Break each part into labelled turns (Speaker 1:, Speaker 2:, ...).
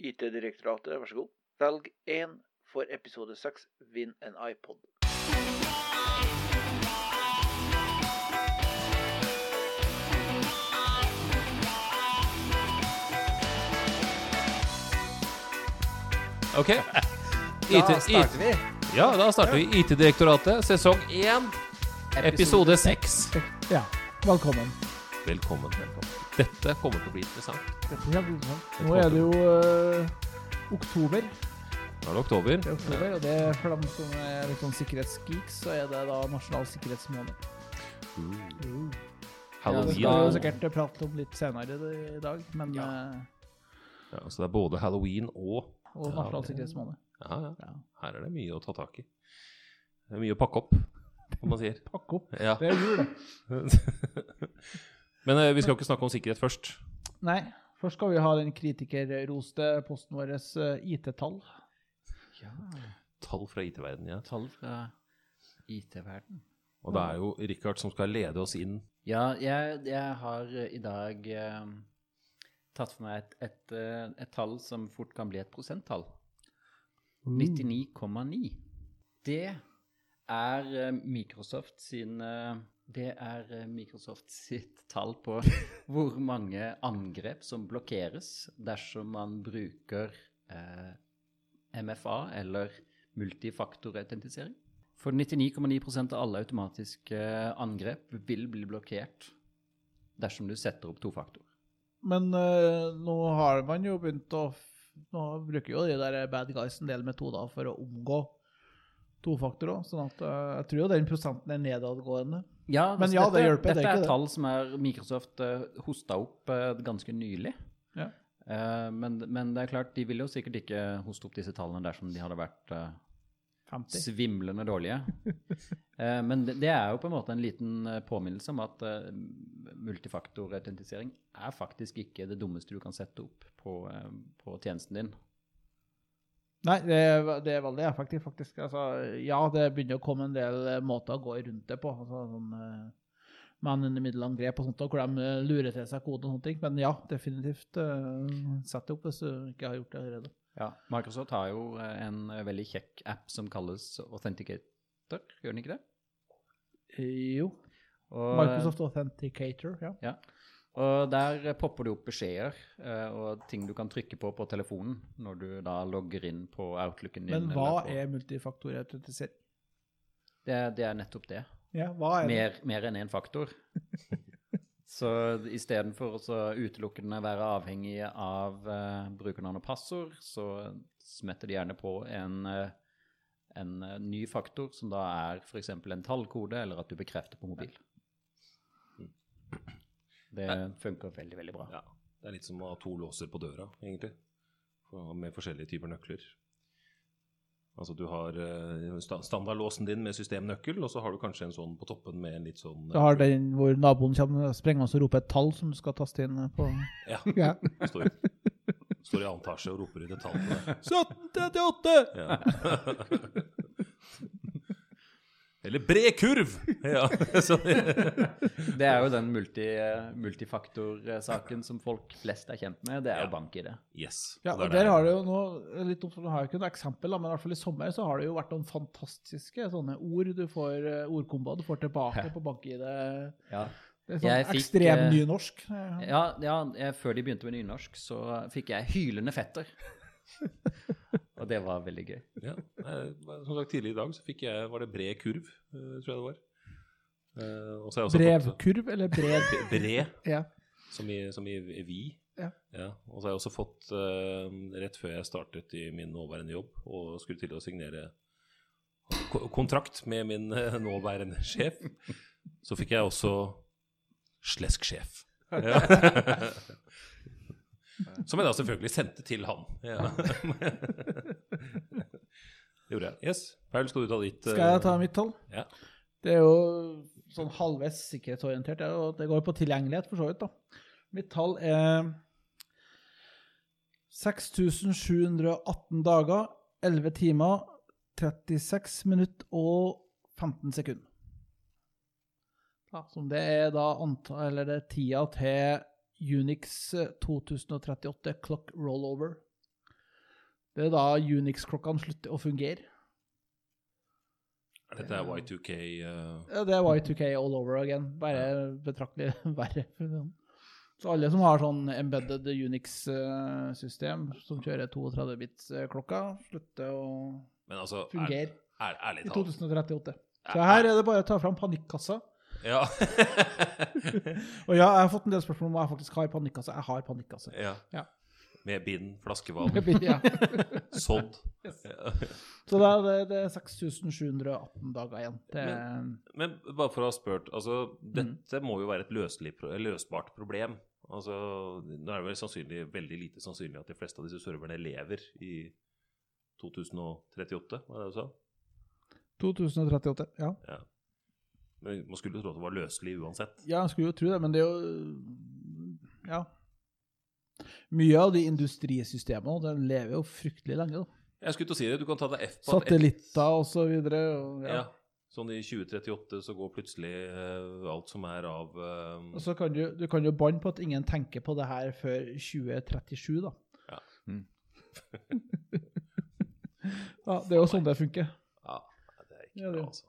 Speaker 1: IT-direktoratet, vær så god. Velg én for episode seks. Vinn en iPod.
Speaker 2: OK.
Speaker 3: Da starter vi.
Speaker 2: Ja, da starter vi IT-direktoratet, sesong 1, episode 6.
Speaker 3: Ja. Velkommen.
Speaker 2: Velkommen. Dette kommer til å bli interessant.
Speaker 3: Dette er kjempeinteressant. Nå er det jo eh, oktober.
Speaker 2: Nå er det oktober.
Speaker 3: Det er oktober, og det er for dem som er litt sånn sikkerhetsgeeks, så er det da nasjonal sikkerhetsmåned. Ja, det skal vi jo
Speaker 2: Halloween.
Speaker 3: sikkert eh, prate om litt senere i- i dag, men eh,
Speaker 2: Ja, så det er både halloween og
Speaker 3: Og
Speaker 2: Ja,
Speaker 3: nasjonal
Speaker 2: det-
Speaker 3: sikkerhetsmåned.
Speaker 2: ja, ja.
Speaker 3: Ja.
Speaker 2: Her er det mye å ta tak i. Det er mye å pakke opp, som man sier.
Speaker 3: Pakk opp.
Speaker 2: Ja.
Speaker 3: Det er jul, det.
Speaker 2: Men eh, vi skal ikke snakke om sikkerhet først.
Speaker 3: Nei, først skal vi ha den kritikerroste posten vår eh, IT-tall.
Speaker 2: Tall fra IT-verdenen, ja.
Speaker 4: Tall fra IT-verden.
Speaker 2: Og det er jo Richard som skal lede oss inn.
Speaker 4: Ja, jeg, jeg har eh, i dag eh, tatt for meg et, et, eh, et tall som fort kan bli et prosenttall. 99,9. Det er eh, Microsoft sin eh, Det er eh, Microsoft sitt tall på hvor mange angrep som blokkeres dersom man bruker eh, MFA eller multifaktorautentisering. For 99,9 av alle automatiske eh, angrep vil bli blokkert dersom du setter opp tofaktor.
Speaker 3: Men eh, nå har man jo begynt å f- Nå bruker jo de der bad guys en del metoder for å omgå tofaktorer. Sånn at eh, jeg tror jo den prosenten er nedadgående.
Speaker 4: Ja, altså,
Speaker 3: Men ja, det hjelper, det er
Speaker 4: Dette
Speaker 3: ikke
Speaker 4: er
Speaker 3: det.
Speaker 4: tall som er Microsoft uh, hosta opp eh, ganske nylig.
Speaker 3: Ja.
Speaker 4: Eh, men, men det er klart, de ville jo sikkert ikke hoste opp disse tallene dersom de hadde vært eh,
Speaker 3: 50.
Speaker 4: svimlende dårlige. Eh, Men det det er jo på en måte en liten eh, påminnelse om at eh, multifaktorautentisering er faktisk ikke det dummeste du kan sette opp på, eh, på tjenesten din.
Speaker 3: Nei, det er, det er veldig effektivt, faktisk. Altså, ja, det begynner å komme en del eh, måter å gå rundt det på. Altså, sånn, eh, Man under middelangrep og sånt, og hvor de eh, lurer til seg kode og sånne ting. Men ja, definitivt eh, sett det opp hvis du ikke har gjort det allerede.
Speaker 4: Ja, Microsoft har jo eh, en eh, veldig kjekk app som kalles Authenticator, gjør den ikke det?
Speaker 3: Eh, Jo.
Speaker 4: Og,
Speaker 3: Microsoft Authenticator, ja.
Speaker 4: Ja. Og der eh, popper det opp beskjeder eh, og ting du kan trykke på på telefonen når du da logger inn på outlooken din.
Speaker 3: Men hva
Speaker 4: eller på-
Speaker 3: er multifaktorautentisering?
Speaker 4: det, er- det er nettopp det.
Speaker 3: Ja, hva er det?
Speaker 4: mer, mer enn én faktor. Så istedenfor å så utelukkende være avhengig av eh, brukernavn og passord, så smetter de gjerne på en, eh, en eh, ny faktor, som da er f.eks. en tallkode, eller at du bekrefter på mobil. Det funker veldig, veldig bra.
Speaker 2: Ja. Det er litt som å ha to låser på døra, egentlig. For- Med forskjellige typer nøkler. Altså du har eh, sta- standardlåsen din med systemnøkkel, og så har du kanskje en sånn på toppen med en litt sånn
Speaker 3: Du har den hvor naboen kommer sprengende og roper et tall som du skal taste inn på
Speaker 2: Ja.
Speaker 3: ja.
Speaker 2: Står, står i annen etasje og roper i detalj på det.
Speaker 3: 1738!
Speaker 2: Ja. Eller bred kurv! Ja, så,
Speaker 4: Det er jo den multi, multifaktorsaken som folk flest er kjent med. Det
Speaker 2: Ja.
Speaker 4: er jo bank-ID.
Speaker 2: yes.
Speaker 3: Ja, og der har det jo nå litt opp, nå har jeg ikke noe eksempel, da, men i hvert fall i sommer så har det jo vært noen fantastiske sånne ord du får, eh, ordkombo du får tilbake på bank-ID. Det
Speaker 4: Ja.
Speaker 3: er
Speaker 4: Jeg
Speaker 3: sånn
Speaker 4: fikk,
Speaker 3: ekstrem
Speaker 4: eh,
Speaker 3: nynorsk.
Speaker 4: Ja, ja jeg, før de begynte med nynorsk, så fikk jeg 'hylende fetter'. Og det var veldig gøy.
Speaker 2: Ja. eh, Som sagt, tidligere i dag så fikk jeg Var det bred kurv, eh, tror jeg det var. Eh, og så har jeg også fått-
Speaker 3: Brevkurv eller brev?
Speaker 2: Bred,
Speaker 3: ja.
Speaker 2: som i, som i vi.
Speaker 3: Ja.
Speaker 2: Og så har jeg også fått, eh, rett før jeg startet i min nåværende jobb, og skulle til å signere ko- kontrakt med min eh, nåværende sjef, så fikk jeg også slesk-sjef. Ja. Som jeg da selvfølgelig sendte til han. Ja. Det gjorde jeg. Yes. Paul, skal du ta ditt eh,
Speaker 3: Skal jeg ta mitt tall?
Speaker 2: Ja.
Speaker 3: Det er jo sånn halvveis sikkerhetsorientert. Det, er jo- det går på tilgjengelighet, for så vidt. da. Mitt tall er 6718 dager, 11 timer, 36 minutter og 15 sekunder. Ja, som det er da antall, eller det er tida til Unix 2038 clock eh, rollover. Det er da Unix-klokkene slutter å fungere.
Speaker 2: Dette er Y2K eh,
Speaker 3: Ja, Det var Y2K all over again, bare betraktelig verre. Så alle som har sånn embedded Unix-system eh, som kjører 32-bits-klokka, slutter å
Speaker 2: Men altså ær-
Speaker 3: fungere
Speaker 2: ær- Ærlig
Speaker 3: i
Speaker 2: talt.
Speaker 3: 2038. Så her er det bare å ta fram panikkassa.
Speaker 2: Ja.
Speaker 3: Og ja, jeg har fått en del spørsmål om hva jeg faktisk har panikkasse. Jeg har panikkasse.
Speaker 2: ja.
Speaker 3: Ja.
Speaker 2: Med bind, flaskevann,
Speaker 3: Ja.
Speaker 2: sodd.
Speaker 3: Så da er det, det er 6718 dager igjen. Det,
Speaker 2: Men bare for å ha spurt, altså
Speaker 3: Mm.
Speaker 2: dette må jo være et løselig, pro- løsbart problem. Altså, nå er det vel sannsynlig, veldig lite sannsynlig at de fleste av disse serverne lever i 2038, var det det du sa?
Speaker 3: 2038, ja.
Speaker 2: Men man skulle jo tro at det var løselig uansett.
Speaker 3: Ja, jeg skulle jo tro det, men det er jo Ja. Mye av de industrisystemene de lever jo fryktelig lenge. da.
Speaker 2: Jeg skulle til å si det, du kan ta deg F på at et-
Speaker 3: Satellitter og så videre. Og, ja.
Speaker 2: Ja. Sånn i 2038 så går plutselig eh, alt som er av eh,
Speaker 3: og så kan du, du kan jo banne på at ingen tenker på det her før 2037, da.
Speaker 2: Ja.
Speaker 4: Mm.
Speaker 3: ja, det er jo sånn det funker.
Speaker 2: Ja, det er ikke
Speaker 3: Ja, det-
Speaker 2: bra, altså.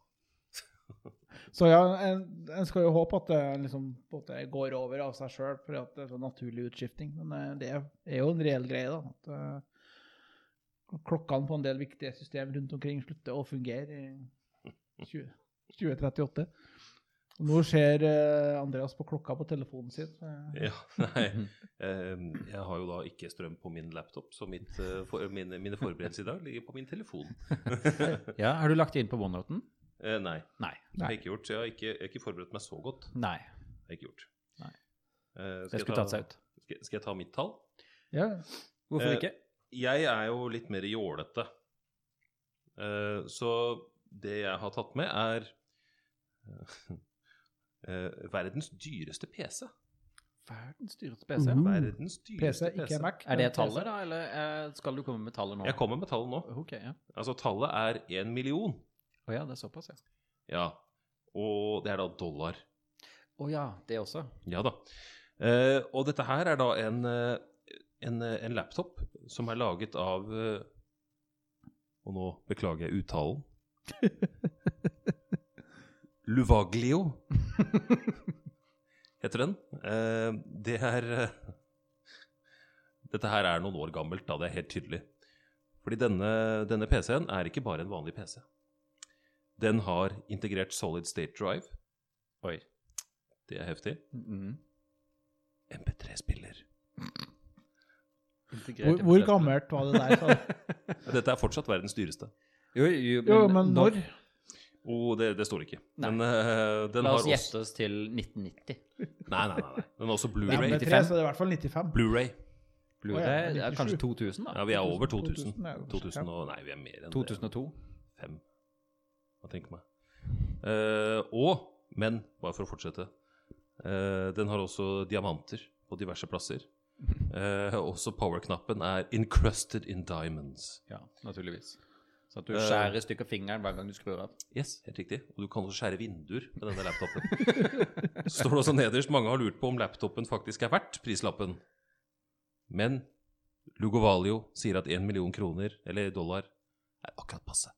Speaker 3: Så ja, en, en skal jo håpe at det liksom på en måte går over av seg sjøl, for at det er sånn naturlig utskifting. Men eh, det er jo en reell greie, da. At eh, klokkene på en del viktige system rundt omkring slutter å fungere i 20, 2038. Og nå ser eh, Andreas på klokka på telefonen sin. eh,
Speaker 2: Ja, nei. eh, Jeg har jo da ikke strøm på min laptop, så mitt, eh, for, mine, mine forberedelser i dag ligger på min telefon.
Speaker 4: Ja, Har du lagt det inn på OneNoten?
Speaker 2: Eh, nei,
Speaker 4: Nei.
Speaker 2: det har jeg ikke gjort. Så jeg har ikke, jeg har ikke forberedt meg så godt.
Speaker 4: Nei.
Speaker 2: Det har jeg ikke gjort.
Speaker 4: Nei.
Speaker 2: Eh, skal
Speaker 4: Det
Speaker 2: jeg
Speaker 4: skulle
Speaker 2: ta-
Speaker 4: tatt seg ut.
Speaker 2: Skal, skal jeg ta mitt tall?
Speaker 3: Ja.
Speaker 2: Eh,
Speaker 4: Hvorfor ikke?
Speaker 2: Jeg er jo litt mer jålete. Eh, Så det jeg har tatt med, er eh, verdens dyreste PC.
Speaker 4: Verdens dyreste PC.
Speaker 3: Mhm.
Speaker 2: Verdens
Speaker 3: PC,
Speaker 2: dyreste PC.
Speaker 3: ikke Mac.
Speaker 4: Er det
Speaker 3: men PC.
Speaker 4: tallet, da, eller eh, skal du komme med tallet nå?
Speaker 2: Jeg kommer med tallet nå.
Speaker 4: Ok, ja.
Speaker 2: Altså, tallet er én million.
Speaker 4: Å ja, det er såpass, ja.
Speaker 2: Ja. Og det er da dollar.
Speaker 4: Å ja, det også.
Speaker 2: Ja da. Eh, og dette her er da en, eh, en, eh, en laptop som er laget av eh, Og nå beklager jeg uttalen. Luvaglio heter den. Eh, det er eh, Dette her er noen år gammelt, da. Det er helt tydelig. Fordi denne, denne PC-en er ikke bare en vanlig PC. Den har integrert solid state drive.
Speaker 4: Oi.
Speaker 2: Det er heftig.
Speaker 4: Mhm.
Speaker 2: MP3-spiller.
Speaker 4: Integrert
Speaker 3: Hvor,
Speaker 4: i
Speaker 3: hvor
Speaker 4: budsjettet.
Speaker 3: gammelt var det der? sa du?
Speaker 2: Dette er fortsatt verdens dyreste.
Speaker 4: Jo, jo, men,
Speaker 3: Jo, men når?
Speaker 2: Oh, det, det står ikke.
Speaker 4: Nei.
Speaker 2: Men eh, den
Speaker 4: La
Speaker 2: har
Speaker 4: oss
Speaker 2: også
Speaker 4: gjette oss til 1990.
Speaker 2: Nei, nei, nei. nei. Den har også
Speaker 3: Nei,
Speaker 2: Blu-ray.
Speaker 3: men det er tre, så det er i hvert fall 95.
Speaker 2: Blu-ray.
Speaker 4: Blir
Speaker 3: Å ja,
Speaker 4: det ja,
Speaker 3: 97.
Speaker 4: kanskje 2000,
Speaker 2: Ja,
Speaker 4: da?
Speaker 2: vi er over 2000.
Speaker 3: 2000, ja, kanskje,
Speaker 2: 2000 og, nei, vi er mer enn
Speaker 4: 2002.
Speaker 2: det. 5. Hva tenker meg. Eh, og, men, bare for å fortsette eh, Den har også diamanter på diverse plasser. Eh, også power-knappen er 'encrusted in diamonds'.
Speaker 4: Ja, naturligvis. Så at du
Speaker 2: Eh.
Speaker 4: skjærer i stykker fingeren hver gang du skrur av.
Speaker 2: Yes, helt riktig. Og du kan også skjære vinduer med denne laptopen. Så står det også nederst mange har lurt på om laptopen faktisk er verdt prislappen. Men Lugovalio sier at én million kroner, eller dollar, er akkurat passe.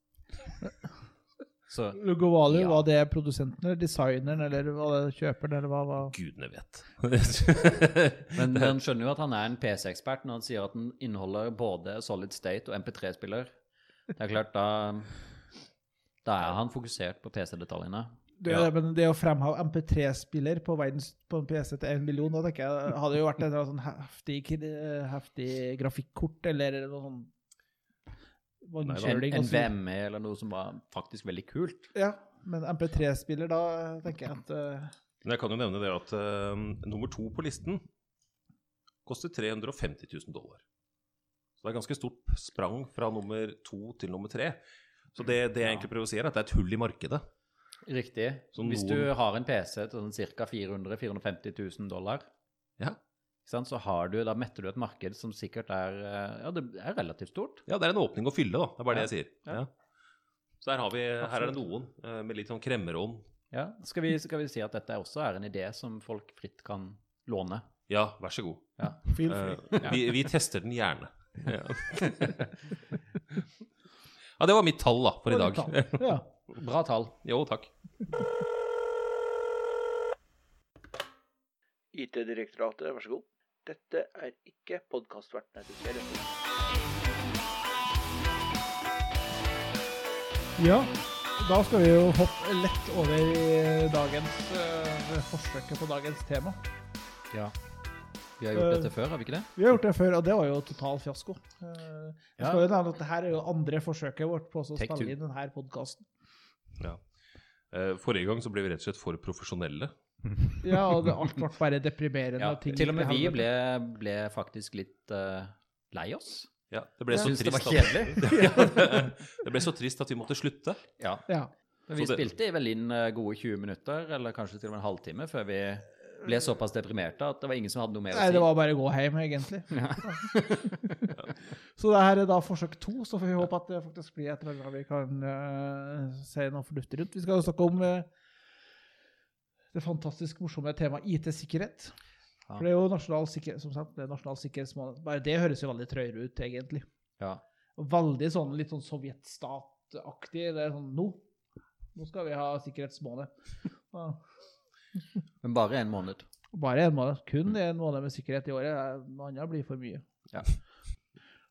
Speaker 4: Så
Speaker 3: Lugovalio,
Speaker 4: Ja.
Speaker 3: var det produsenten eller designeren eller var det kjøperen eller hva? hva-
Speaker 2: Gudene vet.
Speaker 4: Men han skjønner jo at han er en PC-ekspert når han sier at den inneholder både Solid State og MP3-spiller. Det er klart, da Da er han fokusert på PC-detaljene.
Speaker 3: Det,
Speaker 2: Ja.
Speaker 3: Men det å fremheve MP3-spiller på verdens på en PC til en million, da tenker jeg hadde jo vært et eller annet sånn heftig, kri- eh, heftig grafikkort eller noe sånn
Speaker 4: En,
Speaker 3: vannkjøling. og
Speaker 4: en
Speaker 3: så-
Speaker 4: VME eller noe som var faktisk veldig kult.
Speaker 3: altså. Ja, men MP3-spiller, da tenker jeg at eh,
Speaker 2: Men jeg kan jo nevne det at eh, nummer to på listen koster 350 000 dollar. Så det er ganske stort sprang fra nummer to til nummer tre. Så det, det jeg egentlig prøver å si, er at det er et hull i markedet.
Speaker 4: Riktig.
Speaker 2: Så noen-
Speaker 4: Hvis du har en PC til sånn ca. 400 450 000 dollar,
Speaker 2: Ja.
Speaker 4: ikke sant, så har du, da metter du et marked som sikkert er eh, Ja, det er relativt stort.
Speaker 2: Ja, det er en åpning å fylle, da. Det er bare
Speaker 4: Ja.
Speaker 2: det jeg sier.
Speaker 4: Ja.
Speaker 2: Ja. Så her, har vi, her er det noen eh, med litt sånn kremmerånd.
Speaker 4: Ja, skal vi, skal vi si at dette også er en idé som folk fritt kan låne?
Speaker 2: Ja, vær så god.
Speaker 4: Ja.
Speaker 3: feel
Speaker 2: Eh,
Speaker 3: free.
Speaker 2: vi, vi tester den gjerne. Ja. ja, det var mitt tall da, for i dag.
Speaker 3: Ja.
Speaker 4: Bra tall.
Speaker 2: Jo, takk.
Speaker 1: IT-direktoratet, vær så god. Dette er ikke podkastvertene til Kjell.
Speaker 3: ja. Da skal vi jo hoppe lett over i dagens eh, forsøket på dagens tema.
Speaker 4: Ja. Vi har gjort dette før, har vi ikke det?
Speaker 3: Vi har gjort det før, og det var jo total fiasko. Eh, Jeg
Speaker 4: Ja.
Speaker 3: skal jo nevne at det her er jo andre forsøket vårt på å
Speaker 4: Take
Speaker 3: spille
Speaker 4: two.
Speaker 3: inn denne podkasten.
Speaker 2: Ja. Eh, Forrige gang så ble vi rett og slett for profesjonelle.
Speaker 3: Ja, og det, alt ble bare deprimerende.
Speaker 4: Ja.
Speaker 3: og ting
Speaker 4: Til og med
Speaker 3: gikk til
Speaker 4: vi
Speaker 3: helvete.
Speaker 4: ble, ble faktisk litt eh, lei oss.
Speaker 2: Ja, det ble
Speaker 4: Jeg
Speaker 2: så
Speaker 4: synes det var
Speaker 2: trist
Speaker 4: kjedelig.
Speaker 2: at, det ble så trist at vi måtte slutte.
Speaker 4: Ja.
Speaker 3: Ja.
Speaker 4: Men vi
Speaker 2: Så det-
Speaker 4: spilte vel inn eh, gode 20 minutter, eller kanskje til og med en halvtime, før vi ble såpass deprimerte at det var ingen som hadde noe mer å si.
Speaker 3: Nei, det var bare å gå hjem, egentlig. så det her er da forsøk to, så får vi håpe at det faktisk blir et eller annet vi kan eh, se noe fornuftig rundt. Vi skal jo snakke om eh, det fantastisk morsomme temaet IT-sikkerhet.
Speaker 4: Ja.
Speaker 3: For det er jo nasjonal sikkerhet, som sagt, det er nasjonal sikkerhetsmål. Bare det høres jo veldig trøyere ut, egentlig.
Speaker 4: Ja.
Speaker 3: Veldig sånn litt sånn sovjetstataktig. Det er sånn nå. Nå skal vi ha sikkerhetsmåned. Ja.
Speaker 4: Men bare en måned.
Speaker 3: Bare en måned. Kun en måned med sikkerhet i året. Det er- Noe annet blir for mye.
Speaker 4: Ja.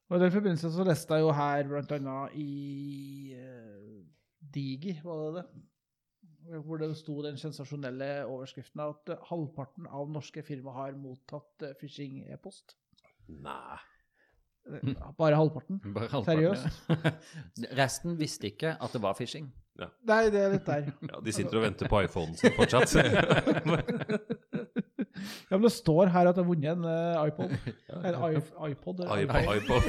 Speaker 3: Og I den forbindelse så leste jeg jo her bl.a. i eh, Digi, var det det? Hvor det sto den sensasjonelle overskriften at eh, halvparten av norske firma har mottatt eh, phishing-e-post.
Speaker 2: Nei.
Speaker 3: Eh, Bare halvparten.
Speaker 4: Bare halvparten, ja. Resten visste ikke at det var phishing.
Speaker 3: Nei, det er litt der.
Speaker 2: Ja, de sitter og venter på iPhonen sin fortsatt.
Speaker 3: Ja, men det står her at jeg har vunnet en eh, iPod. En i- iPod. eller-
Speaker 2: iPod, iPod.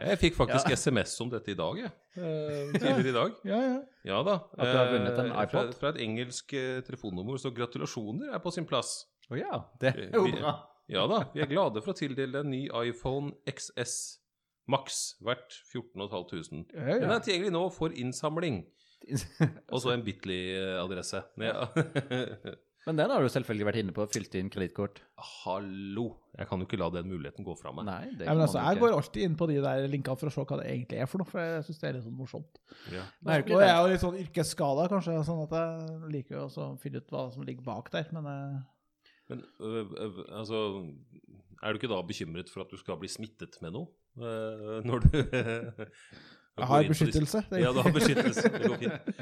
Speaker 2: Jeg fikk faktisk SMS om dette i dag, jeg.
Speaker 3: Eh,
Speaker 2: Tidligere i dag.
Speaker 3: ja, ja.
Speaker 2: Ja da.
Speaker 4: At du har vunnet en
Speaker 2: Eh,
Speaker 4: iPod?
Speaker 2: Fra, fra et engelsk eh, telefonnummer, så gratulasjoner er på sin plass.
Speaker 4: Å ja, det
Speaker 2: er jo bra. Ja da, vi er glade for å tildele en ny iPhone XS Max verdt 14.500.
Speaker 3: ja,
Speaker 2: Den
Speaker 3: ja.
Speaker 2: er tilgjengelig nå for innsamling. Og så en eh, Bitly-adresse. Ja.
Speaker 4: Men den har du selvfølgelig vært inne på og fylt inn kredittkort.
Speaker 2: Hallo! Jeg kan jo ikke la den muligheten gå fra meg.
Speaker 4: Nei, det
Speaker 3: Nei, men altså, jeg
Speaker 4: ikke.
Speaker 3: går alltid inn på de der linkene for å se hva det egentlig er for noe, for jeg syns det er litt sånn morsomt.
Speaker 2: Ja.
Speaker 4: Men er
Speaker 3: Og
Speaker 4: det
Speaker 3: jeg
Speaker 4: ikke det?
Speaker 3: er jo litt sånn yrkesskada, kanskje, sånn at jeg liker jo også å finne ut hva som ligger bak der, men eh,
Speaker 2: Men ø, ø, altså Er du ikke da bekymret for at du skal bli smittet med noe? ø, når du
Speaker 3: jeg har beskyttelse. Det,
Speaker 2: Ja, du har beskyttelse. Det går fint.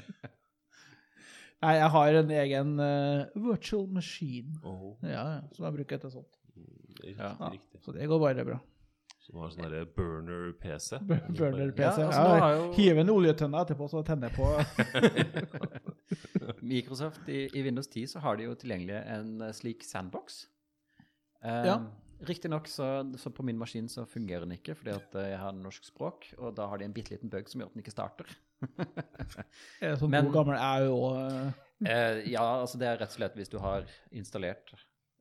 Speaker 3: Nei, jeg har en egen eh, virtual machine
Speaker 2: Åh,
Speaker 3: ja, ja, som jeg bruker til sånt.
Speaker 2: riktig,
Speaker 4: Ja.
Speaker 2: riktig.
Speaker 3: Så det går bare bra.
Speaker 2: Så du har sånn derre burner-PC.
Speaker 4: Ja,
Speaker 3: Burner-PC.
Speaker 4: altså,
Speaker 3: Ja,
Speaker 4: nå har jo-
Speaker 3: Hive en oljetønne etterpå, så tenner jeg på
Speaker 4: Microsoft i, i Windows 10 så har de jo tilgjengelig en eh, slik sandbox. Um,
Speaker 3: Ja.
Speaker 4: Riktignok så, så på min maskin så fungerer den ikke, fordi at eh, jeg har norsk språk, og da har de en bitte liten bug som gjør at den ikke starter.
Speaker 3: Er det sånn
Speaker 4: Men-
Speaker 3: god gammel jeg er jo òg.
Speaker 4: Eh, ja, altså det er rett og slett hvis du har installert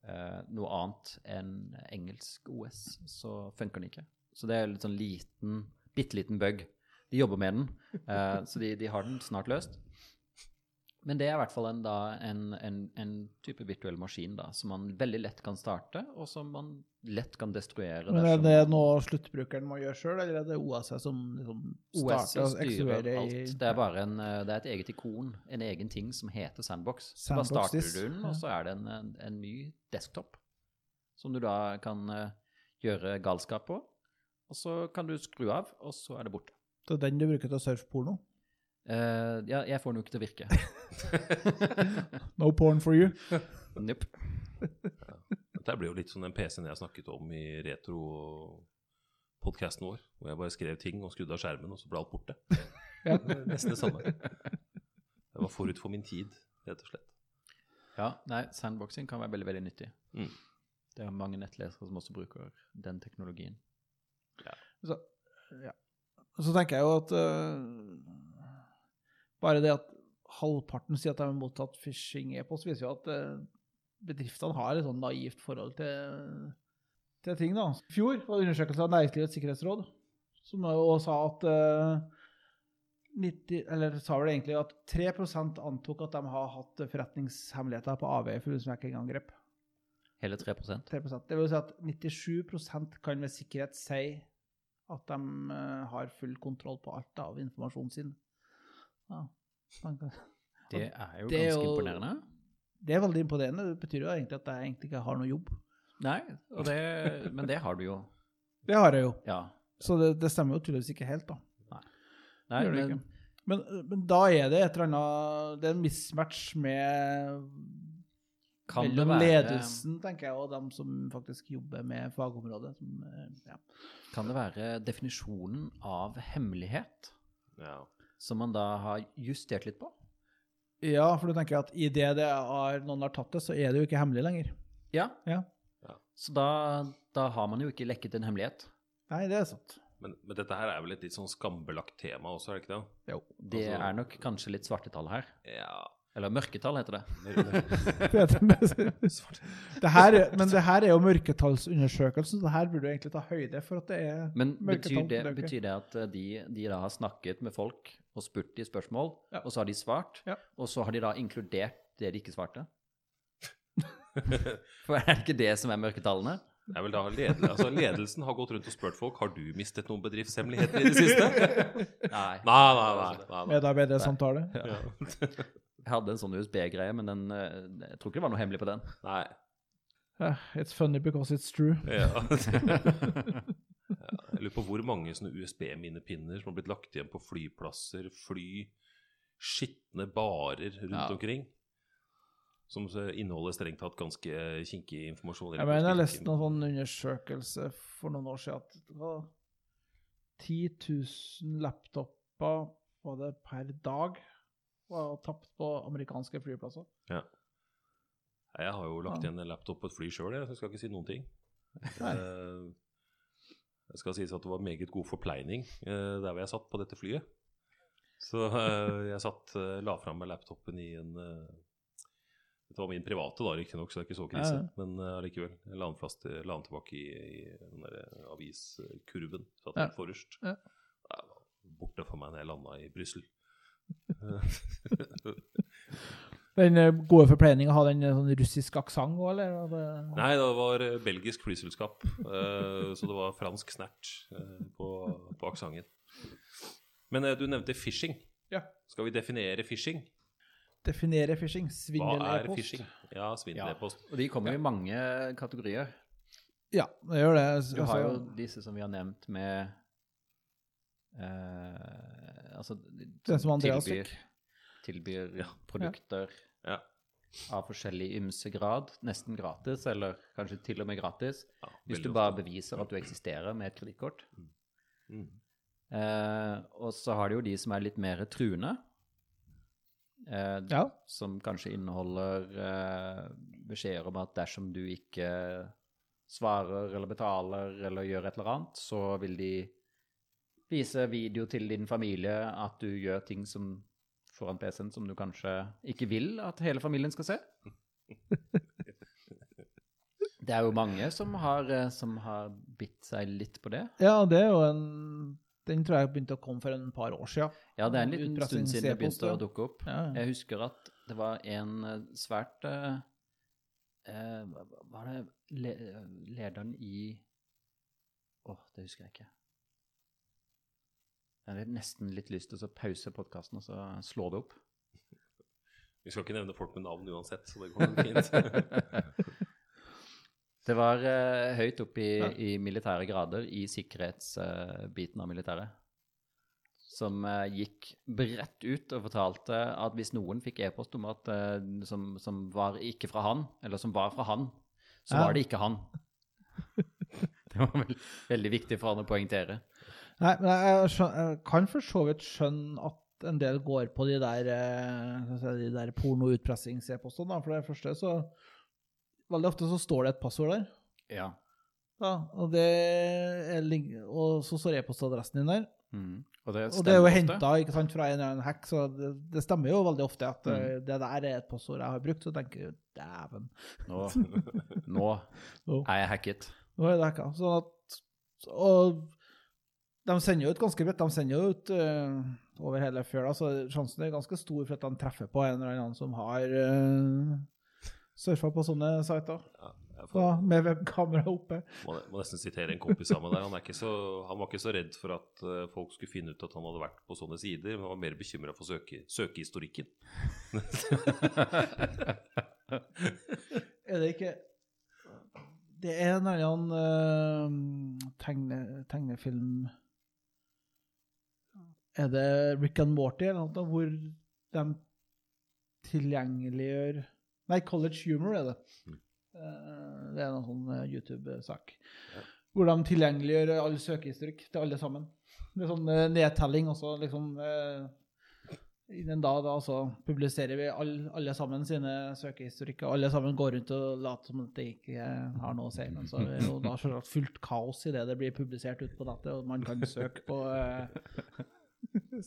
Speaker 4: eh, noe annet enn engelsk OS, så funker den ikke. Så det er litt sånn liten, bitte liten bug. De jobber med den, eh, så de, de har den snart løst. Men det er i hvert fall en, da, en, en, en type virtuell maskin da, som man veldig lett kan starte, og som man lett kan destruere.
Speaker 3: Men er
Speaker 4: dersom-
Speaker 3: det noe sluttbrukeren må gjøre sjøl, eller er det OS som liksom
Speaker 4: OS
Speaker 3: starter og
Speaker 4: styrer
Speaker 3: eksekverer i
Speaker 4: alt. Det er bare en, eh, det er et eget ikon, en egen ting som heter Sandbox. Så bare
Speaker 3: Sandbox
Speaker 4: starter
Speaker 3: disk,
Speaker 4: du den,
Speaker 3: ja.
Speaker 4: og så er det en, en, en ny desktop som du da kan eh, gjøre galskap på. Og så kan du skru av, og så er det borte.
Speaker 3: Det er den du bruker til å surfe porno?
Speaker 4: Eh, ja, jeg får den jo ikke til å virke.
Speaker 3: No porn for you.
Speaker 4: Nope.
Speaker 2: Dette blir jo litt som den PC-en jeg snakket om i retro-podcasten vår. Hvor jeg bare skrev ting og skrudde av skjermen, og så ble alt borte.
Speaker 3: Ja.
Speaker 2: Det er Nesten det samme. Det var forut for min tid, rett og slett.
Speaker 4: Ja, nei, sandboxing kan være veldig, veldig nyttig.
Speaker 2: Mm.
Speaker 4: Det er mange nettlesere som også bruker den teknologien.
Speaker 3: Så, ja. så tenker jeg jo at øh, bare det at halvparten sier at de har mottatt phishing-e-post, viser jo at øh, bedriftene har et sånn naivt forhold til, til ting. da. I fjor var det undersøkelse av Næringslivets sikkerhetsråd som jo sa at øh, 90, eller sa vel egentlig at 3 antok at de har hatt forretningshemmeligheter på avveie for hackingangrep.
Speaker 4: Hele 3 prosent.
Speaker 3: 3 Det vil si at 97 kan med sikkerhet si at de eh, har full kontroll på alt av informasjonen sin. Ja. man kan-
Speaker 4: Det er jo
Speaker 3: Det er
Speaker 4: ganske
Speaker 3: jo-
Speaker 4: imponerende.
Speaker 3: Det er veldig imponerende. Det betyr jo egentlig at jeg egentlig ikke har noe jobb.
Speaker 4: Nei, og det, men det har du jo.
Speaker 3: Det har jeg jo.
Speaker 4: Ja.
Speaker 3: Så det, det stemmer jo tydeligvis ikke helt, da.
Speaker 4: Nei,
Speaker 3: Gjør det
Speaker 4: men,
Speaker 3: Men, men da er det et eller annet Det er en mismatch med
Speaker 4: kan det
Speaker 3: mellom
Speaker 4: være,
Speaker 3: ledelsen, tenker jeg, og dem som faktisk jobber med fagområdet. Som, eh, ja.
Speaker 4: kan det være definisjonen av hemmelighet
Speaker 2: Ja.
Speaker 4: som man da har justert litt på?
Speaker 3: ja, for du tenker at idet det er- noen har tatt det, så er det jo ikke hemmelig lenger.
Speaker 4: Ja.
Speaker 3: Ja.
Speaker 4: Så da, da har man jo ikke lekket en hemmelighet.
Speaker 3: Nei, det er sant.
Speaker 2: Men, men dette her er vel et litt sånn skambelagt tema også, er det ikke det?
Speaker 4: Det
Speaker 2: Altså-
Speaker 4: er nok kanskje litt svartetall her.
Speaker 2: Ja.
Speaker 4: Eller mørketall heter det.
Speaker 3: det her, er- men det her er jo mørketallsundersøkelsen, så det her burde du egentlig ta høyde for at det er
Speaker 4: Men betyr
Speaker 3: Mørketall,
Speaker 4: det,
Speaker 3: det er ok.
Speaker 4: betyr det at eh, de, de da har snakket med folk og spurt de spørsmål,
Speaker 3: Ja.
Speaker 4: og så har de svart,
Speaker 3: Ja.
Speaker 4: og så har de da inkludert det de ikke svarte? For er det ikke det som er mørketallene?
Speaker 2: Det er vel da ledel, altså ledelsen har gått rundt og spurt folk har du mistet noen bedriftshemmeligheter i det siste.
Speaker 4: Nei.
Speaker 2: Nei, nei, nei. nei, nei.
Speaker 3: medarbeidersamtale.
Speaker 4: Jeg hadde en sånn USB-greie, men den, eh, jeg tror ikke det var noe hemmelig på den.
Speaker 2: nei.
Speaker 3: Eh, It's funny because it's true.
Speaker 2: Ja. Ja, Jeg lurer på hvor mange sånne USB-minnepinner som har blitt lagt igjen på flyplasser, fly, skitne barer rundt
Speaker 3: Ja.
Speaker 2: omkring. Som så inneholder strengt tatt ganske kinkig informasjon.
Speaker 3: Jeg mener jeg leste noen sånn undersøkelse for noen år siden at det var 10 000 laptoper var det per dag var tapt på amerikanske flyplasser.
Speaker 2: Nei, Jeg har jo lagt igjen en laptop på et fly sjøl, jeg så jeg skal ikke si noen ting. Eh, Det skal sies at det var meget god forpleining eh, der hvor jeg satt på dette flyet. Så eh, jeg satt, eh, la fram meg laptopen i en eh, Dette var min private, da, riktignok, så det er ikke så krise.
Speaker 3: Ja, ja.
Speaker 2: Men eh, allikevel. jeg la den, fast, jeg la den tilbake i, i den der eh, aviskurven. Satt
Speaker 3: Ja.
Speaker 2: helt forrest.
Speaker 3: Ja.
Speaker 2: Det var borte for meg når jeg landa i Brussel.
Speaker 3: Den eh, gode forpleininga hadde en eh, sånn russisk aksent òg, eller? Var det-
Speaker 2: Nei, det var eh, belgisk flyselskap, eh, så det var fransk snert eh, på, på aksenten. Men eh, du nevnte phishing.
Speaker 3: Ja.
Speaker 2: Skal vi definere phishing?
Speaker 3: Definere phishing.
Speaker 2: Hva
Speaker 3: Svindel
Speaker 2: er
Speaker 3: e-post.
Speaker 2: phishing? Ja, svindel-e-post.
Speaker 4: Og de kommer jo i mange kategorier.
Speaker 3: Ja, det gjør det.
Speaker 4: Du har jo
Speaker 3: Altså,
Speaker 4: disse som vi har nevnt med eh, Altså
Speaker 3: Den som Andreas
Speaker 4: tilbyr,
Speaker 3: fikk.
Speaker 4: tilbyr produkter
Speaker 2: Ja.
Speaker 4: av forskjellig ymse grad, nesten gratis, eller kanskje til og med gratis,
Speaker 2: Ja,
Speaker 4: hvis du
Speaker 2: veldig
Speaker 4: bare
Speaker 2: ofte.
Speaker 4: beviser at du eksisterer med et kredittkort.
Speaker 2: Mm.
Speaker 4: Eh, og så har du jo de som er litt mer truende. Eh,
Speaker 3: ja.
Speaker 4: som kanskje inneholder eh, beskjeder om at dersom du ikke svarer eller betaler eller gjør et eller annet, så vil de vise video til din familie at du gjør ting som foran PC-en som du kanskje ikke vil at hele familien skal se. Det er jo mange som har, eh, som har bitt seg litt på det.
Speaker 3: ja, det er jo en Den tror jeg begynte å komme for en par år sia.
Speaker 4: Ja, det er en liten stund siden det
Speaker 3: Utpressings-e-post,
Speaker 4: begynte å
Speaker 3: ja.
Speaker 4: dukke opp.
Speaker 3: Ja, ja.
Speaker 4: Jeg husker at det var en eh, svært eh, eh, hva- hva Var det le, eh, lederen i Å, det husker jeg ikke. Jeg har nesten litt lyst til å så pause podkasten og så slå det opp.
Speaker 2: Vi skal ikke nevne folk med navn uansett, så det går nok fint.
Speaker 4: Det var eh, høyt opp i,
Speaker 3: Ja.
Speaker 4: i militære grader, i sikkerhetsbiten av militæret, som eh, gikk bredt ut og fortalte at hvis noen fikk e-post om at eh, som, som var ikke fra han, eller som var fra han, så
Speaker 3: Ja.
Speaker 4: var det ikke han. Det var vel, veldig viktig for han å poengtere.
Speaker 3: Nei, men jeg, jeg, skjøn- jeg kan for så vidt skjønne at en del går på de der, eh, hva skal jeg si, de der porno-utpressings-e-postene. da. For det første så Veldig ofte så står det et passord der.
Speaker 4: Ja.
Speaker 3: Da, og, det er, lig- og så står e-postadressen din der.
Speaker 4: Mm. Og det,
Speaker 3: Og det er jo
Speaker 4: stemmer ofte.
Speaker 3: henta fra en eller annen hack, så det, det stemmer jo veldig ofte at
Speaker 4: Mm.
Speaker 3: eh, det der er et passord jeg har brukt. Så tenker jeg dæven,
Speaker 4: Nå, nå
Speaker 3: Nå.
Speaker 4: er jeg hacket.
Speaker 3: nå er det hacka. Sånn at, og de sender jo ut ganske bredt. De sender jo ut eh, over hele fjøla, så sjansen er ganske stor for at de treffer på en eller annen som har eh, Surfa på sånne sider.
Speaker 2: Ja, jeg får,
Speaker 3: Da, med webkamera oppe.
Speaker 2: må, må nesten sitere en kompis av meg der. Han, er ikke så, han var ikke så redd for at eh, folk skulle finne ut at han hadde vært på sånne sider, men han var mer bekymra for søke, søkehistorikken.
Speaker 3: Er det ikke Det er en eller annen eh, tegne, tegnefilm Er det Rick and Morty eller noe sånt, hvor de tilgjengeliggjør Nei, College Humor er det. Eh, Det er en sånn eh, YouTube-sak. Hvor de tilgjengeliggjør all søkehistorikk til alle sammen. Det er sånn eh, nedtelling også, liksom eh, Innen da, da så publiserer vi all, alle sammen sine søkehistorikker. Alle sammen går rundt og later som at det ikke eh, har noe å si. Men så er det jo da selvsagt fullt kaos idet det blir publisert ute på nettet, og man kan søke på eh,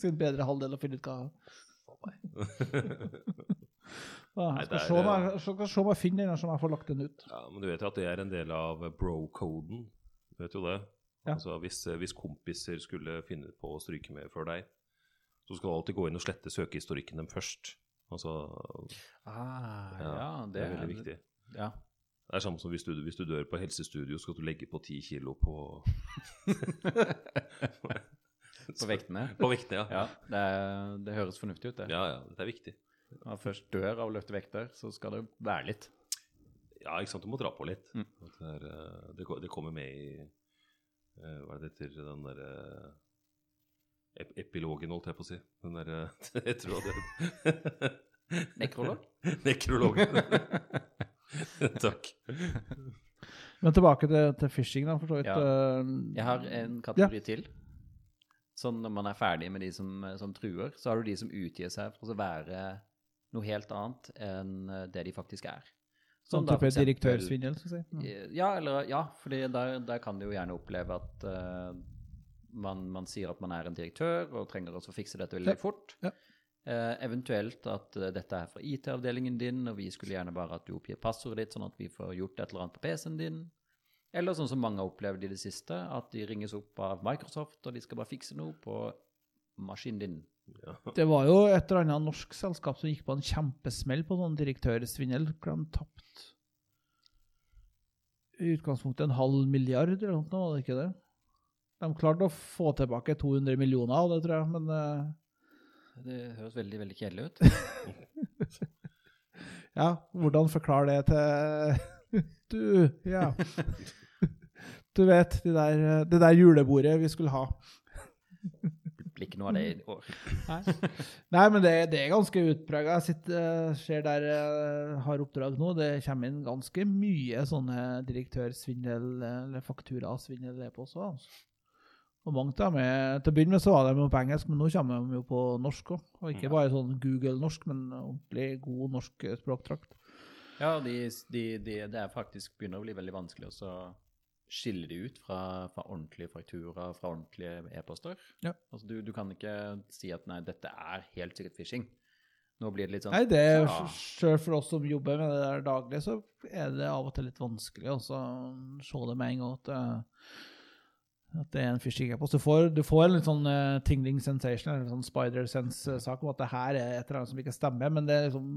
Speaker 3: sin bedre halvdel og finne ut hva ja,
Speaker 2: Nei,
Speaker 3: Jeg skal
Speaker 2: det er- eh,
Speaker 3: se om jeg- jeg skal se om jeg finner den, som jeg får lagt den ut.
Speaker 2: Ja, men du vet jo at det er en del av bro-koden. Du vet jo det.
Speaker 3: Ja.
Speaker 2: Altså hvis, hvis kompiser skulle finne på å stryke med før deg, så skal du alltid gå inn og slette søkehistorikken dem først. Altså,
Speaker 4: Ah, ja, det,
Speaker 2: det er veldig viktig.
Speaker 4: Ja.
Speaker 2: Det er samme som hvis du, hvis du dør på helsestudio, skal du legge på ti kilo på
Speaker 4: På vektene.
Speaker 2: På vektene, ja.
Speaker 4: Ja, det, er, det høres fornuftig ut, det.
Speaker 2: Ja, ja, det er viktig.
Speaker 4: Når man først dør av å løfte vekter, så skal det være litt.
Speaker 2: Ja, ikke sant, du må dra på litt.
Speaker 4: Mm.
Speaker 2: At Det, er, eh, det, ko- det kommer med i eh, Hva er det det heter, den derre ep Epilogen, holdt jeg på å si. Den derre Jeg tror det
Speaker 4: Nekrolog?
Speaker 2: Nekrologen. Takk.
Speaker 3: Men tilbake til, til phishing, da, for så vidt.
Speaker 4: Ja.
Speaker 3: eh,
Speaker 4: Jeg har en kategori til. Sånn når man er ferdig med de som, som truer, så har du de som utgir seg for å være noe helt annet enn eh, det de faktisk er.
Speaker 3: Sånn
Speaker 4: da for
Speaker 3: type
Speaker 4: eksempel-
Speaker 3: direktørsvindel, skal jeg si. Mm.
Speaker 4: Eh, Ja, eller, ja fordi der, der kan du jo gjerne oppleve at eh, man, man sier at man er en direktør og trenger også å fikse dette veldig
Speaker 3: Ja.
Speaker 4: fort.
Speaker 3: Ja.
Speaker 4: Eh, eventuelt at eh, dette er fra IT-avdelingen din, og vi skulle gjerne bare at du oppgir passordet ditt, sånn at vi får gjort et eller annet på PC-en din. Eller sånn som mange har opplevd i det siste, at de ringes opp av Microsoft, og de skal bare fikse noe på maskinen din.
Speaker 3: Det var jo et eller annet norsk selskap som gikk på en kjempesmell på sånn direktørsvindel. hvor De tapte i utgangspunktet en halv milliard eller noe, sånt, var det ikke det? De klarte å få tilbake 200 millioner av det, tror jeg, men eh,
Speaker 4: Det høres veldig, veldig kjedelig ut.
Speaker 3: ja, hvordan forklare det til Du, ja. Du vet, de der, eh, det der julebordet vi skulle ha.
Speaker 4: Det blir ikke noe av det i år.
Speaker 3: Nei. Nei, men det, det er ganske utprega. Jeg sitter, eh, ser der jeg har oppdrag nå. Det kommer inn ganske mye sånne direktørsvindel eh, eller fakturasvindel på oss også. altså. Og mange av dem er, Til å begynne med så var de jo på engelsk, men nå kommer de jo på norsk òg. Og ikke bare sånn Google-norsk, men ordentlig god norsk eh, språkdrakt.
Speaker 4: Ja, de, de, de, det er faktisk begynner å bli veldig vanskelig også å skille de ut fra, fra ordentlige faktura, fra ordentlige e-poster.
Speaker 3: Ja.
Speaker 4: Altså, du, du kan ikke si at nei, dette er helt sikkert phishing. Nå blir det litt sånn
Speaker 3: Nei, det er
Speaker 4: ja.
Speaker 3: sjøl for oss som jobber med det der daglig, så er det av og til litt vanskelig å se det med en gang at, eh, at det er en phishing-e-post. Du, får- du får en litt sånn eh, tingling sensation, eller en sånn spider sense-sak om at det her er et eller annet som ikke stemmer, men det er liksom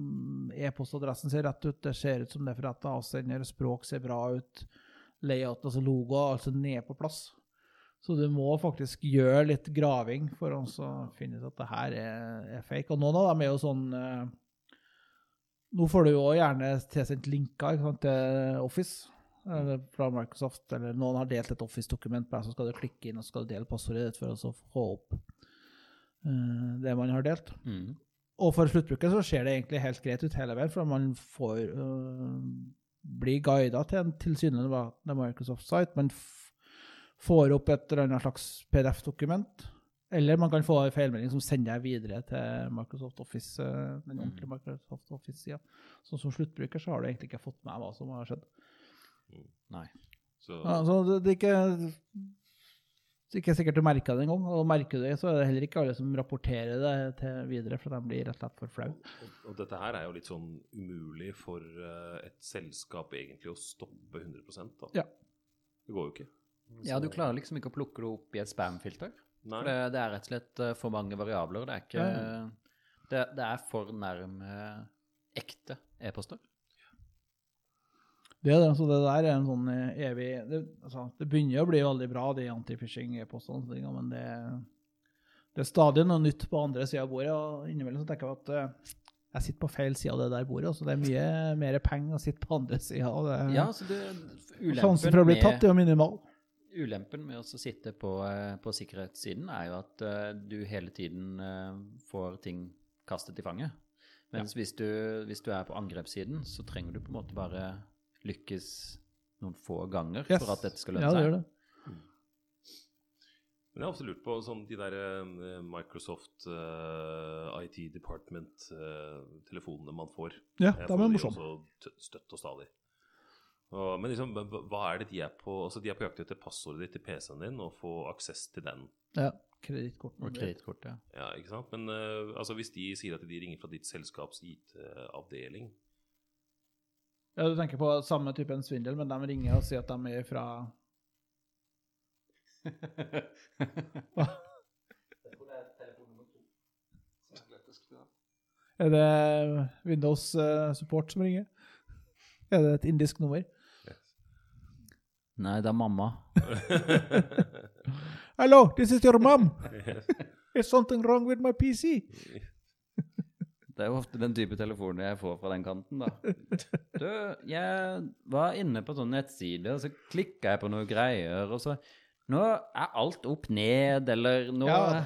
Speaker 3: e-postadressen ser rett ut, det ser ut som det er fra rett avsender, språk ser bra ut, layout, altså logo, altså ned på plass. Så du må faktisk gjøre litt graving for å også finne ut at det her er, er fake. Og noen av dem er jo sånn eh, Nå får du jo også gjerne tilsendt linker ikke sant, til Office eller fra Microsoft, eller noen har delt et Office-dokument på deg, så skal du klikke inn og så skal du dele passordet ditt for å så få opp eh, det man har delt.
Speaker 4: mm.
Speaker 3: Og for sluttbruker så ser det egentlig helt greit ut hele veien, for man får øh, bli guida til en tilsynelatende Microsoft-site. Man f får opp et eller annet slags PDF-dokument. Eller man kan få en feilmelding som sender deg videre til Microsoft Office, øh, den ordentlige Microsoft Office-sida. Så som sluttbruker så har du egentlig ikke fått med hva som har skjedd.
Speaker 4: Nei.
Speaker 2: Så,
Speaker 3: Ja, så det, det, er ikke, det er ikke sikkert du merker det engang. Og merker du det, så er det heller ikke alle som rapporterer det til videre, for de blir rett og slett for flaue.
Speaker 2: og- og dette her er jo litt sånn umulig for eh, et selskap egentlig å stoppe 100 da.
Speaker 3: Ja.
Speaker 2: Det går jo ikke.
Speaker 4: Ja, du klarer liksom ikke å plukke det opp i et spam-filter. For
Speaker 2: Nei.
Speaker 4: det, det er rett og slett eh, for mange variabler. Det er, ikke,
Speaker 3: Ja,
Speaker 4: det, det er for nærme ekte e-poster.
Speaker 3: Det, er det, så det der er en sånn eh, evig Det, altså, det begynner å bli veldig bra, de anti-phishing-postene, og sånne ting, men det, det er stadig noe nytt på andre sida av bordet. og Innimellom så tenker jeg at eh, jeg sitter på feil side av det der bordet, så det er mye mer penger å sitte på andre sida.
Speaker 4: Ja, altså det,
Speaker 3: Sjansen Sånn for å bli tatt er jo minimal.
Speaker 4: Ulempen med å så sitte på, eh, på sikkerhetssiden er jo at eh, du hele tiden eh, får ting kastet i fanget. Mens hvis, du, hvis du er på angrepssiden, så trenger du på en måte bare lykkes noen få ganger
Speaker 3: Yes.
Speaker 4: for at dette skal
Speaker 3: Ja,
Speaker 4: lønne
Speaker 3: det
Speaker 4: seg.
Speaker 3: gjør det.
Speaker 2: Men jeg har ofte lurt på sånn, de der eh, Microsoft eh, IT Department-telefonene eh, man får.
Speaker 3: Ja,
Speaker 2: Jeg
Speaker 3: de
Speaker 2: får
Speaker 3: er
Speaker 2: de
Speaker 3: morsomme.
Speaker 2: også t- Støtt og stadig. Og, men liksom, hva hva er det de er på Altså, de er på jakt etter passordet ditt til PC-en din og få aksess til den.
Speaker 3: Ja, kredittkortene.
Speaker 4: Og kredittkortet. ja.
Speaker 2: Ja, ikke sant? Men eh, altså, hvis de sier at de ringer fra ditt selskaps IT-avdeling
Speaker 3: Ja, du tenker på samme typen svindel, men de ringer og sier at de er fra Er det Windows eh, Support som ringer? Er det et indisk nummer?
Speaker 4: Nei, det er mamma.
Speaker 3: Hello, this is your mom. Is something wrong with my PC?
Speaker 4: Det er jo ofte den type telefonen jeg får fra den kanten, da. Du, jeg var inne på sånn nettside, og så klikka jeg på noen greier, og så Nå er alt opp ned, eller nå
Speaker 3: Ja.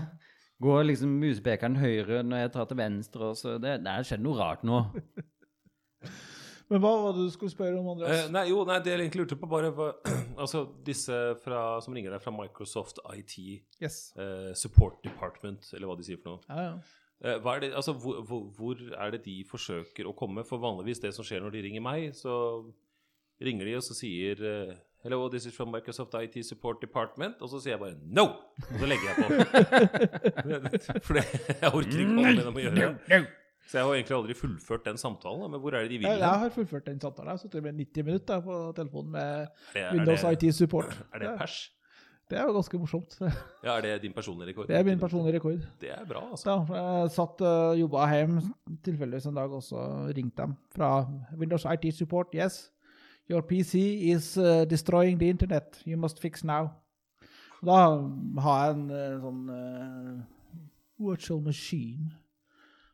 Speaker 4: går liksom musepekeren høyre når jeg tar til venstre, og så Det det har skjedd noe rart nå.
Speaker 3: Men hva var det du skulle spørre om, Andreas?
Speaker 2: Eh, nei, jo, nei, det jeg egentlig lurte på, bare var- Altså, disse fra, som ringer deg fra Microsoft IT
Speaker 3: yes.
Speaker 2: eh, Support Department, eller hva de sier for noe.
Speaker 3: Ja, ja.
Speaker 2: Eh, hva er det, altså, hvor, hvor, hvor er det de forsøker å komme? For vanligvis det som skjer når de ringer meg, så ringer de og så sier eh, Hello, this is from Microsoft IT Support Department. Og så sier jeg bare no! Og så legger jeg på. For det, jeg orker ikke å holde med dem å gjøre. Så jeg har egentlig aldri fullført den samtalen. da, Men hvor er det de
Speaker 3: Jeg,
Speaker 2: vil?
Speaker 3: jeg
Speaker 2: hen?
Speaker 3: har fullført den samtalen. Jeg har sittet med 90 minutter på telefonen med
Speaker 2: Er det- er
Speaker 3: Windows
Speaker 2: det-
Speaker 3: IT Support.
Speaker 2: Er det pers?
Speaker 3: det er jo ganske morsomt.
Speaker 2: Ja, er det din personlige rekord?
Speaker 3: Det er min personlige rekord.
Speaker 2: Det er bra, altså.
Speaker 3: Da, for jeg satt og jobba hjem tilfeldigvis en dag, og så ringte de fra Windows IT Support. Yes, your PC is uh, destroying the internet. You must fix now. Da har jeg en eh, sånn eh, virtual machine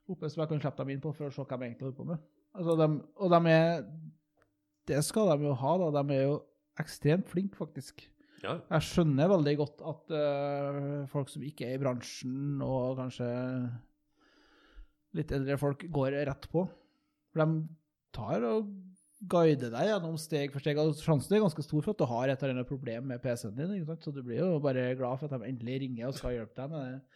Speaker 3: oppe som jeg kan slippe dem inn på for å se hva de egentlig holder på med. Altså, dem- og de er Det skal de jo ha, da. De er jo ekstremt flinke, faktisk.
Speaker 2: Ja.
Speaker 3: Jeg skjønner veldig godt at eh, folk som ikke er i bransjen, og kanskje litt eldre folk, går rett på. For de tar og guider deg gjennom steg for steg. Og sjansen er ganske stor for at du har et eller annet problem med PC-en din. Ikke sant? Så du blir jo bare glad for at de endelig ringer og skal hjelpe deg med det.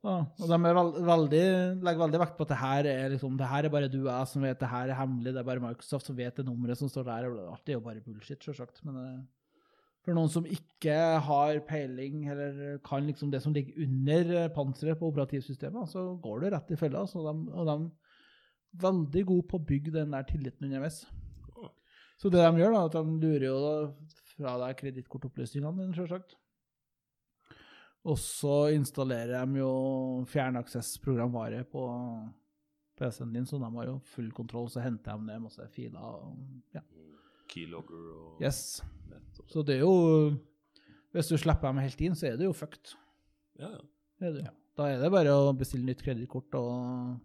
Speaker 3: Ja, og de er vel- veldig, legger veldig vekt på at det her er liksom, det her er bare du og jeg som vet det her er hemmelig, det er bare Microsoft som vet det nummeret som står der. og Alt er jo bare bullshit, sjølsagt. Men eh, for noen som ikke har peiling eller kan liksom det som ligger under eh, panseret på operativsystemet, så går du rett i fella. Så de, og de er veldig gode på å bygge den der tilliten underveis. Så det de gjør, da, er at de lurer jo fra deg kredittkortopplysningene dine, sjølsagt. Og så installerer de jo fjernaksessprogramvare på PC-en din, så de har jo full kontroll. Så henter de ned masse filer. Og, ja.
Speaker 2: Keylogger og
Speaker 3: Yes.
Speaker 2: nettopp.
Speaker 3: Så det er jo Hvis du slipper dem helt inn, så er det jo fucked.
Speaker 2: Ja, ja.
Speaker 3: Det er det. jo. Da er det bare å bestille nytt kredittkort og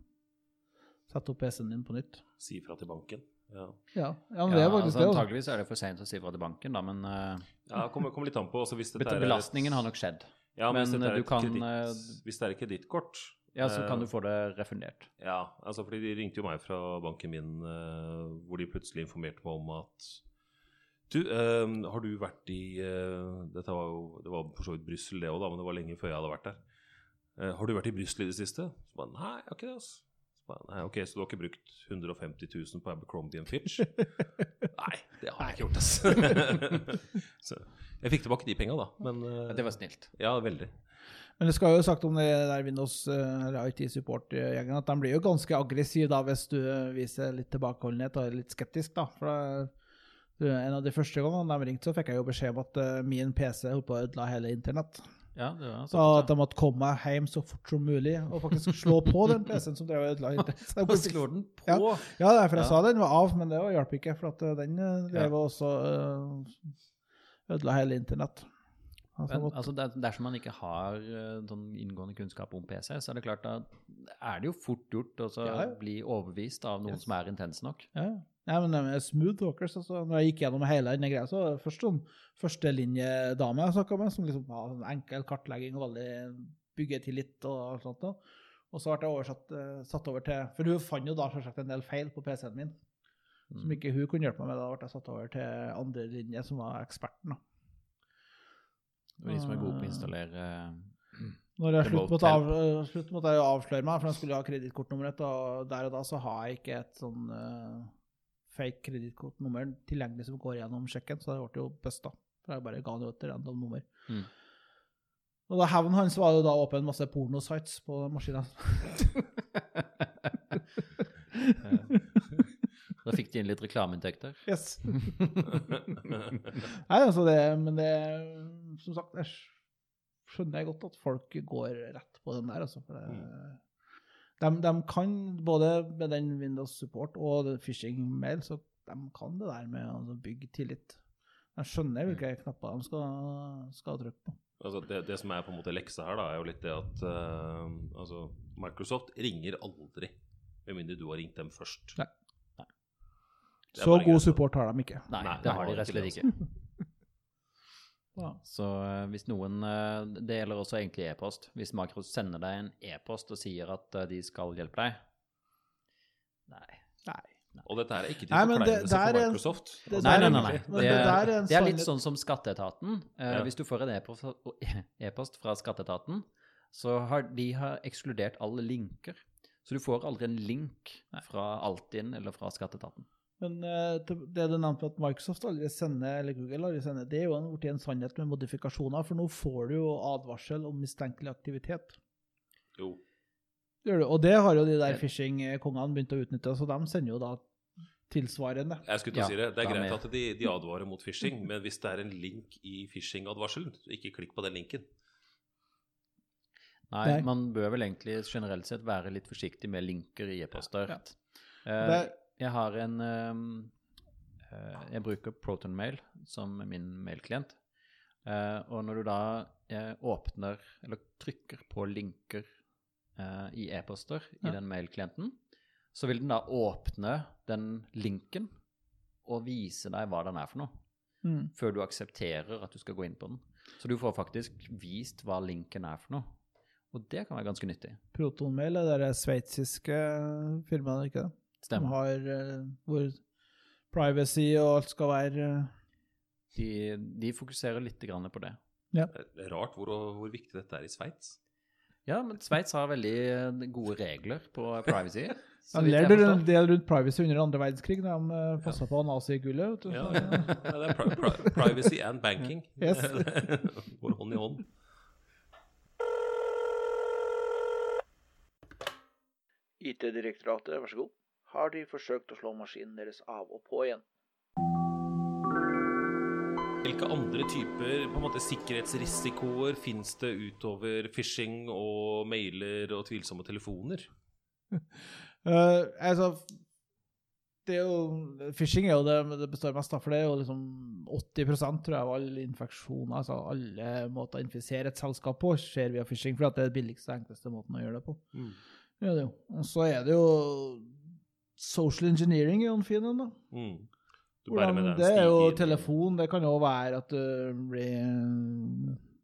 Speaker 3: sette opp PC-en din på nytt.
Speaker 2: Si ifra til banken. Ja.
Speaker 3: Ja, ja men det er faktisk det. altså.
Speaker 4: antageligvis er det for seint å si fra til banken, da, men eh,
Speaker 2: Ja, kommer kom litt an på. Altså, hvis dette er et-
Speaker 4: belastningen har nok skjedd.
Speaker 2: Ja, men hvis
Speaker 4: men
Speaker 2: dette er
Speaker 4: du
Speaker 2: et
Speaker 4: kan,
Speaker 2: kreditt-
Speaker 4: eh,
Speaker 2: Hvis det er et kredittkort
Speaker 4: Ja, så
Speaker 2: eh,
Speaker 4: kan du få det refundert.
Speaker 2: Ja, altså fordi de ringte jo meg fra banken min eh, hvor de plutselig informerte meg om at Du, eh, har du vært i eh, Dette var jo Det var for så vidt Brussel, det òg, da, men det var lenge før jeg hadde vært der. Eh, har du vært i Brussel i det siste? Så bare Nei, jeg har ikke det, altså. Så bare, Nei, ok, Så du har ikke brukt 150 000 på Abercrombie Fitch? Nei, det har jeg ikke gjort, altså. så jeg fikk tilbake de penga, da. Men eh,
Speaker 4: Det var snilt.
Speaker 2: Ja, veldig.
Speaker 3: Men det skal jo sagt om det der Windows eh, eller IT Support-gjengen at de blir jo ganske aggressive da hvis du eh, viser litt tilbakeholdenhet og er litt skeptisk, da. For det- du, en av de første gangene de ringte, så fikk jeg jo beskjed om at eh, min PC holdt på å ødela hele internett.
Speaker 4: Ja, det var
Speaker 3: Så
Speaker 4: sånn.
Speaker 3: at de måtte komme meg hjem så fort som mulig og faktisk slå på den PC-en som drev og ødela
Speaker 4: Og slår den på!
Speaker 3: Ja. Ja, det er for jeg
Speaker 4: Ja.
Speaker 3: sa den var av, men det hjalp ikke, for at eh, den eh, drev og også eh, ødela hele internett. Altså,
Speaker 4: Men
Speaker 3: måtte-
Speaker 4: altså, der, dersom man ikke har eh, sånn inngående kunnskap om PC, så er det klart at er det jo fort gjort å så
Speaker 3: Ja, ja.
Speaker 4: bli overbevist av noen
Speaker 3: Yes.
Speaker 4: som er intens nok.
Speaker 3: ja. Nei, men de er smooth talkers. Altså. Når jeg gikk gjennom hele denne greia, så var det først sånn førstelinjedame jeg snakka med, som liksom var sånn enkel kartlegging og veldig bygge tillit og alt sånt. Da. Og så ble jeg oversatt, eh, satt over til For hun fant jo da selvsagt en del feil på PC-en min
Speaker 4: Mm.
Speaker 3: som ikke hun kunne hjelpe meg med. Da ble jeg satt over til andre linje, som var eksperten. da.
Speaker 4: Og de som er gode på å installere eh,
Speaker 3: Når jeg
Speaker 4: Remote
Speaker 3: slutt måtte, av, eh, slutt måtte jeg jo avsløre meg, for jeg skulle ha kredittkortnummeret. Og der og da så har jeg ikke et sånn eh, fake kredittkortnummer tilgjengelig som går gjennom sjekken, så det ble jo busta. For jeg bare ga det jo et random nummer.
Speaker 4: Mm.
Speaker 3: Og da hevnen hans var jo da åpen masse pornosites på maskina.
Speaker 4: Da fikk de inn litt reklameinntekter.
Speaker 3: Yes. Nei, altså det, men det Som sagt, jeg skjønner jeg godt at folk går rett på den der, altså. For det, de, de kan, både med den Windows Support og den phishing-mail, så de kan det der med å altså, bygge tillit. De
Speaker 2: Mm.
Speaker 3: skjønner hvilke knapper de skal, skal trykke på.
Speaker 2: Altså det, det som er på en måte leksa her, da, er jo litt det at eh, altså, Microsoft ringer aldri med mindre du har ringt dem først.
Speaker 3: Nei.
Speaker 2: Det er
Speaker 3: Så
Speaker 2: bare
Speaker 3: god
Speaker 2: greit.
Speaker 3: support har de ikke.
Speaker 4: Nei,
Speaker 2: Nei,
Speaker 4: det har de rett og slett ikke.
Speaker 3: Ja.
Speaker 4: Så eh, hvis noen eh, Det gjelder også egentlig e-post. Hvis Makros sender deg en e-post og sier at eh, de skal hjelpe deg Nei.
Speaker 3: Nei.
Speaker 2: Og dette her er ikke til
Speaker 3: Nei, men det-
Speaker 2: forkleinelse
Speaker 3: der
Speaker 2: for
Speaker 3: er-
Speaker 2: Microsoft.
Speaker 3: det
Speaker 4: Nei,
Speaker 3: der
Speaker 4: nei,
Speaker 3: er-
Speaker 4: nei. nei.
Speaker 3: men
Speaker 4: Det,
Speaker 3: det der
Speaker 4: er,
Speaker 3: er en
Speaker 4: det er litt
Speaker 3: sannhet-
Speaker 4: sånn som Skatteetaten. Eh,
Speaker 2: Ja.
Speaker 4: Hvis du får en e-post eh, e-post fra Skatteetaten, så har de har ekskludert alle linker. Så du får aldri en link fra Altinn eller fra Skatteetaten.
Speaker 3: Men eh, til- det du nevnte med at Microsoft aldri sender, eller Google aldri sender, det er jo en- blitt en sannhet med modifikasjoner, for nå får du jo advarsel om mistenkelig aktivitet.
Speaker 2: Jo.
Speaker 3: Det gjør du, Og det har jo de der
Speaker 4: Ja.
Speaker 3: phishing-kongene begynt å utnytte, så de sender jo da tilsvarende.
Speaker 2: Jeg skulle til
Speaker 4: Ja,
Speaker 2: å si det. Det er
Speaker 4: da
Speaker 2: greit
Speaker 4: med.
Speaker 2: at de, de advarer mot phishing, men hvis det er en link i phishing-advarselen, så ikke klikk på den linken.
Speaker 4: Nei,
Speaker 3: Nei.
Speaker 4: man bør vel egentlig generelt sett være litt forsiktig med linker i e-poster.
Speaker 3: Ja.
Speaker 4: Eh,
Speaker 3: Det-
Speaker 4: jeg har en ehm, eh, Jeg bruker ProtonMail som min mailklient. Eh, og når du da eh, åpner eller trykker på linker eh, i e-poster
Speaker 3: Ja.
Speaker 4: i den mailklienten, så vil den da åpne den linken og vise deg hva den er for noe,
Speaker 3: Mm.
Speaker 4: før du aksepterer at du skal gå inn på den. Så du får faktisk vist hva linken er for noe. Og det kan være ganske nyttig.
Speaker 3: Protonmail er det der sveitsiske firmaet, ikke det? Som
Speaker 4: Stemmer.
Speaker 3: har eh, hvor privacy og alt skal være eh,
Speaker 4: De, de fokuserer litt grann på det.
Speaker 2: Det er Eh, rart hvor, hvor viktig dette er i Sveits.
Speaker 4: Ja, men Sveits har veldig eh, gode regler på privacy. så
Speaker 3: De
Speaker 4: vidt jeg
Speaker 3: lærte en
Speaker 4: forstår.
Speaker 3: del rundt privacy under andre verdenskrig, da de passa på nazigullet, vet du.
Speaker 2: Ja,
Speaker 3: Så-
Speaker 2: ja. Ja, det er pri pri privacy and banking.
Speaker 3: Yes.
Speaker 2: Går hånd i hånd.
Speaker 1: IT-direktoratet, vær så god, har de forsøkt å slå maskinen deres av og på igjen.
Speaker 2: Hvilke andre typer på en måte, sikkerhetsrisikoer fins det utover phishing og mailer og tvilsomme telefoner?
Speaker 3: Eh, altså, det er jo, phishing er jo det det består mest av, for det er jo liksom 80 tror jeg, av alle infeksjoner, altså alle måter å infisere et selskap på, skjer via phishing, for at det er den billigste og enkleste måten å gjøre det på. Det er det jo. Og så er det jo social engineering er jo en fin en, da.
Speaker 2: Mm. Du bærer
Speaker 3: Hvordan,
Speaker 2: med deg en
Speaker 3: det er jo
Speaker 2: stiger.
Speaker 3: telefon, det kan jo være at du blir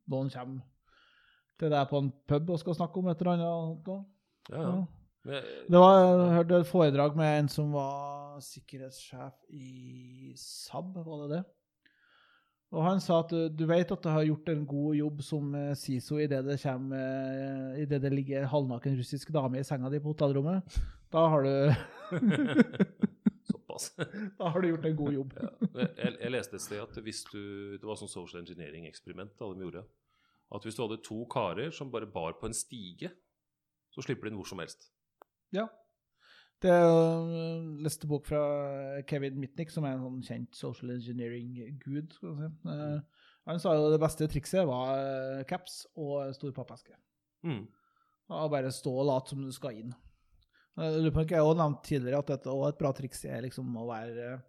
Speaker 3: Noen kommer til deg på en pub og skal snakke om et eller annet. og sånt
Speaker 2: Ja,
Speaker 3: da.
Speaker 2: ja.
Speaker 3: Ja.
Speaker 2: Men,
Speaker 3: Det var, jeg hørte et foredrag med en som var sikkerhetssjef i SAB, var det det? Og han sa at du- du vet at du har gjort en god jobb som eh, SISO i det det, kommer, eh, i det, det ligger halvnaken russisk dame i senga di på hotellrommet. Da har du,
Speaker 2: Såpass.
Speaker 3: da har du gjort en god jobb.
Speaker 2: Ja. Jeg, jeg leste et sted at hvis du Det var sånn social engineering-eksperiment da de gjorde. At hvis du hadde to karer som bare bar på en stige, så slipper de inn hvor som helst.
Speaker 3: Ja. Det er jo leste bok fra Kevin Mitnick, som er en sånn kjent social engineering-gud. skal vi si. Eh, Han sa jo det beste trikset var eh, caps og stor pappeske.
Speaker 2: Mm.
Speaker 3: Og bare stå og late som du skal inn. Eh, Jeg lurer på om ikke jeg har nevnt tidligere at dette også et bra triks er liksom å være eh,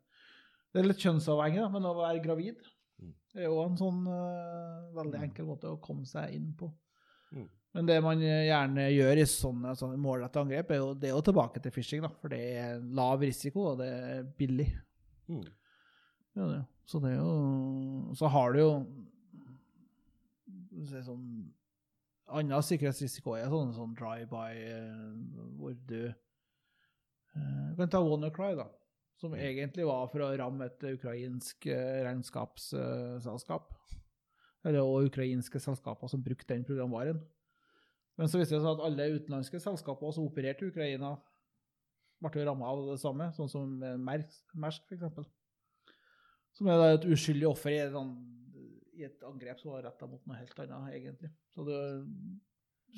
Speaker 3: Det er litt kjønnsavhengig, da, men å være gravid
Speaker 2: Mm.
Speaker 3: det er jo en sånn eh, veldig enkel måte å komme seg inn på.
Speaker 2: Mm.
Speaker 3: Men det man eh, gjerne gjør i sånne, sånne målrettede angrep, er jo, det er jo tilbake til phishing, da, for det er lav risiko, og det er billig.
Speaker 2: Mm.
Speaker 3: Ja, det. er jo- Så det er jo Så har du jo så er det sånn Annen sikkerhetsrisiko er sånn, sånn drive-by, eh, hvor du eh, Du kan ta WannaCry, da. Som egentlig var for å ramme et ukrainsk eh, regnskapsselskap. Eller og ukrainske selskaper som brukte den programvaren. Men så viste det seg at alle utenlandske selskaper som opererte i Ukraina, ble jo ramma av det samme, sånn som eh, Mersk, Mersk f.eks. Som er da et uskyldig offer i, en sånn, i et angrep som var retta mot noe helt annet, egentlig. Så det,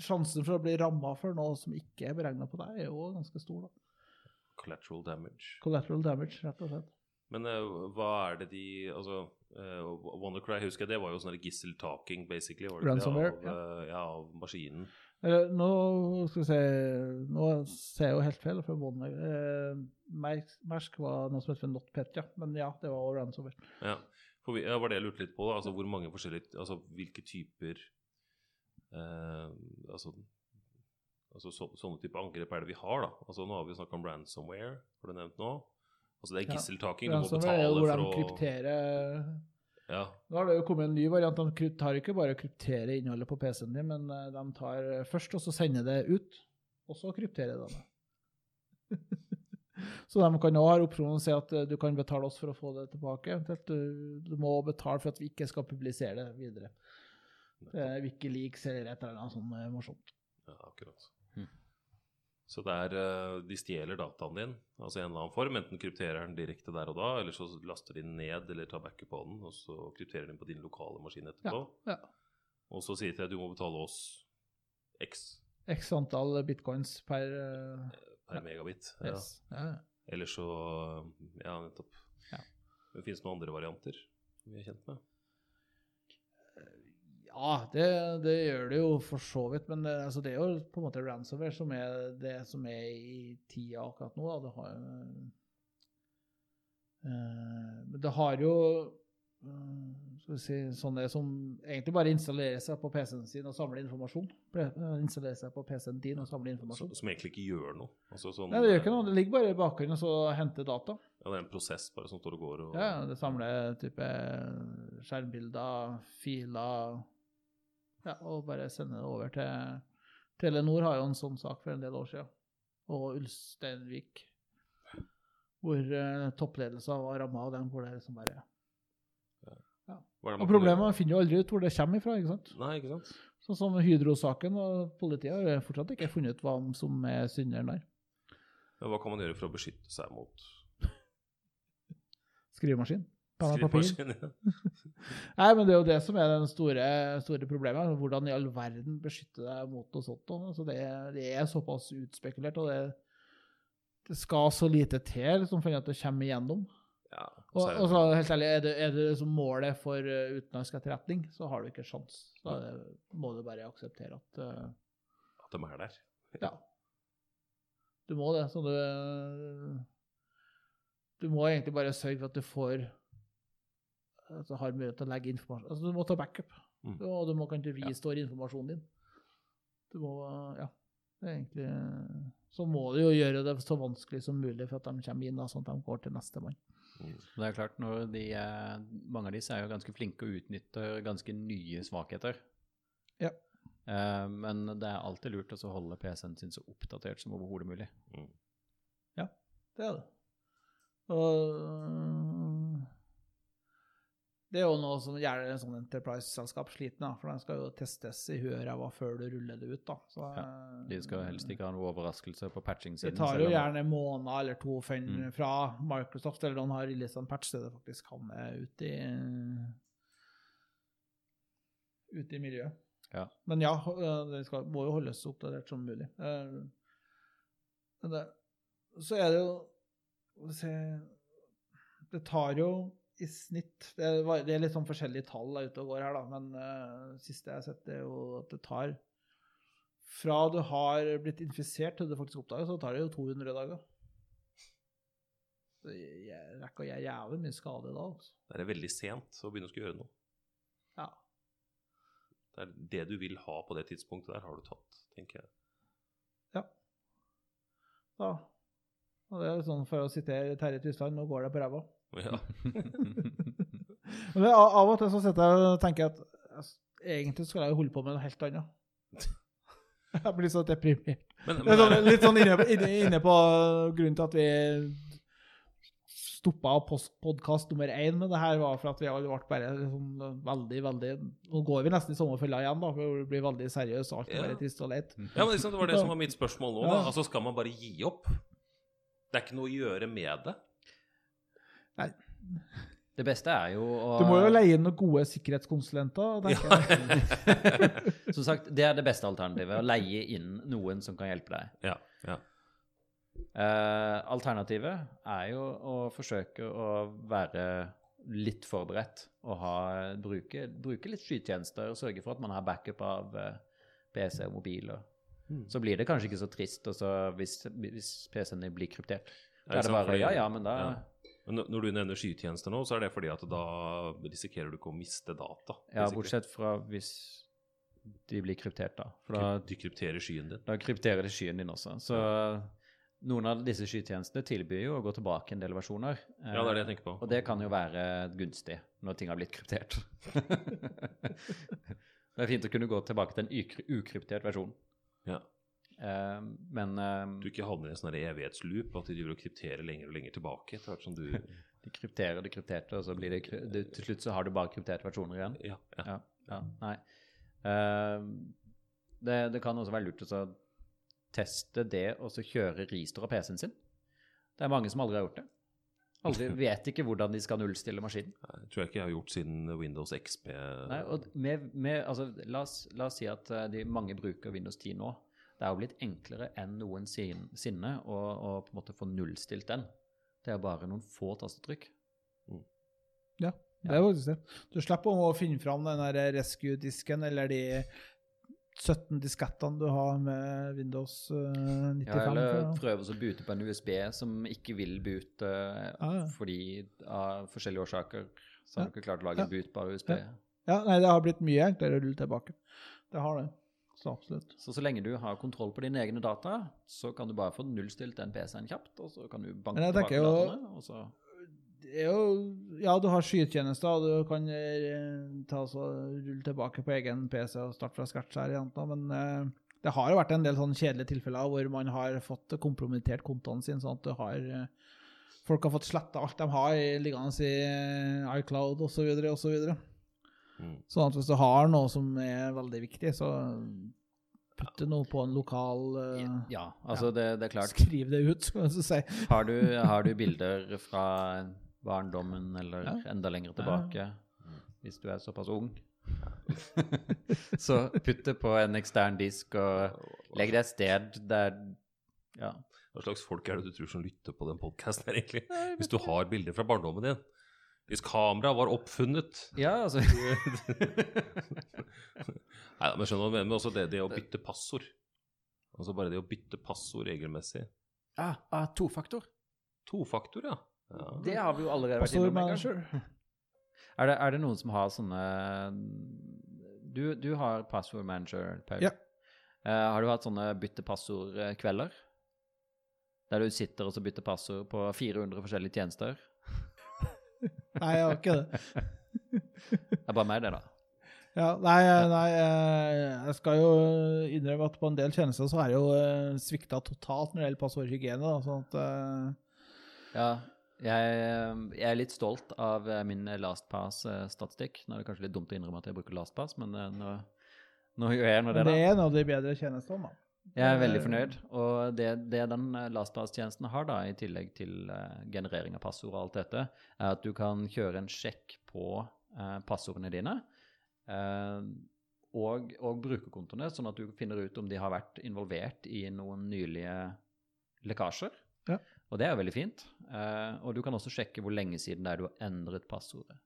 Speaker 3: sjansen for å bli ramma for noe som ikke er beregna på deg, er jo ganske stor. da.
Speaker 2: Collateral damage.
Speaker 3: Collateral damage, rett og slett.
Speaker 2: Men eh, hva er det de Altså, uh, WannaCry, husker jeg, det var jo sånn gisseltaking, basically. Var det ikke det?
Speaker 3: Ransomware,
Speaker 2: Av, eh, ja, av maskinen.
Speaker 3: Eller, Eh, nå skal vi se Nå ser jeg jo helt feil. for Bondag. Eh, Mersk, Mersk var noe som het for NotPetya, men ja, det var også ransomware.
Speaker 2: Ja, for vi, ja, var det jeg lurte litt på, da. Altså hvor mange forskjellige Altså hvilke typer eh, Altså, altså så, sånne type angrep er det vi har, da. Altså Nå har vi snakka om ransomware, har du nevnt nå? Altså det er
Speaker 3: Ja,
Speaker 2: gisseltaking, du må
Speaker 3: Ransomware er
Speaker 2: betale
Speaker 3: jo hvor de
Speaker 2: for å
Speaker 3: krypterer
Speaker 2: ja,
Speaker 3: Nå har det jo kommet en ny variant. De kryp- tar ikke bare å kryptere innholdet på PC-en din, men eh, de tar eh, først, og så sender det ut, og så krypterer de det. så de kan òg ha opsjonen å si at eh, du kan betale oss for å få det tilbake. Eventuelt du, du må betale for at vi ikke skal publisere det videre. Det er Wikileaks eller et eller annet sånt eh, morsomt.
Speaker 2: ja, akkurat.
Speaker 3: Hm.
Speaker 4: Mhm.
Speaker 2: Så det er eh, De stjeler dataen din, altså i en eller annen form. Enten krypterer den direkte der og da, eller så laster de den ned eller tar backup på den, og så krypterer den på din lokale maskin etterpå.
Speaker 3: ja.
Speaker 2: Og så sier de til deg du må betale oss X
Speaker 3: X antall bitcoins per eh,
Speaker 2: per megabit. Ja.
Speaker 3: S. Ja.
Speaker 2: Eller så eh, Ja, nettopp.
Speaker 3: Ja.
Speaker 2: Det finnes noen andre varianter som vi er kjent med.
Speaker 3: Ja, det, det gjør det jo for så vidt, men det, altså, det er jo på en måte ransomware som er det som er i tida akkurat nå. Da. Det har, eh, men det har jo eh, skal vi si, sånne som egentlig bare installerer seg på PC-en sin og samler informasjon. Pre- eh, Installerer seg på PC-en din og samler
Speaker 2: Som,
Speaker 3: informasjon.
Speaker 2: som egentlig ikke gjør noe. Altså, sånn,
Speaker 3: Nei, det gjør ikke noe. Det ligger bare i bakgrunnen og så henter data.
Speaker 2: Ja, det er en prosess bare som står og går. Og,
Speaker 3: Ja, ja, det samler type skjermbilder, filer ja, og bare sender det over til Telenor har jo en sånn sak for en del år siden, og Ulsteinvik, hvor eh, toppledelsen var ramma av den. hvor det liksom bare...
Speaker 2: Hva er det
Speaker 3: Og
Speaker 2: man kan
Speaker 3: problemet er man finner jo aldri ut hvor det kommer ifra. ikke sant?
Speaker 2: gjøre? Nei, ikke sant?
Speaker 3: Sånn som Hydro-saken, og politiet har jo fortsatt ikke funnet ut hva som er synderen der.
Speaker 2: Men hva kan man gjøre for å beskytte seg mot
Speaker 3: Skrivemaskin. Penn og papir.
Speaker 2: skrivemaskin? Ja.
Speaker 3: Nei, men det er jo det som er den store, store problemet. altså, Hvordan i all verden beskytte deg mot noe sånt. da? Altså det, det er såpass utspekulert, og det, det skal så lite til liksom, for at det kommer igjennom.
Speaker 2: ja.
Speaker 3: Og,
Speaker 2: så er det- sånn
Speaker 3: og så helt ærlig, er det, er det liksom målet for eh, utenlandsk etterretning, så har du ikke sjans. Da er det- må du bare akseptere at eh,
Speaker 2: at de er der.
Speaker 3: ja. Du må det, så du Du må egentlig bare sørge for at du får at du har mulighet til å legge informasjon Altså, du må ta backup.
Speaker 2: Mm.
Speaker 3: Og du må kanskje
Speaker 2: Ja.
Speaker 3: vise står informasjonen din. Du må Ja. Det er egentlig Så må du jo gjøre det så vanskelig som mulig for at de kommer inn, da, sånn at de går til nestemann.
Speaker 4: Og Det er klart, når de er, Mange av disse er jo ganske flinke og utnytter ganske nye svakheter.
Speaker 3: Ja.
Speaker 4: Eh, men det er alltid lurt å så holde PC-en sin så oppdatert som overhodet mulig.
Speaker 2: Mm.
Speaker 3: Det er det. Og det er jo noe som gjerne en sånn Enterprise-selskap sliter med, da, for de skal jo testes i huet og ræva før du ruller det ut. da. Så, eh,
Speaker 4: De skal helst ikke ha noe overraskelse på
Speaker 3: Det
Speaker 4: patching-siden.
Speaker 3: tar
Speaker 4: selv
Speaker 3: jo
Speaker 4: om-
Speaker 3: gjerne en måned eller to før den-
Speaker 4: Mm.
Speaker 3: fra Microsoft eller noen har releaset en patch, så det faktisk havner ut i ute i miljøet.
Speaker 4: Ja.
Speaker 3: Men ja, øh, det skal, må jo holdes så oppdatert som mulig. Eh, men det, så er det jo skal vi se, Det tar jo i snitt det, var, det er litt sånn forskjellige tall der ute og går her, da, men eh, siste jeg har sett, det er jo at det tar Fra du har blitt infisert til du faktisk oppdager, så tar det jo 200 dager. Så jeg- jeg rekker å gjøre jævlig mye skade da, altså.
Speaker 2: Det er veldig sent å begynne å skulle gjøre noe.
Speaker 3: Ja.
Speaker 2: Det er det du vil ha på det tidspunktet der, har du tatt, tenker jeg.
Speaker 3: Da. Og det er litt sånn for å sitere Terje Tysland, nå går det på ræva.
Speaker 2: Ja.
Speaker 3: Men av av og til så sitter jeg og tenker at altså, egentlig skulle jeg jo holde på med noe helt annet. Jeg blir så deprimert.
Speaker 2: Men,
Speaker 3: Det er
Speaker 2: men,
Speaker 3: sånn, litt sånn inne, på- inne, inne på grunnen til at vi stoppa podkast nummer én med det her, var for at vi alle ble bare liksom veldig, veldig Nå går vi nesten i sommerfella igjen, da, for det blir veldig seriøst og alt er
Speaker 2: Ja.
Speaker 3: bare trist og leit.
Speaker 2: ja, men liksom, det var det som var mitt spørsmål nå. Da.
Speaker 3: Ja.
Speaker 2: Altså, skal man bare gi opp? Det er ikke noe å gjøre med det.
Speaker 4: Det beste er jo å
Speaker 3: Du må jo leie inn noen gode sikkerhetskonsulenter, tenker jeg.
Speaker 4: Som sagt, det er det beste alternativet. Å leie inn noen som kan hjelpe deg.
Speaker 2: Ja, ja.
Speaker 4: Eh, alternativet er jo å forsøke å være litt forberedt og ha, bruke, bruke litt skytjenester og sørge for at man har backup av eh, PC og mobil. Og, Så blir det kanskje ikke så trist og så hvis, hvis PC-en din blir kryptert. Da er det bare Ja, ja, men da
Speaker 2: Men når- når du nevner skytjenester nå, så er det fordi at da risikerer du ikke å miste data.
Speaker 4: Ja,
Speaker 2: basically.
Speaker 4: bortsett fra hvis de blir kryptert, da. For da
Speaker 2: Du krypterer skyen din.
Speaker 4: Da krypterer det skyen din også. Så noen av disse skytjenestene tilbyr jo å gå tilbake en del versjoner.
Speaker 2: Ja, det er det jeg tenker på.
Speaker 4: Og det kan jo være gunstig når ting har blitt kryptert. det er fint å kunne gå tilbake til en ukry- ukryptert versjon.
Speaker 2: Ja.
Speaker 4: Eh, men eh,
Speaker 2: Du ikke havner i en sånn her evighetsloop, at de driver og krypterer lenger og lenger tilbake. etter hvert som du...
Speaker 4: de krypterer det krypterte, og så blir det, kry- det Til slutt så har du bare krypterte versjoner igjen.
Speaker 2: Ja, ja.
Speaker 4: Ja. ja nei. Eh, det, det kan også være lurt å så teste det og så kjøre ristore av PC-en sin. Det er mange som aldri har gjort det. Aldri vet ikke hvordan de skal nullstille maskinen.
Speaker 2: Det tror jeg ikke jeg har gjort siden Windows XP.
Speaker 4: Nei, og med, med, altså, la, oss, la oss si at eh, de mange bruker Windows 10 nå. Det er jo blitt enklere enn noensinne å, å på en måte få nullstilt den. Det er bare noen få tastetrykk.
Speaker 3: Det er faktisk det. Du slipper å finne fram den der rescue-disken eller de 17 diskettene du har med Windows eh, 95.
Speaker 4: Ja, eller
Speaker 3: for-
Speaker 4: prøve å bute på en USB som ikke vil bute
Speaker 3: ja.
Speaker 4: fordi av forskjellige årsaker så
Speaker 3: Ja.
Speaker 4: har du ikke klart å
Speaker 3: Ja.
Speaker 4: lage en butbar USB.
Speaker 3: Ja. ja, nei, det har blitt mye enklere å rulle tilbake. Det har det. Så absolutt.
Speaker 4: Så så lenge du har kontroll på dine egne data, så kan du bare få nullstilt den PC-en kjapt, og så kan du banke
Speaker 3: Men jeg
Speaker 4: tilbake
Speaker 3: tenker jo-
Speaker 4: dataene, og så
Speaker 3: Det er jo, ja, du har skytjenester, og du kan eh, ta så rulle tilbake på egen PC og starte fra scratch her, igjen, da, men eh, det har jo vært en del sånne kjedelige tilfeller hvor man har fått kompromittert kontoen sin, sånn at du har eh, Folk har fått sletta alt de har i- liggende i eh, iCloud osv. osv.
Speaker 2: Mm.
Speaker 3: Sånn at hvis du har noe som er veldig viktig, så putt det noe på en lokal eh,
Speaker 4: Ja, altså Det, det er klart.
Speaker 3: Skriv det ut, skal jeg si.
Speaker 4: Har du, har du bilder fra barndommen eller
Speaker 3: Ja.
Speaker 4: enda lenger tilbake, hvis du er såpass ung, så putt det på en ekstern disk og legg det et sted der ja,
Speaker 2: Hva slags folk er det du tror som lytter på den podkasten her, egentlig? Hvis du har bilder fra barndommen din. Hvis kameraet var oppfunnet
Speaker 4: Ja, altså
Speaker 2: Nei, men skjønner du hva jeg mener? Men også det, det å bytte passord. Altså bare det å bytte passord regelmessig.
Speaker 4: ah, ah, Tofaktor.
Speaker 2: Tofaktor, ja. ja.
Speaker 4: Det har vi jo allerede vært
Speaker 3: Passord
Speaker 4: innom. en gang.
Speaker 3: manager.
Speaker 4: Er det, er det noen som har sånne Du, du har password manager, Paul.
Speaker 3: Ja.
Speaker 4: Eh, har du hatt sånne bytte passord-kvelder? Der du sitter og så bytter passord på 400 forskjellige tjenester?
Speaker 3: Nei, jeg har ikke det.
Speaker 4: Det er bare meg, det, da.
Speaker 3: Ja, nei, nei, eh, jeg skal jo innrømme at på en del tjenester så er det jo eh, svikta totalt når det gjelder passordhygiene. da, sånn at eh,
Speaker 4: Ja, jeg, eh, jeg er litt stolt av eh, min LastPass-statistikk. Nå er det kanskje litt dumt å innrømme at jeg bruker LastPass, men eh, nå, nå gjør jeg nå det,
Speaker 3: Det
Speaker 4: da.
Speaker 3: er en av de bedre tjenestene, da.
Speaker 4: Jeg er veldig fornøyd. Og det, det den eh, LastPass-tjenesten har, da, i tillegg til eh, generering av passord og alt dette, er at du kan kjøre en sjekk på eh, passordene dine eh, og, og brukerkontoene, sånn at du finner ut om de har vært involvert i noen nylige lekkasjer.
Speaker 3: Ja.
Speaker 4: Og det er jo veldig fint. Eh, og du kan også sjekke hvor lenge siden det er du har endret passordet.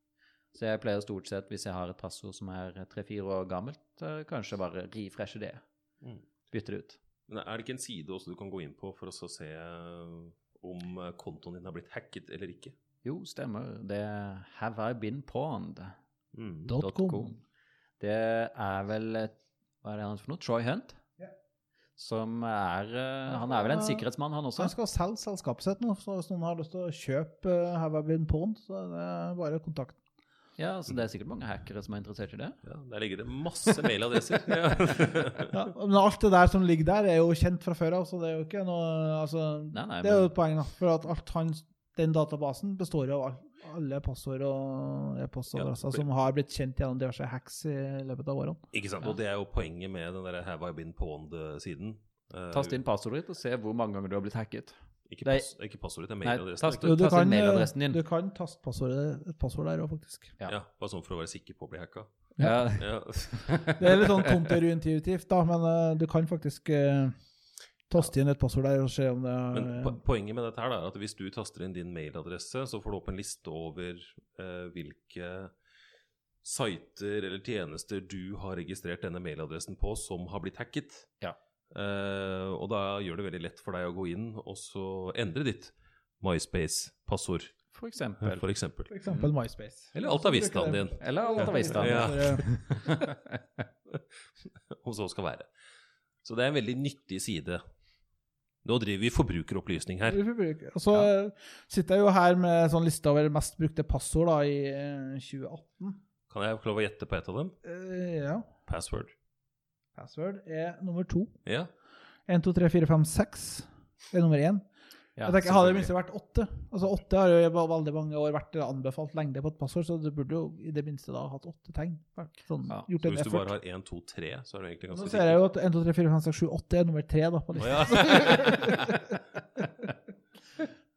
Speaker 4: Så jeg pleier stort sett, hvis jeg har et passord som er tre-fire år gammelt, eh, kanskje bare refreshe det.
Speaker 2: Mm.
Speaker 4: Bytte det ut.
Speaker 2: Men er det ikke en side også du kan gå inn på for å så se eh, om eh, kontoen din har blitt hacket eller ikke?
Speaker 4: Jo, stemmer. Det er Have I Been Pawned?
Speaker 2: Mm.
Speaker 3: Dot com.
Speaker 4: Det er vel et- Hva er det han for noe? Troy Hunt?
Speaker 3: Ja.
Speaker 4: Som er eh, Han er vel en sikkerhetsmann, han
Speaker 3: Så han
Speaker 4: også?
Speaker 3: skal selge selskapet sitt nå, så hvis noen har lyst til å kjøpe uh, Have I Been Pwned, så er det bare kontakt.
Speaker 4: Ja, så det er sikkert mange hackere som er interessert i det.
Speaker 2: Ja, der ligger det masse mailadresser. ja.
Speaker 3: Ja, men alt det der som ligger der, er jo kjent fra før av, så det er jo ikke noe altså,
Speaker 4: Nei, nei,
Speaker 3: Det er jo
Speaker 4: men
Speaker 3: et poeng, da. For at alt han, den databasen består av all- alle passord og e-postadresser
Speaker 2: Ja, for-
Speaker 3: som har blitt kjent gjennom diverse hacks i løpet av årene.
Speaker 2: Ikke sant?
Speaker 4: Ja.
Speaker 2: Og det er jo poenget med den der Have I Been Pwned-siden. Eh,
Speaker 4: tast inn passordet ditt og se hvor mange ganger du har blitt hacket.
Speaker 2: Ikke,
Speaker 4: Nei.
Speaker 2: pass, ikke passordet, det er
Speaker 4: Nei,
Speaker 2: mailadressen.
Speaker 4: tast,
Speaker 2: ikke sant?
Speaker 3: Jo, du
Speaker 4: tast
Speaker 3: kan,
Speaker 4: inn
Speaker 3: eh,
Speaker 4: mailadressen din.
Speaker 3: Du kan taste passordet, et passord der òg, faktisk.
Speaker 4: ja.
Speaker 2: Ja, bare sånn for å være sikker på å bli hacka.
Speaker 4: Ja.
Speaker 2: Ja.
Speaker 3: Det er litt sånn kontraintuitivt, da, men eh, du kan faktisk eh, taste inn et passord der og se om det er eh,
Speaker 2: Men po poenget med dette her da, er at hvis du taster inn din mailadresse, så får du opp en liste over eh, hvilke sider eller tjenester du har registrert denne mailadressen på som har blitt hacket.
Speaker 4: Ja.
Speaker 2: Eh, og da gjør det veldig lett for deg å gå inn og så endre ditt MySpace-passord,
Speaker 4: For eksempel.
Speaker 2: for eksempel.
Speaker 3: for eksempel MySpace.
Speaker 2: Eller alt av visstaden din,
Speaker 4: Eller alt av visstanden.
Speaker 2: Ja.
Speaker 3: For, eh,
Speaker 2: om så skal være. Så det er en veldig nyttig side. Nå driver vi forbrukeropplysning
Speaker 3: eh,
Speaker 2: her.
Speaker 3: vi får bruke- Og så eh, sitter jeg jo her med sånn liste over mest brukte passord da, i eh, 2018.
Speaker 2: Kan jeg få lov å gjette på et av dem?
Speaker 3: Eh, ja.
Speaker 2: Password.
Speaker 3: Password er nummer to.
Speaker 2: Ja.
Speaker 3: 1, 2, 3, 4, 5, 6 er nummer én.
Speaker 4: Ja,
Speaker 3: jeg tenker, Hadde det
Speaker 4: selvfølgelig.
Speaker 3: minst vært åtte Altså Åtte har jo i veldig mange år vært anbefalt lengde på et passord, så du burde jo i det minste da hatt åtte tegn. Vært Sånn,
Speaker 4: Ja,
Speaker 3: gjort
Speaker 2: Så
Speaker 3: en
Speaker 2: hvis du bare
Speaker 3: effort.
Speaker 2: har 1, 2, 3, så er du egentlig
Speaker 3: Nå
Speaker 2: ganske
Speaker 3: ser jeg jo at 1, 2, 3, 4, 5, 6, 7, 8 er nummer tre da, på
Speaker 2: Å,
Speaker 3: listen.
Speaker 2: ja.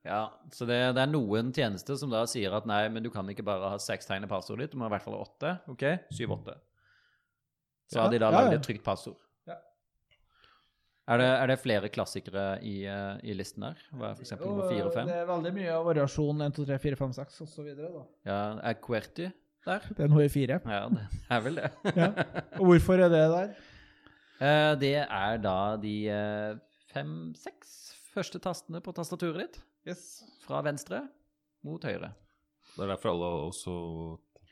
Speaker 4: Ja, så det, det er noen tjenester som da sier at nei, men du kan ikke bare ha seks tegn i passordet ditt, du må i hvert fall ha åtte. Ok, syv-åtte. Så
Speaker 3: Ja,
Speaker 4: har de da
Speaker 3: ja, ja.
Speaker 4: lagd et trygt passord.
Speaker 3: Ja.
Speaker 4: Er det, er det flere klassikere i, eh, i listen der? Hva er for eksempel nummer fire og fem?
Speaker 3: Det er veldig mye av variasjon 1, 2, 3, 4, 5, 6 og så videre da.
Speaker 4: Ja, er QWERTY der?
Speaker 3: Det er noe i fire.
Speaker 4: Ja, det er vel det.
Speaker 3: Og hvorfor er det der?
Speaker 4: Eh, Det er da de fem-seks første tastene på tastaturet ditt,
Speaker 3: Yes.
Speaker 4: fra venstre mot høyre.
Speaker 2: Det er derfor alle også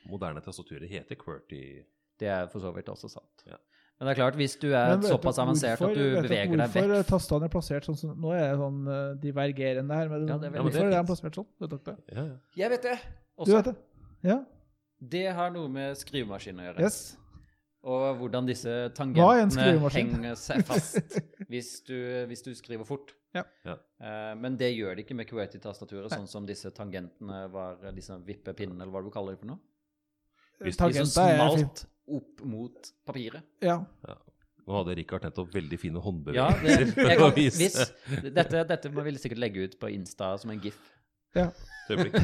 Speaker 2: moderne tastaturer heter QWERTY.
Speaker 4: Det er for så vidt også sant.
Speaker 2: Ja.
Speaker 4: Men det er klart, hvis du er Eh, såpass avansert at du beveger deg
Speaker 3: Hvorfor
Speaker 4: vekk
Speaker 3: tastene er plassert sånn som Nå er det sånn eh, divergerende her, men
Speaker 4: Ja, det er veldig
Speaker 3: hvorfor er de
Speaker 2: fint.
Speaker 3: plassert sånn? Vet dere det?
Speaker 2: Ja, ja.
Speaker 4: Jeg vet det!
Speaker 3: Du
Speaker 4: Også,
Speaker 3: vet det? Ja.
Speaker 4: det har noe med skrivemaskinen å gjøre.
Speaker 3: Yes.
Speaker 4: Og hvordan disse
Speaker 3: Hva er en
Speaker 4: tangentene
Speaker 3: skrivemaskin?
Speaker 4: henger seg fast hvis du, hvis du skriver fort.
Speaker 3: Ja.
Speaker 2: Ja.
Speaker 4: Eh, men det gjør det ikke med QWERTY-tastaturet, sånn som disse tangentene var eh, disse vippepinnene, eller hva du kaller det for noe.
Speaker 2: Hvis
Speaker 4: De som
Speaker 3: Tangenta er fint.
Speaker 4: smalt opp mot papiret.
Speaker 3: Ja.
Speaker 2: Nå hadde Richard nettopp veldig fine
Speaker 4: Ja, det,
Speaker 2: håndbevegelser
Speaker 4: jeg
Speaker 2: for
Speaker 4: kan,
Speaker 2: å vise
Speaker 4: hvis, dette, dette må vi sikkert legge ut på Insta som en gif.
Speaker 2: et øyeblikk.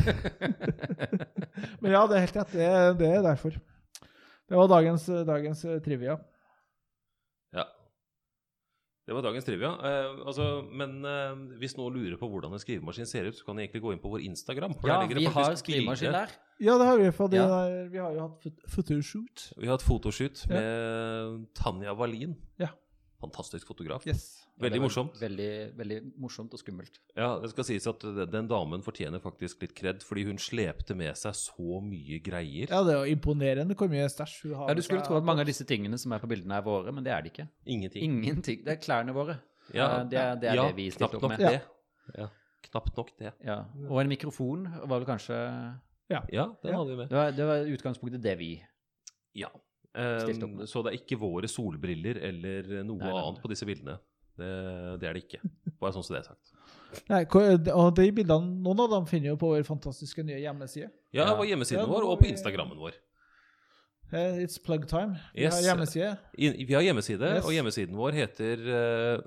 Speaker 3: Men ja, det er helt rett. Det, er- det er derfor. Det var dagens, dagens eh, trivia.
Speaker 2: Ja. Det var dagens trivia. Eh, altså, men eh, hvis noen lurer på hvordan en skrivemaskin ser ut, så kan de egentlig gå inn på vår Instagram. for
Speaker 4: Ja,
Speaker 2: der ligger det
Speaker 4: vi har
Speaker 2: faktisk
Speaker 4: skrivemaskin
Speaker 2: bilder.
Speaker 4: der.
Speaker 3: Ja, det har vi fått. i
Speaker 4: Ja.
Speaker 3: den der- Vi har jo hatt fot- photoshoot.
Speaker 2: Vi har et fotoshoot
Speaker 3: Ja.
Speaker 2: med Tanja Wallin.
Speaker 3: Ja.
Speaker 2: Fantastisk fotograf.
Speaker 3: Yes.
Speaker 4: Ja, det
Speaker 2: Veldig
Speaker 4: var
Speaker 2: morsomt.
Speaker 4: Veldig, veldig morsomt og skummelt.
Speaker 2: Ja, det skal sies at den den damen fortjener faktisk litt kred, fordi hun slepte med seg så mye greier.
Speaker 3: Ja, det er jo imponerende hvor mye stæsj hun har.
Speaker 4: Ja, Du skulle tro at mange av disse tingene som er på bildene, er våre, men det er de ikke.
Speaker 2: Ingenting.
Speaker 4: Ingenting. Det er klærne våre.
Speaker 2: Ja,
Speaker 4: Eh, det er det, er
Speaker 2: ja,
Speaker 4: det vi stilte
Speaker 2: knapt
Speaker 4: opp
Speaker 2: nok
Speaker 4: med.
Speaker 2: Det. Ja. Knapt nok det.
Speaker 4: Ja. Og en mikrofon var vel kanskje
Speaker 2: Ja, den
Speaker 3: Ja.
Speaker 2: hadde vi med.
Speaker 4: Det var, det var utgangspunktet det vi
Speaker 2: Ja.
Speaker 4: Stilt opp
Speaker 2: Um,
Speaker 4: med.
Speaker 2: så det er ikke våre solbriller eller noe
Speaker 4: Nei, nei, nei.
Speaker 2: annet på disse bildene. Det, det er det ikke. Bare sånn som det er sagt.
Speaker 3: Nei, hvor- Og de bildene, noen av dem finner jo på vår fantastiske nye hjemmeside.
Speaker 2: Ja,
Speaker 4: Ja.
Speaker 2: på
Speaker 3: Ja,
Speaker 2: hjemmesiden
Speaker 3: nå
Speaker 2: vår
Speaker 3: må
Speaker 2: og på
Speaker 3: vi-
Speaker 2: Instagrammen vår.
Speaker 3: Eh, It's plug time. Vi
Speaker 2: Yes.
Speaker 3: har hjemmeside.
Speaker 2: I, vi har hjemmeside,
Speaker 3: Yes.
Speaker 2: og hjemmesiden vår heter uh,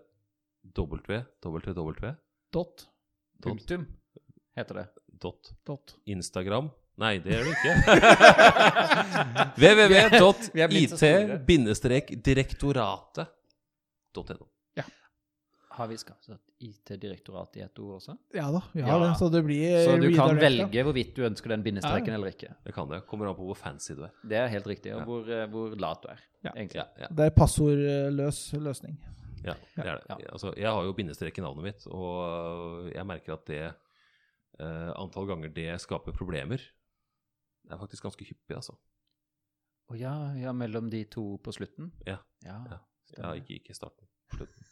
Speaker 2: www.instagram
Speaker 3: Dot.
Speaker 4: Punktum, heter det.
Speaker 3: Dot.
Speaker 2: Nei, det gjør det ikke.
Speaker 4: Vi er blitt så store.
Speaker 2: www.it-direktoratet.no.
Speaker 4: Har vi skaffet IT-direktorat i ett ord også?
Speaker 3: Ja da, vi har
Speaker 4: Ja.
Speaker 3: det, så det blir
Speaker 4: Så du kan
Speaker 3: redirecta.
Speaker 4: velge hvorvidt du ønsker den
Speaker 3: Eh,
Speaker 4: bindestreken
Speaker 3: Ja.
Speaker 4: eller ikke.
Speaker 2: Det kan det. Kommer an på hvor fancy du er.
Speaker 4: Det er helt riktig. Og
Speaker 2: Ja.
Speaker 4: hvor, eh, hvor lat du er,
Speaker 3: Ja.
Speaker 4: egentlig.
Speaker 2: Ja, ja,
Speaker 3: Det er passordløs løsning.
Speaker 2: ja, det er det.
Speaker 4: Ja.
Speaker 2: Altså, jeg har jo bindestrek i navnet mitt, og øh, jeg merker at det eh, antall ganger det skaper problemer, det er faktisk ganske hyppig, altså.
Speaker 4: Å ja, ja, mellom de to på slutten?
Speaker 2: Ja.
Speaker 4: ja.
Speaker 2: Ja. Ja,
Speaker 4: stemmer.
Speaker 2: ikke, ikke starten. Slutten.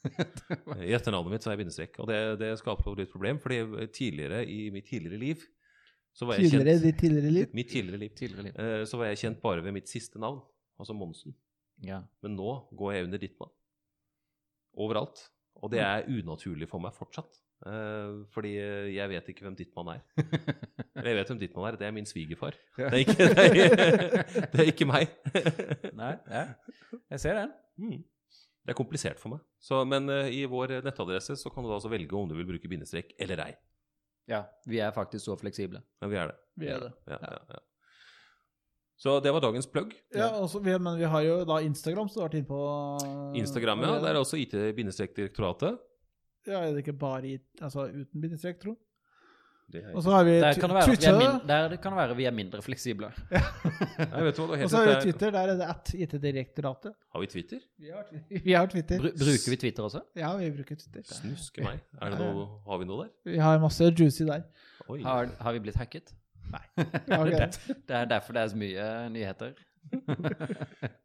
Speaker 2: I etternavnet mitt så er jeg bindestrek, og det, det skaper litt problem, fordi tidligere i mitt tidligere liv så var jeg
Speaker 3: Tidligere i
Speaker 2: kjent
Speaker 3: ditt tidligere liv.
Speaker 2: Mitt tidligere liv.
Speaker 4: Tidligere liv.
Speaker 2: Eh, så var jeg kjent bare ved mitt siste navn, altså Monsen.
Speaker 4: Ja.
Speaker 2: Men nå går jeg under Dittmann. Overalt. Og det er unaturlig for meg fortsatt. Eh, fordi jeg vet ikke hvem Dittmann er. Eller jeg vet hvem Dittmann er, det er min svigerfar. Det er ikke, det er, det er ikke meg.
Speaker 4: Nei, ja. jeg ser den.
Speaker 2: Mm. Det er komplisert for meg. Så, men eh, i vår nettadresse så kan du altså velge om du vil bruke bindestrek eller ei.
Speaker 4: Ja, vi er faktisk så fleksible.
Speaker 2: Men vi er det.
Speaker 3: Vi er det.
Speaker 2: Ja, ja, ja. Så det var dagens plugg.
Speaker 3: Ja, også, vi, men vi har jo da Instagram, så du har vært inne på
Speaker 2: Instagram, ja. Der er også IT-direktoratet.
Speaker 3: Ja, er det ikke bare i, altså, uten bindestrek, tro?
Speaker 2: Det er
Speaker 3: Og så har vi
Speaker 4: Der
Speaker 3: tu-
Speaker 4: kan det være at vi er,
Speaker 3: Eh, Twitter.
Speaker 4: min der det kan det være vi er mindre fleksible.
Speaker 2: Nei, vet du hva, du har
Speaker 3: Og
Speaker 2: helt
Speaker 3: så har vi
Speaker 2: rett, det er-
Speaker 3: Twitter, der er det at IT-direktoratet.
Speaker 2: Har vi Twitter?
Speaker 3: Vi har, vi har Twitter.
Speaker 4: Bru bruker vi Twitter også?
Speaker 3: Ja, vi bruker Twitter.
Speaker 2: Snuske meg. Er det
Speaker 3: Ja, ja.
Speaker 2: noe, har vi noe der?
Speaker 3: Vi har masse juicy der.
Speaker 2: Oi.
Speaker 4: Har, har vi blitt hacket?
Speaker 3: Ja, ok.
Speaker 4: Det er derfor det er så mye nyheter.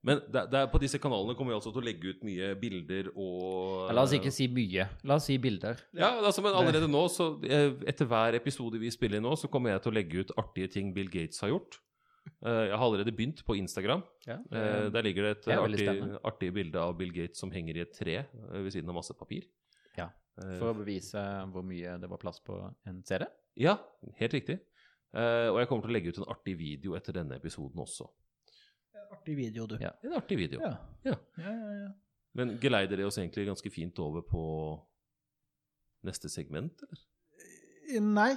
Speaker 2: Men der, der, på disse kanalene kommer vi altså til å legge ut mye bilder og
Speaker 4: La oss ikke si mye. La oss si bilder.
Speaker 2: Ja, altså, men allerede nå, så eh, etter hver episode vi spiller inn nå, så kommer jeg til å legge ut artige ting Bill Gates har gjort. Eh, jeg har allerede begynt på Instagram.
Speaker 4: Ja.
Speaker 2: Eh, der ligger det et
Speaker 4: Det er veldig
Speaker 2: artig,
Speaker 4: spennende.
Speaker 2: artig bilde av Bill Gates som henger i et tre eh, ved siden av masse papir.
Speaker 4: Ja.
Speaker 2: Eh,
Speaker 4: For å bevise hvor mye det var plass på en CD.
Speaker 2: Ja, helt riktig. Eh, og jeg kommer til å legge ut en artig video etter denne episoden også.
Speaker 3: Artig video, du.
Speaker 4: Ja.
Speaker 2: En artig video.
Speaker 3: Ja.
Speaker 2: Ja.
Speaker 3: Ja, ja, ja.
Speaker 2: Men geleider det oss egentlig ganske fint over på neste segment, eller?
Speaker 3: Nei.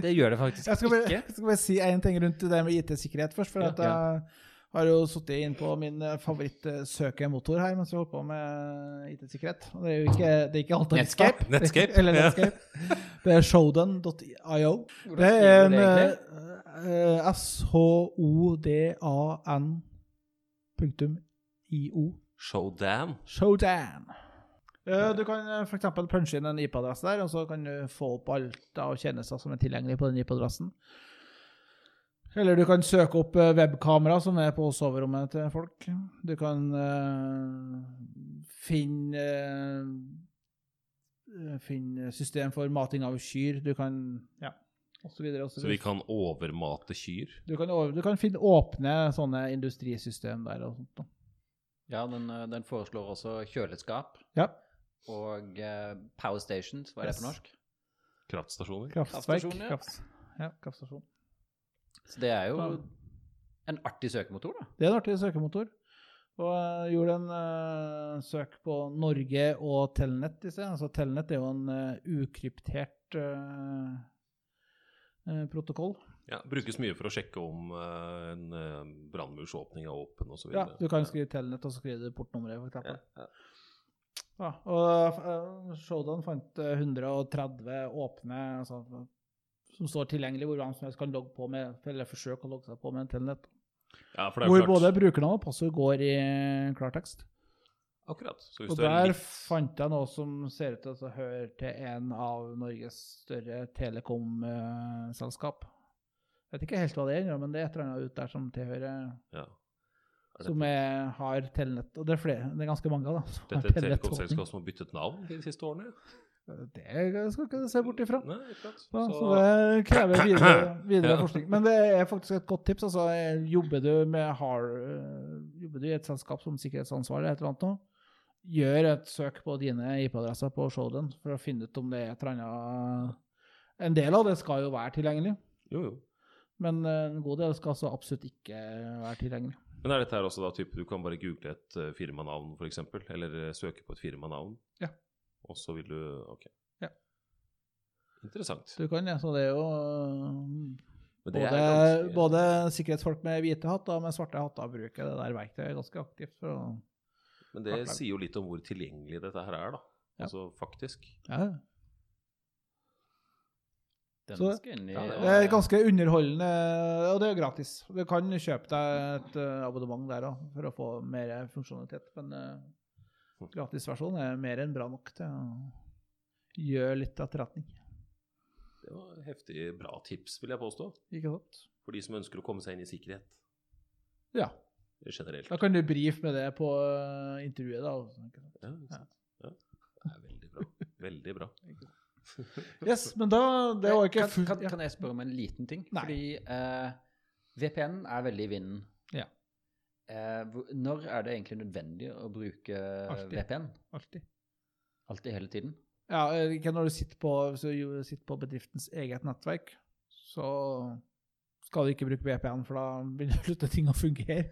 Speaker 4: Det gjør det faktisk
Speaker 3: Jeg skal bare,
Speaker 4: ikke.
Speaker 3: jeg skal bare si én ting rundt det med IT-sikkerhet først. For
Speaker 4: Ja,
Speaker 3: at jeg har jo sittet inn på min eh, favorittsøkemotor her mens jeg holder på med eh, IT-sikkerhet. Og det er jo ikke, det er ikke alt av
Speaker 4: Netscape.
Speaker 3: vitenskap.
Speaker 2: Netscape,
Speaker 3: Eller
Speaker 2: ja.
Speaker 3: Netscape. Det er shodan.io.
Speaker 4: Hvordan
Speaker 3: Det er en
Speaker 4: skriver du egentlig?
Speaker 3: eh, eh, S-H-O-D-A-N punktum I-O.
Speaker 2: Showdown?
Speaker 3: Showdown. Eh, Du kan f.eks. punche inn en IP-adresse der, og så kan du få opp alt av tjenester som er tilgjengelig på den IP-adressen. Eller du kan søke opp eh, webkamera som er på soverommet til folk. Du kan eh, finne eh, Finne system for mating av kyr. Du kan Ja, og så videre og så
Speaker 2: Så vi
Speaker 3: videre.
Speaker 2: kan overmate kyr?
Speaker 3: Du kan, over- du kan finne åpne sånne industrisystem der og sånt. da.
Speaker 4: Ja, den, eh, den foreslår også kjøleskap
Speaker 3: Ja.
Speaker 4: og eh, Power Stations, hva er det
Speaker 3: Yes.
Speaker 4: på norsk?
Speaker 2: Kraftstasjoner?
Speaker 3: Kraftverk.
Speaker 4: Kraftstasjon, ja.
Speaker 3: Kraft, ja, kraftstasjon.
Speaker 4: Så det er jo
Speaker 3: Ja.
Speaker 4: en artig søkemotor, da.
Speaker 3: Det er en artig søkemotor. Og jeg gjorde en eh, søk på Norge og Telnet i sted. Altså, Telnet er jo en eh, ukryptert eh, eh, protokoll.
Speaker 2: Ja, brukes mye for å sjekke om eh, en eh, brannmursåpning er åpen osv.
Speaker 3: Ja, du kan skrive Telnet og så skrive portnummeret, for eksempel.
Speaker 2: ja.
Speaker 3: Ja, og eh, Showdown fant eh, 130 åpne altså, som står tilgjengelig, hvor hvem som helst kan logge på med, eller forsøke å logge seg på med en Telnet.
Speaker 2: Ja, for det er jo
Speaker 3: Hvor
Speaker 2: klart.
Speaker 3: både brukernavn og passord går i eh, klartekst.
Speaker 2: Akkurat. Så hvis
Speaker 3: Og
Speaker 2: du er
Speaker 3: der
Speaker 2: litt,
Speaker 3: fant jeg noe som ser ut til å høre til en av Norges større telekomselskap. Jeg vet ikke helt hva det er, ennå, men det er et eller annet ut der som tilhører
Speaker 2: ja. Er det-
Speaker 3: Som er, har telnett. Og det er, flere, det er ganske mange av, da. som har
Speaker 2: Dette er et
Speaker 3: telnett-
Speaker 2: telekomselskap som har byttet navn de siste årene?
Speaker 3: Det skal ikke se bort ifra.
Speaker 2: Nei, akkurat.
Speaker 3: Så,
Speaker 2: Så,
Speaker 3: så det krever videre, videre
Speaker 2: Ja.
Speaker 3: forskning. Men det er faktisk et godt tips. Altså, jobber du med hard, øh, jobber du i et selskap som sikkerhetsansvarlig, et eller annet nå, gjør et søk på dine IP-adresser på Showden for å finne ut om det er et eller annet En del av det skal jo være tilgjengelig,
Speaker 2: jo, jo.
Speaker 3: men øh, en god del skal altså absolutt ikke være tilgjengelig.
Speaker 2: Men er dette her også da type du kan bare google et eh, firmanavn, f.eks., eller eh, søke på et firmanavn?
Speaker 3: Ja.
Speaker 2: Og så vil du OK.
Speaker 3: Ja.
Speaker 2: Interessant.
Speaker 3: Du kan, ja, så det er jo øh,
Speaker 2: Men det
Speaker 3: Både,
Speaker 2: er ganske-
Speaker 3: både sikkerhetsfolk med hvite hatter og med svarte hatter bruker det der verktøyet ganske aktivt. for å...
Speaker 2: Men det
Speaker 3: Kartlag.
Speaker 2: sier jo litt om hvor tilgjengelig dette her er, da.
Speaker 3: Ja.
Speaker 2: Altså faktisk.
Speaker 3: Ja. ja.
Speaker 4: Den
Speaker 3: Så-
Speaker 4: skal inn i
Speaker 2: Ja,
Speaker 3: Det er ganske underholdende, og det er gratis. Du kan kjøpe deg et eh, abonnement der òg for å få mer funksjonalitet. Men
Speaker 2: Hm.
Speaker 3: eh, gratisversjonen er mer enn bra nok til å gjøre litt etterretning.
Speaker 2: Det var heftig bra tips, vil jeg påstå.
Speaker 3: Ikke sant?
Speaker 2: For de som ønsker å komme seg inn i sikkerhet
Speaker 3: Ja.
Speaker 2: generelt.
Speaker 3: Da kan du brife med det på eh, intervjuet, da. og sånn, ikke sant?
Speaker 2: Ja, ikke sant? ja. Det er veldig bra. Veldig bra.
Speaker 3: Yes, men da Det var ikke
Speaker 4: kan,
Speaker 3: fullt
Speaker 4: kan,
Speaker 3: ja.
Speaker 4: kan jeg spørre om en liten ting?
Speaker 3: Nei.
Speaker 4: Fordi eh, VPN er veldig i vinden.
Speaker 3: Ja.
Speaker 4: Eh, hvor- når er det egentlig nødvendig å bruke
Speaker 3: Alltid.
Speaker 4: VPN?
Speaker 3: Alltid.
Speaker 4: Alltid, hele tiden?
Speaker 3: Ja, eh, ikke når du sitter på, hvis du jo sitter på bedriftens eget nettverk, så skal du ikke bruke VPN, for da vil slutte ting å fungere.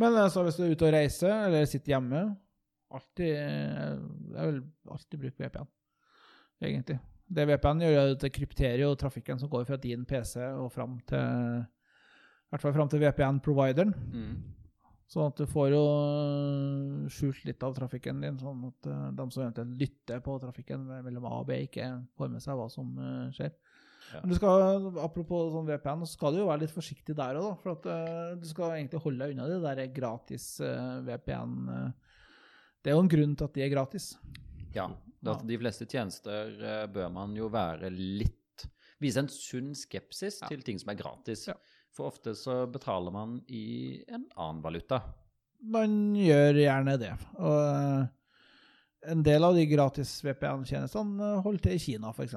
Speaker 3: Men eh, så hvis du er ute og reiser, eller sitter hjemme, alltid, eh, jeg vil alltid bruke VPN, egentlig. Det VPN gjør, er at det krypterer jo trafikken som går fra din PC og fram til, i hvert fall fram til VPN-provideren.
Speaker 4: Mm.
Speaker 3: Sånn at du får jo øh, skjult litt av trafikken din, sånn at øh, de som eventuelt lytter på trafikken mellom A og B, ikke får med seg hva som øh, skjer.
Speaker 2: Ja.
Speaker 3: Men du skal, apropos sånn VPN, så skal du jo være litt forsiktig der òg, da. For at øh, du skal egentlig holde deg unna de der gratis øh, VPN. øh. Det er jo en grunn til at de er gratis.
Speaker 4: Ja. det er at De fleste tjenester eh, bør man jo være litt Vise en sunn skepsis
Speaker 3: Ja.
Speaker 4: til ting som er gratis.
Speaker 3: Ja.
Speaker 4: For ofte så betaler man i en annen valuta.
Speaker 3: Man gjør gjerne det. Og øh, en del av de gratis VPN-tjenestene øh, holder til i Kina, f.eks.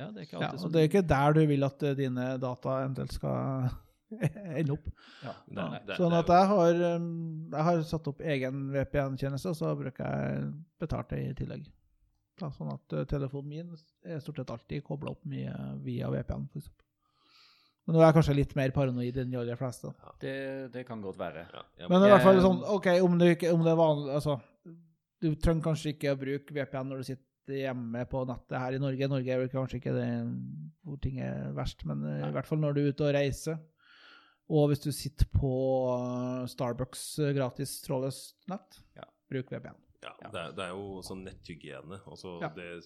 Speaker 4: Ja, det er ikke
Speaker 3: Ja,
Speaker 4: alltid
Speaker 3: og det er ikke der du vil at eh, dine data eventuelt skal ende opp.
Speaker 4: ja.
Speaker 2: Det er- det er-
Speaker 3: sånn
Speaker 2: det er jo-
Speaker 3: at jeg har, um, jeg har satt opp egen VPN-tjeneste, og så bruker jeg betalt det i tillegg. Da, sånn at eh, telefonen min er stort sett alltid kobla opp mye via VPN, f.eks. Men nå er jeg kanskje litt mer paranoid enn de aller fleste.
Speaker 4: det, det kan godt være.
Speaker 2: ja, jeg
Speaker 3: Men
Speaker 2: må-
Speaker 3: i hvert fall
Speaker 4: Jeg-
Speaker 3: sånn, ok, om det, ikke, om det er vanlig altså, Du trenger kanskje ikke å bruke VPN når du sitter hjemme på nettet her i Norge. Norge er vel kanskje ikke det hvor ting er verst, men eh, i hvert fall når du er ute og reiser. Og hvis du sitter på eh, Starbucks eh, gratis trådløst nett,
Speaker 4: Ja.
Speaker 3: bruk VPN.
Speaker 2: ja, det, er, det er jo sånn netthygiene. Altså
Speaker 3: Ja.
Speaker 2: det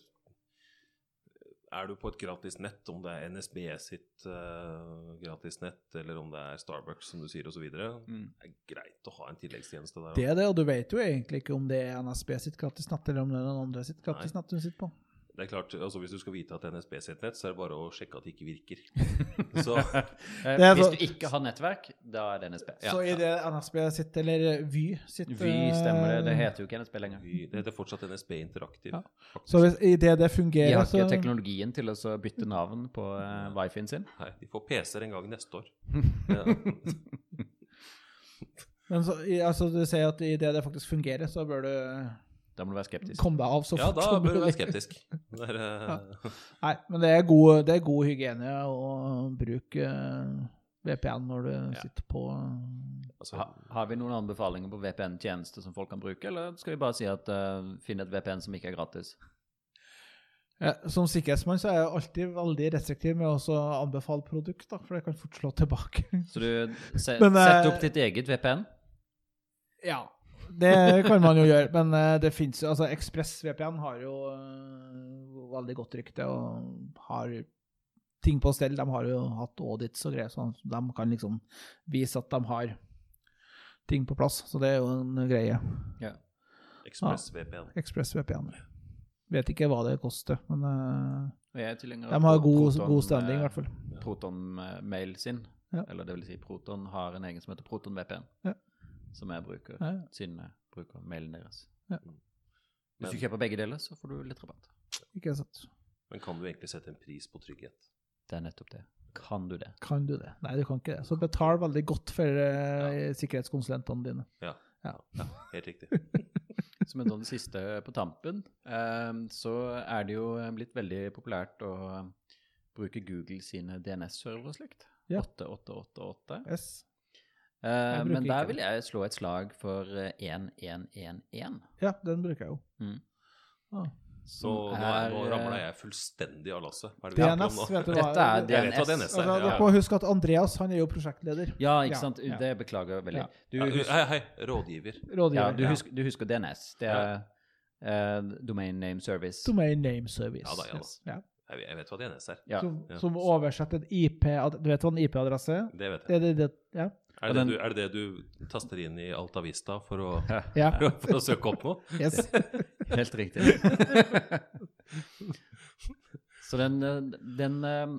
Speaker 2: Er du på et gratis nett, om det er NSB sitt eh, gratis nett, eller om det er Starbucks, som du sier, osv., det
Speaker 4: Mm.
Speaker 2: er greit å ha en tilleggstjeneste der.
Speaker 3: Det er det, og du vet jo egentlig ikke om det er NSB sitt gratis nett, eller om det er noen andre sitt gratis nett du sitter på.
Speaker 2: Det er klart, altså Hvis du skal vite at NSB sitt nett, så er det bare å sjekke at det ikke virker. Så
Speaker 4: Eh,
Speaker 3: Det er
Speaker 4: Hvis
Speaker 3: så-
Speaker 4: du ikke har nettverk, da er det NSB.
Speaker 3: Så i det NSB sitt, eller Vy sitt
Speaker 4: Vy stemmer det. Det
Speaker 3: eh,
Speaker 4: heter jo ikke NSB lenger.
Speaker 2: vi- det heter fortsatt NSB Interaktiv.
Speaker 3: Ja.
Speaker 2: faktisk.
Speaker 3: Så hvis, i det det
Speaker 4: De
Speaker 3: fungerer,
Speaker 4: har ikke
Speaker 3: så
Speaker 4: teknologien til å så bytte navn på uh, wifien sin.
Speaker 2: Nei, de får PC-er en gang neste år. Ja.
Speaker 3: Men så, i- altså, du sier at i det det faktisk fungerer, så bør du
Speaker 4: Da må du være skeptisk.
Speaker 3: komme deg av så
Speaker 2: Ja,
Speaker 3: fort
Speaker 2: da
Speaker 3: som
Speaker 2: bør du
Speaker 3: mulig.
Speaker 2: være skeptisk. Det er, eh,
Speaker 3: Nei, men det er god, det er god hygiene å bruke eh, VPN når du sitter på eh,
Speaker 2: altså,
Speaker 4: Ha, har vi noen anbefalinger på VPN-tjenester som folk kan bruke, eller skal vi bare si at eh, finn et VPN som ikke er gratis?
Speaker 3: ja, Som sikkerhetsmann så er jeg alltid veldig restriktiv med å også anbefale produkt, da, for det kan fort slå tilbake.
Speaker 4: Så du se,
Speaker 3: Men, eh,
Speaker 4: setter opp ditt eget VPN?
Speaker 3: Ja. Det kan man jo gjøre, men eh, det finnes jo Altså, Ekspress VPN har jo eh, veldig godt rykte og har ting på stell. De har jo hatt audits og greier, så de kan liksom vise at de har ting på plass. Så det er jo en greie.
Speaker 4: Ja.
Speaker 2: Ekspress VPN.
Speaker 3: Ekspress VPN. Vet ikke hva det koster, men eh,
Speaker 4: Jeg er tilhenger
Speaker 3: de
Speaker 4: av
Speaker 3: har god,
Speaker 4: Proton,
Speaker 3: god standing,
Speaker 4: eh,
Speaker 3: i hvert fall.
Speaker 4: Proton-mail sin.
Speaker 3: Ja.
Speaker 4: Eller det vil si, Proton har en egen som heter Proton VPN,
Speaker 3: Ja.
Speaker 4: som jeg bruker.
Speaker 3: Ja, ja.
Speaker 4: Siden jeg bruker mailen deres.
Speaker 3: Ja.
Speaker 4: Mm. Hvis du kjøper begge deler, så får du litt rabatt.
Speaker 3: Ikke sant.
Speaker 2: Men kan du egentlig sette en pris på trygghet?
Speaker 4: Det er nettopp det. Kan du det?
Speaker 3: Kan du det? Nei, du kan ikke det. Så betal veldig godt for eh, sikkerhetskonsulentene dine.
Speaker 2: Ja,
Speaker 3: Ja.
Speaker 2: ja helt riktig.
Speaker 4: Som en sånn siste på tampen, eh, så er det jo blitt veldig populært å bruke Google sine DNS-server og slikt.
Speaker 3: Ja.
Speaker 4: 8888.
Speaker 3: Yes.
Speaker 4: Eh,
Speaker 3: Jeg bruker
Speaker 4: men der
Speaker 3: ikke
Speaker 4: vil jeg slå et slag for eh, 1111.
Speaker 3: Ja, den bruker jeg jo.
Speaker 4: Mm.
Speaker 3: Ja.
Speaker 2: Så nå, er, nå ramla
Speaker 4: eh,
Speaker 2: jeg fullstendig av lasset. Hva er det vi
Speaker 3: DNS,
Speaker 2: snakker om nå?
Speaker 3: vet du hva?
Speaker 4: Dette er
Speaker 3: det,
Speaker 2: Jeg vet hva DNS
Speaker 4: DNS.
Speaker 2: er.
Speaker 3: altså,
Speaker 2: Ja.
Speaker 3: dere må huske at Andreas han er jo prosjektleder.
Speaker 4: Ja, ikke
Speaker 3: Ja,
Speaker 4: sant?
Speaker 3: ja.
Speaker 4: Det beklager jeg veldig.
Speaker 3: Ja.
Speaker 4: Du,
Speaker 2: Ja,
Speaker 4: husker,
Speaker 2: hei, hei, rådgiver.
Speaker 3: Rådgiver.
Speaker 4: ja, du,
Speaker 3: ja.
Speaker 4: husker, du husker DNS. Det er eh, Domain Name Service.
Speaker 3: Domain name service.
Speaker 2: Ja da, ja da.
Speaker 3: Ja.
Speaker 2: Jeg, vet- jeg vet hva DNS er.
Speaker 4: ja.
Speaker 3: Som,
Speaker 2: Ja.
Speaker 3: som oversetter en IP ad- Du vet hva en IP-adresse er?
Speaker 2: Det vet jeg.
Speaker 3: Det, det, det, ja.
Speaker 2: Er det,
Speaker 4: den-
Speaker 2: du, er det det du taster inn i Altavista for å,
Speaker 3: ja.
Speaker 2: for å, for å søke opp noe?
Speaker 3: Yes.
Speaker 4: Helt riktig. Så den, eh, den, eh,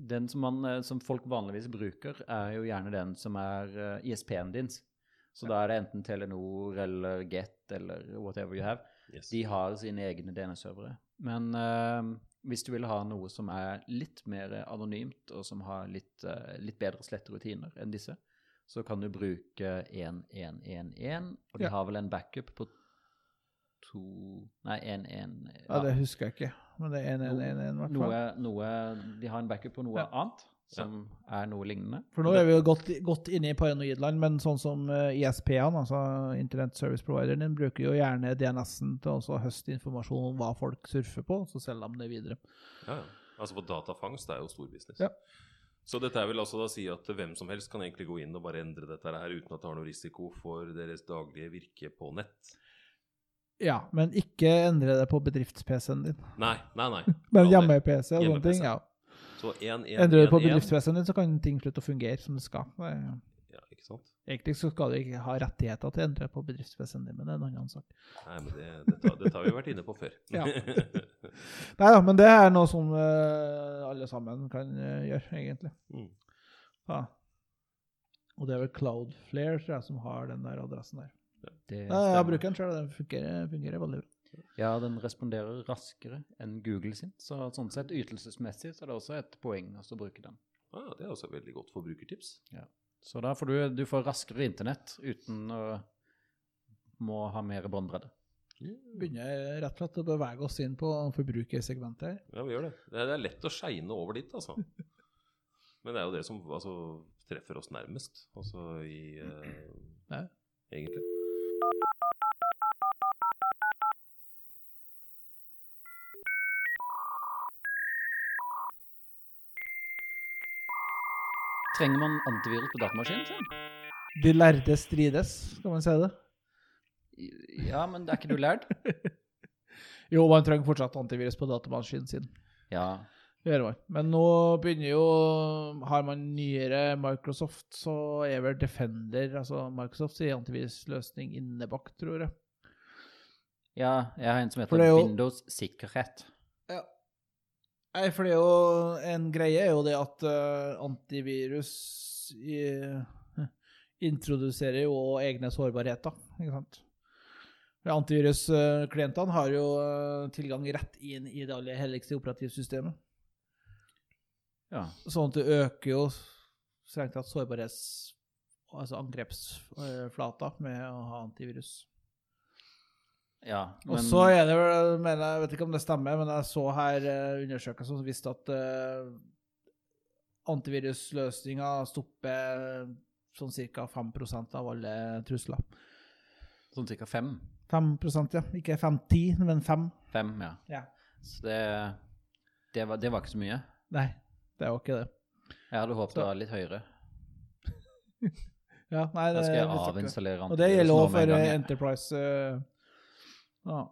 Speaker 4: den som, man, eh, som folk vanligvis bruker, er jo gjerne den som er eh, ISP-en din. Så da er det enten Telenor eller Get eller whatever you have.
Speaker 2: Yes.
Speaker 4: De har sine egne DNS-servere. Men eh, hvis du vil ha noe som er litt mer anonymt, og som har litt, eh, litt bedre sletterutiner enn disse, så kan du bruke 1111, og de
Speaker 3: Ja.
Speaker 4: har vel en backup på to Nei, 11
Speaker 3: ja, det husker jeg ikke. Men det er 111, i hvert fall.
Speaker 4: noe, noe, de har en backup på noe
Speaker 3: Ja.
Speaker 4: annet som er noe lignende.
Speaker 3: For nå er vi jo godt, godt inne i paranoidland, men sånn som eh, ISP-ene, altså Internet Service Provider, den bruker jo gjerne DNS-en til også å høste informasjon om hva folk surfer på, så selger de det videre.
Speaker 2: Ja, ja. Altså for datafangst er jo stor business.
Speaker 3: Ja.
Speaker 2: Så dette vil altså da si at hvem som helst kan egentlig gå inn og bare endre dette her uten at det har noe risiko for deres daglige virke på nett?
Speaker 3: Ja, men ikke endre det på bedrifts-PC-en din.
Speaker 2: Nei, nei, nei.
Speaker 3: Men
Speaker 2: Bra det.
Speaker 3: hjemme-PC og sånne
Speaker 2: Hjemme-PC.
Speaker 3: ting, ja.
Speaker 2: Så 1, 1,
Speaker 3: Endrer du det på
Speaker 2: 1, 1.
Speaker 3: bedrifts-PC-en din, så kan ting slutte å fungere som det skal. Det er-
Speaker 2: Ja, ikke sant?
Speaker 3: Egentlig så skal du ikke ha rettigheter til å endre på bedrifts-PC-en din, men det er en annen sak.
Speaker 2: Nei, men det, dette, har- dette har vi vært inne på før.
Speaker 3: Ja. Nei da, men det er noe som eh, alle sammen kan eh, gjøre, egentlig.
Speaker 2: Mm.
Speaker 3: Ja. Og det er vel Cloudflare tror jeg, som har den der adressen der.
Speaker 4: Det
Speaker 3: Nei, jeg
Speaker 4: stemmer.
Speaker 3: bruker den sjøl, og den fungerer, fungerer veldig bra.
Speaker 4: Ja, den responderer raskere enn Google sin, så sånn sett ytelsesmessig så er det også et poeng også å bruke den.
Speaker 2: Ah, det er også veldig godt forbrukertips.
Speaker 4: Så da får du, du får raskere internett uten å må ha mer båndbredde.
Speaker 3: Begynner rett og slett å bevege oss inn på forbrukersegmentet her.
Speaker 2: Ja, vi gjør det. Det er- det er lett å skeine over dit, altså. Men det er jo det som altså, treffer oss nærmest, altså i eh,
Speaker 3: Ja.
Speaker 2: Egentlig.
Speaker 4: Trenger man antivirus på datamaskinen? tror jeg?
Speaker 3: De lærde strides, skal man si det.
Speaker 4: Ja, men er ikke du lærd?
Speaker 3: Jo, man trenger fortsatt antivirus på datamaskinen sin.
Speaker 4: Ja.
Speaker 3: Det gjør man. Men nå begynner jo Har man nyere Microsoft, så er vel Defender, altså Microsofts antivirusløsning, innebakt, tror jeg.
Speaker 4: ja, jeg har en som
Speaker 3: For
Speaker 4: heter
Speaker 3: det er jo-
Speaker 4: Windows sikkerhet.
Speaker 3: Nei, for det er jo en greie er jo det at eh, antivirus i, introduserer jo også egne sårbarheter, ikke sant? For Antivirusklientene har jo eh, tilgang rett inn i det aller helligste operativsystemet.
Speaker 4: Ja.
Speaker 3: Sånn at det øker jo strengt tatt sårbarhets... Altså angrepsflata med å ha antivirus.
Speaker 4: ja
Speaker 3: Og så er det vel, mener jeg, jeg vet ikke om det stemmer, men jeg så her eh, undersøkelser som viste at eh, antivirusløsninger stopper sånn ca. 5 av alle trusler.
Speaker 4: sånn cirka fem.
Speaker 3: 5 ja. Ikke 5-10, men 5.
Speaker 4: Fem, ja.
Speaker 3: Ja.
Speaker 4: Så det, det, var, det var ikke så mye.
Speaker 3: Nei, det er jo ikke det.
Speaker 4: Jeg hadde håpet
Speaker 3: Så-
Speaker 4: det var litt høyere.
Speaker 3: Ja, nei, det
Speaker 4: Da skal
Speaker 3: er
Speaker 4: jeg
Speaker 3: litt ikke.
Speaker 4: avinstallere
Speaker 3: Og det gjelder
Speaker 4: nå
Speaker 3: også
Speaker 4: med en
Speaker 3: for
Speaker 4: gang,
Speaker 3: eh,
Speaker 4: jeg.
Speaker 3: Enterprise. eh, ja.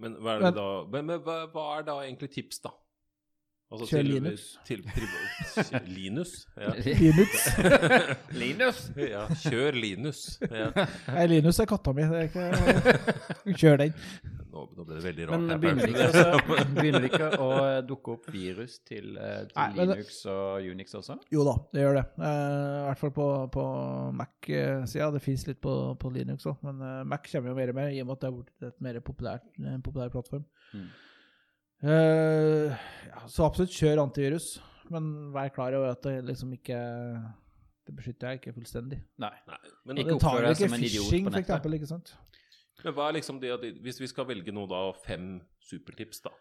Speaker 2: Men hva er, det
Speaker 3: Men-
Speaker 2: da, men, men, hva, hva er da egentlig tips, da? Altså,
Speaker 3: Kjør
Speaker 2: til-
Speaker 3: Linux.
Speaker 2: Til, priva- Linus? Ja.
Speaker 3: Linux.
Speaker 4: Linus!
Speaker 2: ja, kjør Linus. Ja.
Speaker 3: Nei, Linus er katta mi. Det er ikke... Kjør den.
Speaker 2: Nå, nå ble det veldig rart.
Speaker 4: Men
Speaker 2: her, altså, Paul.
Speaker 4: begynner det ikke, også, begynner det ikke å dukke opp virus til, eh, til
Speaker 3: Nei, men det-
Speaker 4: Linux og Unix også?
Speaker 3: Jo da, det gjør det. Eh, I hvert fall på, på Mac-sida. Det fins litt på, på Linux òg, men eh, Mac kommer jo mer og mer i og med at det er blitt et mer populært, en populær plattform.
Speaker 4: Mm.
Speaker 3: Eh, ja, så absolutt kjør antivirus, men vær klar over at det liksom ikke Det beskytter jeg ikke fullstendig.
Speaker 4: Nei.
Speaker 2: Nei, men,
Speaker 4: Ikke
Speaker 3: Det tar
Speaker 4: oppfør
Speaker 3: vel
Speaker 4: deg
Speaker 3: ikke
Speaker 4: som en idiot
Speaker 3: phishing,
Speaker 4: på
Speaker 3: for
Speaker 4: nettet.
Speaker 3: eksempel, ikke sant?
Speaker 2: men hva er liksom det, at- hvis vi skal velge nå da fem supertips, da?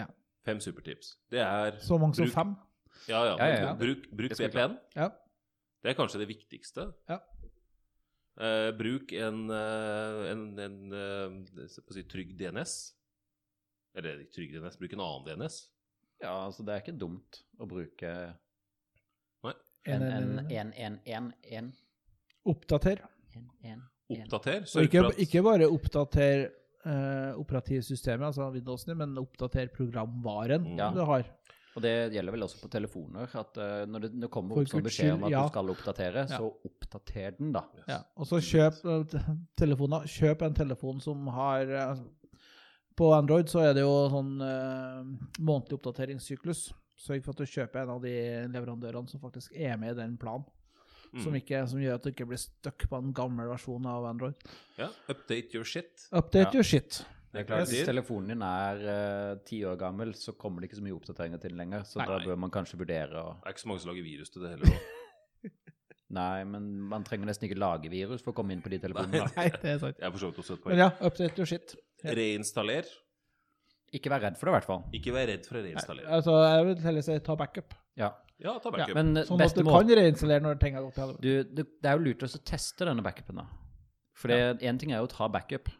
Speaker 3: Ja.
Speaker 2: Fem supertips. Det er
Speaker 3: Så mange som
Speaker 2: Bruk-
Speaker 3: fem.
Speaker 2: Ja, ja.
Speaker 4: Ja, ja,
Speaker 2: men
Speaker 4: ja.
Speaker 2: Bruk, bruk
Speaker 4: Det skal vi klare.
Speaker 2: VPN.
Speaker 3: Ja.
Speaker 2: Det er kanskje det viktigste.
Speaker 3: Ja.
Speaker 2: Eh, bruk en, eh, en, en eh, jeg skal si, trygg DNS. Eller ikke trygg DNS, bruk en annen DNS.
Speaker 4: Ja, altså det er ikke dumt å bruke
Speaker 3: En,
Speaker 4: en
Speaker 3: en, en,
Speaker 4: 1111.
Speaker 3: Oppdater.
Speaker 2: Oppdater.
Speaker 3: Og
Speaker 2: Sørg
Speaker 3: ikke,
Speaker 2: for at
Speaker 3: ikke bare oppdater eh, operativsystemet, altså Windowsen, men oppdater programvaren
Speaker 2: Mm.
Speaker 4: Ja.
Speaker 3: du har.
Speaker 4: Og det gjelder vel også på telefoner, at eh, når det, når det kommer
Speaker 3: For
Speaker 4: opp sånn
Speaker 3: Guds
Speaker 4: beskjed om
Speaker 3: skyld,
Speaker 4: at
Speaker 3: ja.
Speaker 4: du skal oppdatere,
Speaker 3: Ja.
Speaker 4: så oppdater den, da.
Speaker 3: Ja. Og så kjøp eh, te- telefoner. Kjøp en telefon som har eh, altså, På Android så er det jo sånn eh, månedlig oppdateringssyklus. Sørg for at du kjøper en av de leverandørene som faktisk er med i den planen.
Speaker 2: Mm.
Speaker 3: Som, ikke, som gjør at du ikke blir stuck på en gammel versjon av Android.
Speaker 2: Ja, update your shit.
Speaker 3: Update
Speaker 4: Ja.
Speaker 3: your shit.
Speaker 2: Det er klart.
Speaker 4: Hvis
Speaker 2: det.
Speaker 4: telefonen din er eh, ti år gammel, så kommer det ikke så mye oppdateringer til den lenger, så
Speaker 2: Nei.
Speaker 4: da bør man kanskje vurdere å
Speaker 2: Det er ikke så mange som lager virus til det heller. nå.
Speaker 4: Nei, men man trenger nesten ikke lage virus for å komme inn på de telefonene. da.
Speaker 3: Nei, det er sant.
Speaker 2: Jeg er for så vidt også et poeng.
Speaker 3: Men ja, update your shit. ja.
Speaker 2: Reinstaller.
Speaker 4: Ikke vær redd for det, i hvert fall.
Speaker 2: Ikke vær redd for å reinstallere.
Speaker 3: Altså, jeg vil heller si ta backup.
Speaker 4: Ja.
Speaker 2: Ja, ta
Speaker 4: Ja,
Speaker 2: backup.
Speaker 4: men eh,
Speaker 3: Sånn at
Speaker 4: beste
Speaker 3: du
Speaker 4: måten
Speaker 3: kan reinstallere når ting har gått til helvete.
Speaker 4: du, du, Det er jo lurt også å teste denne backupen, da. For én ting er jo å ta backup,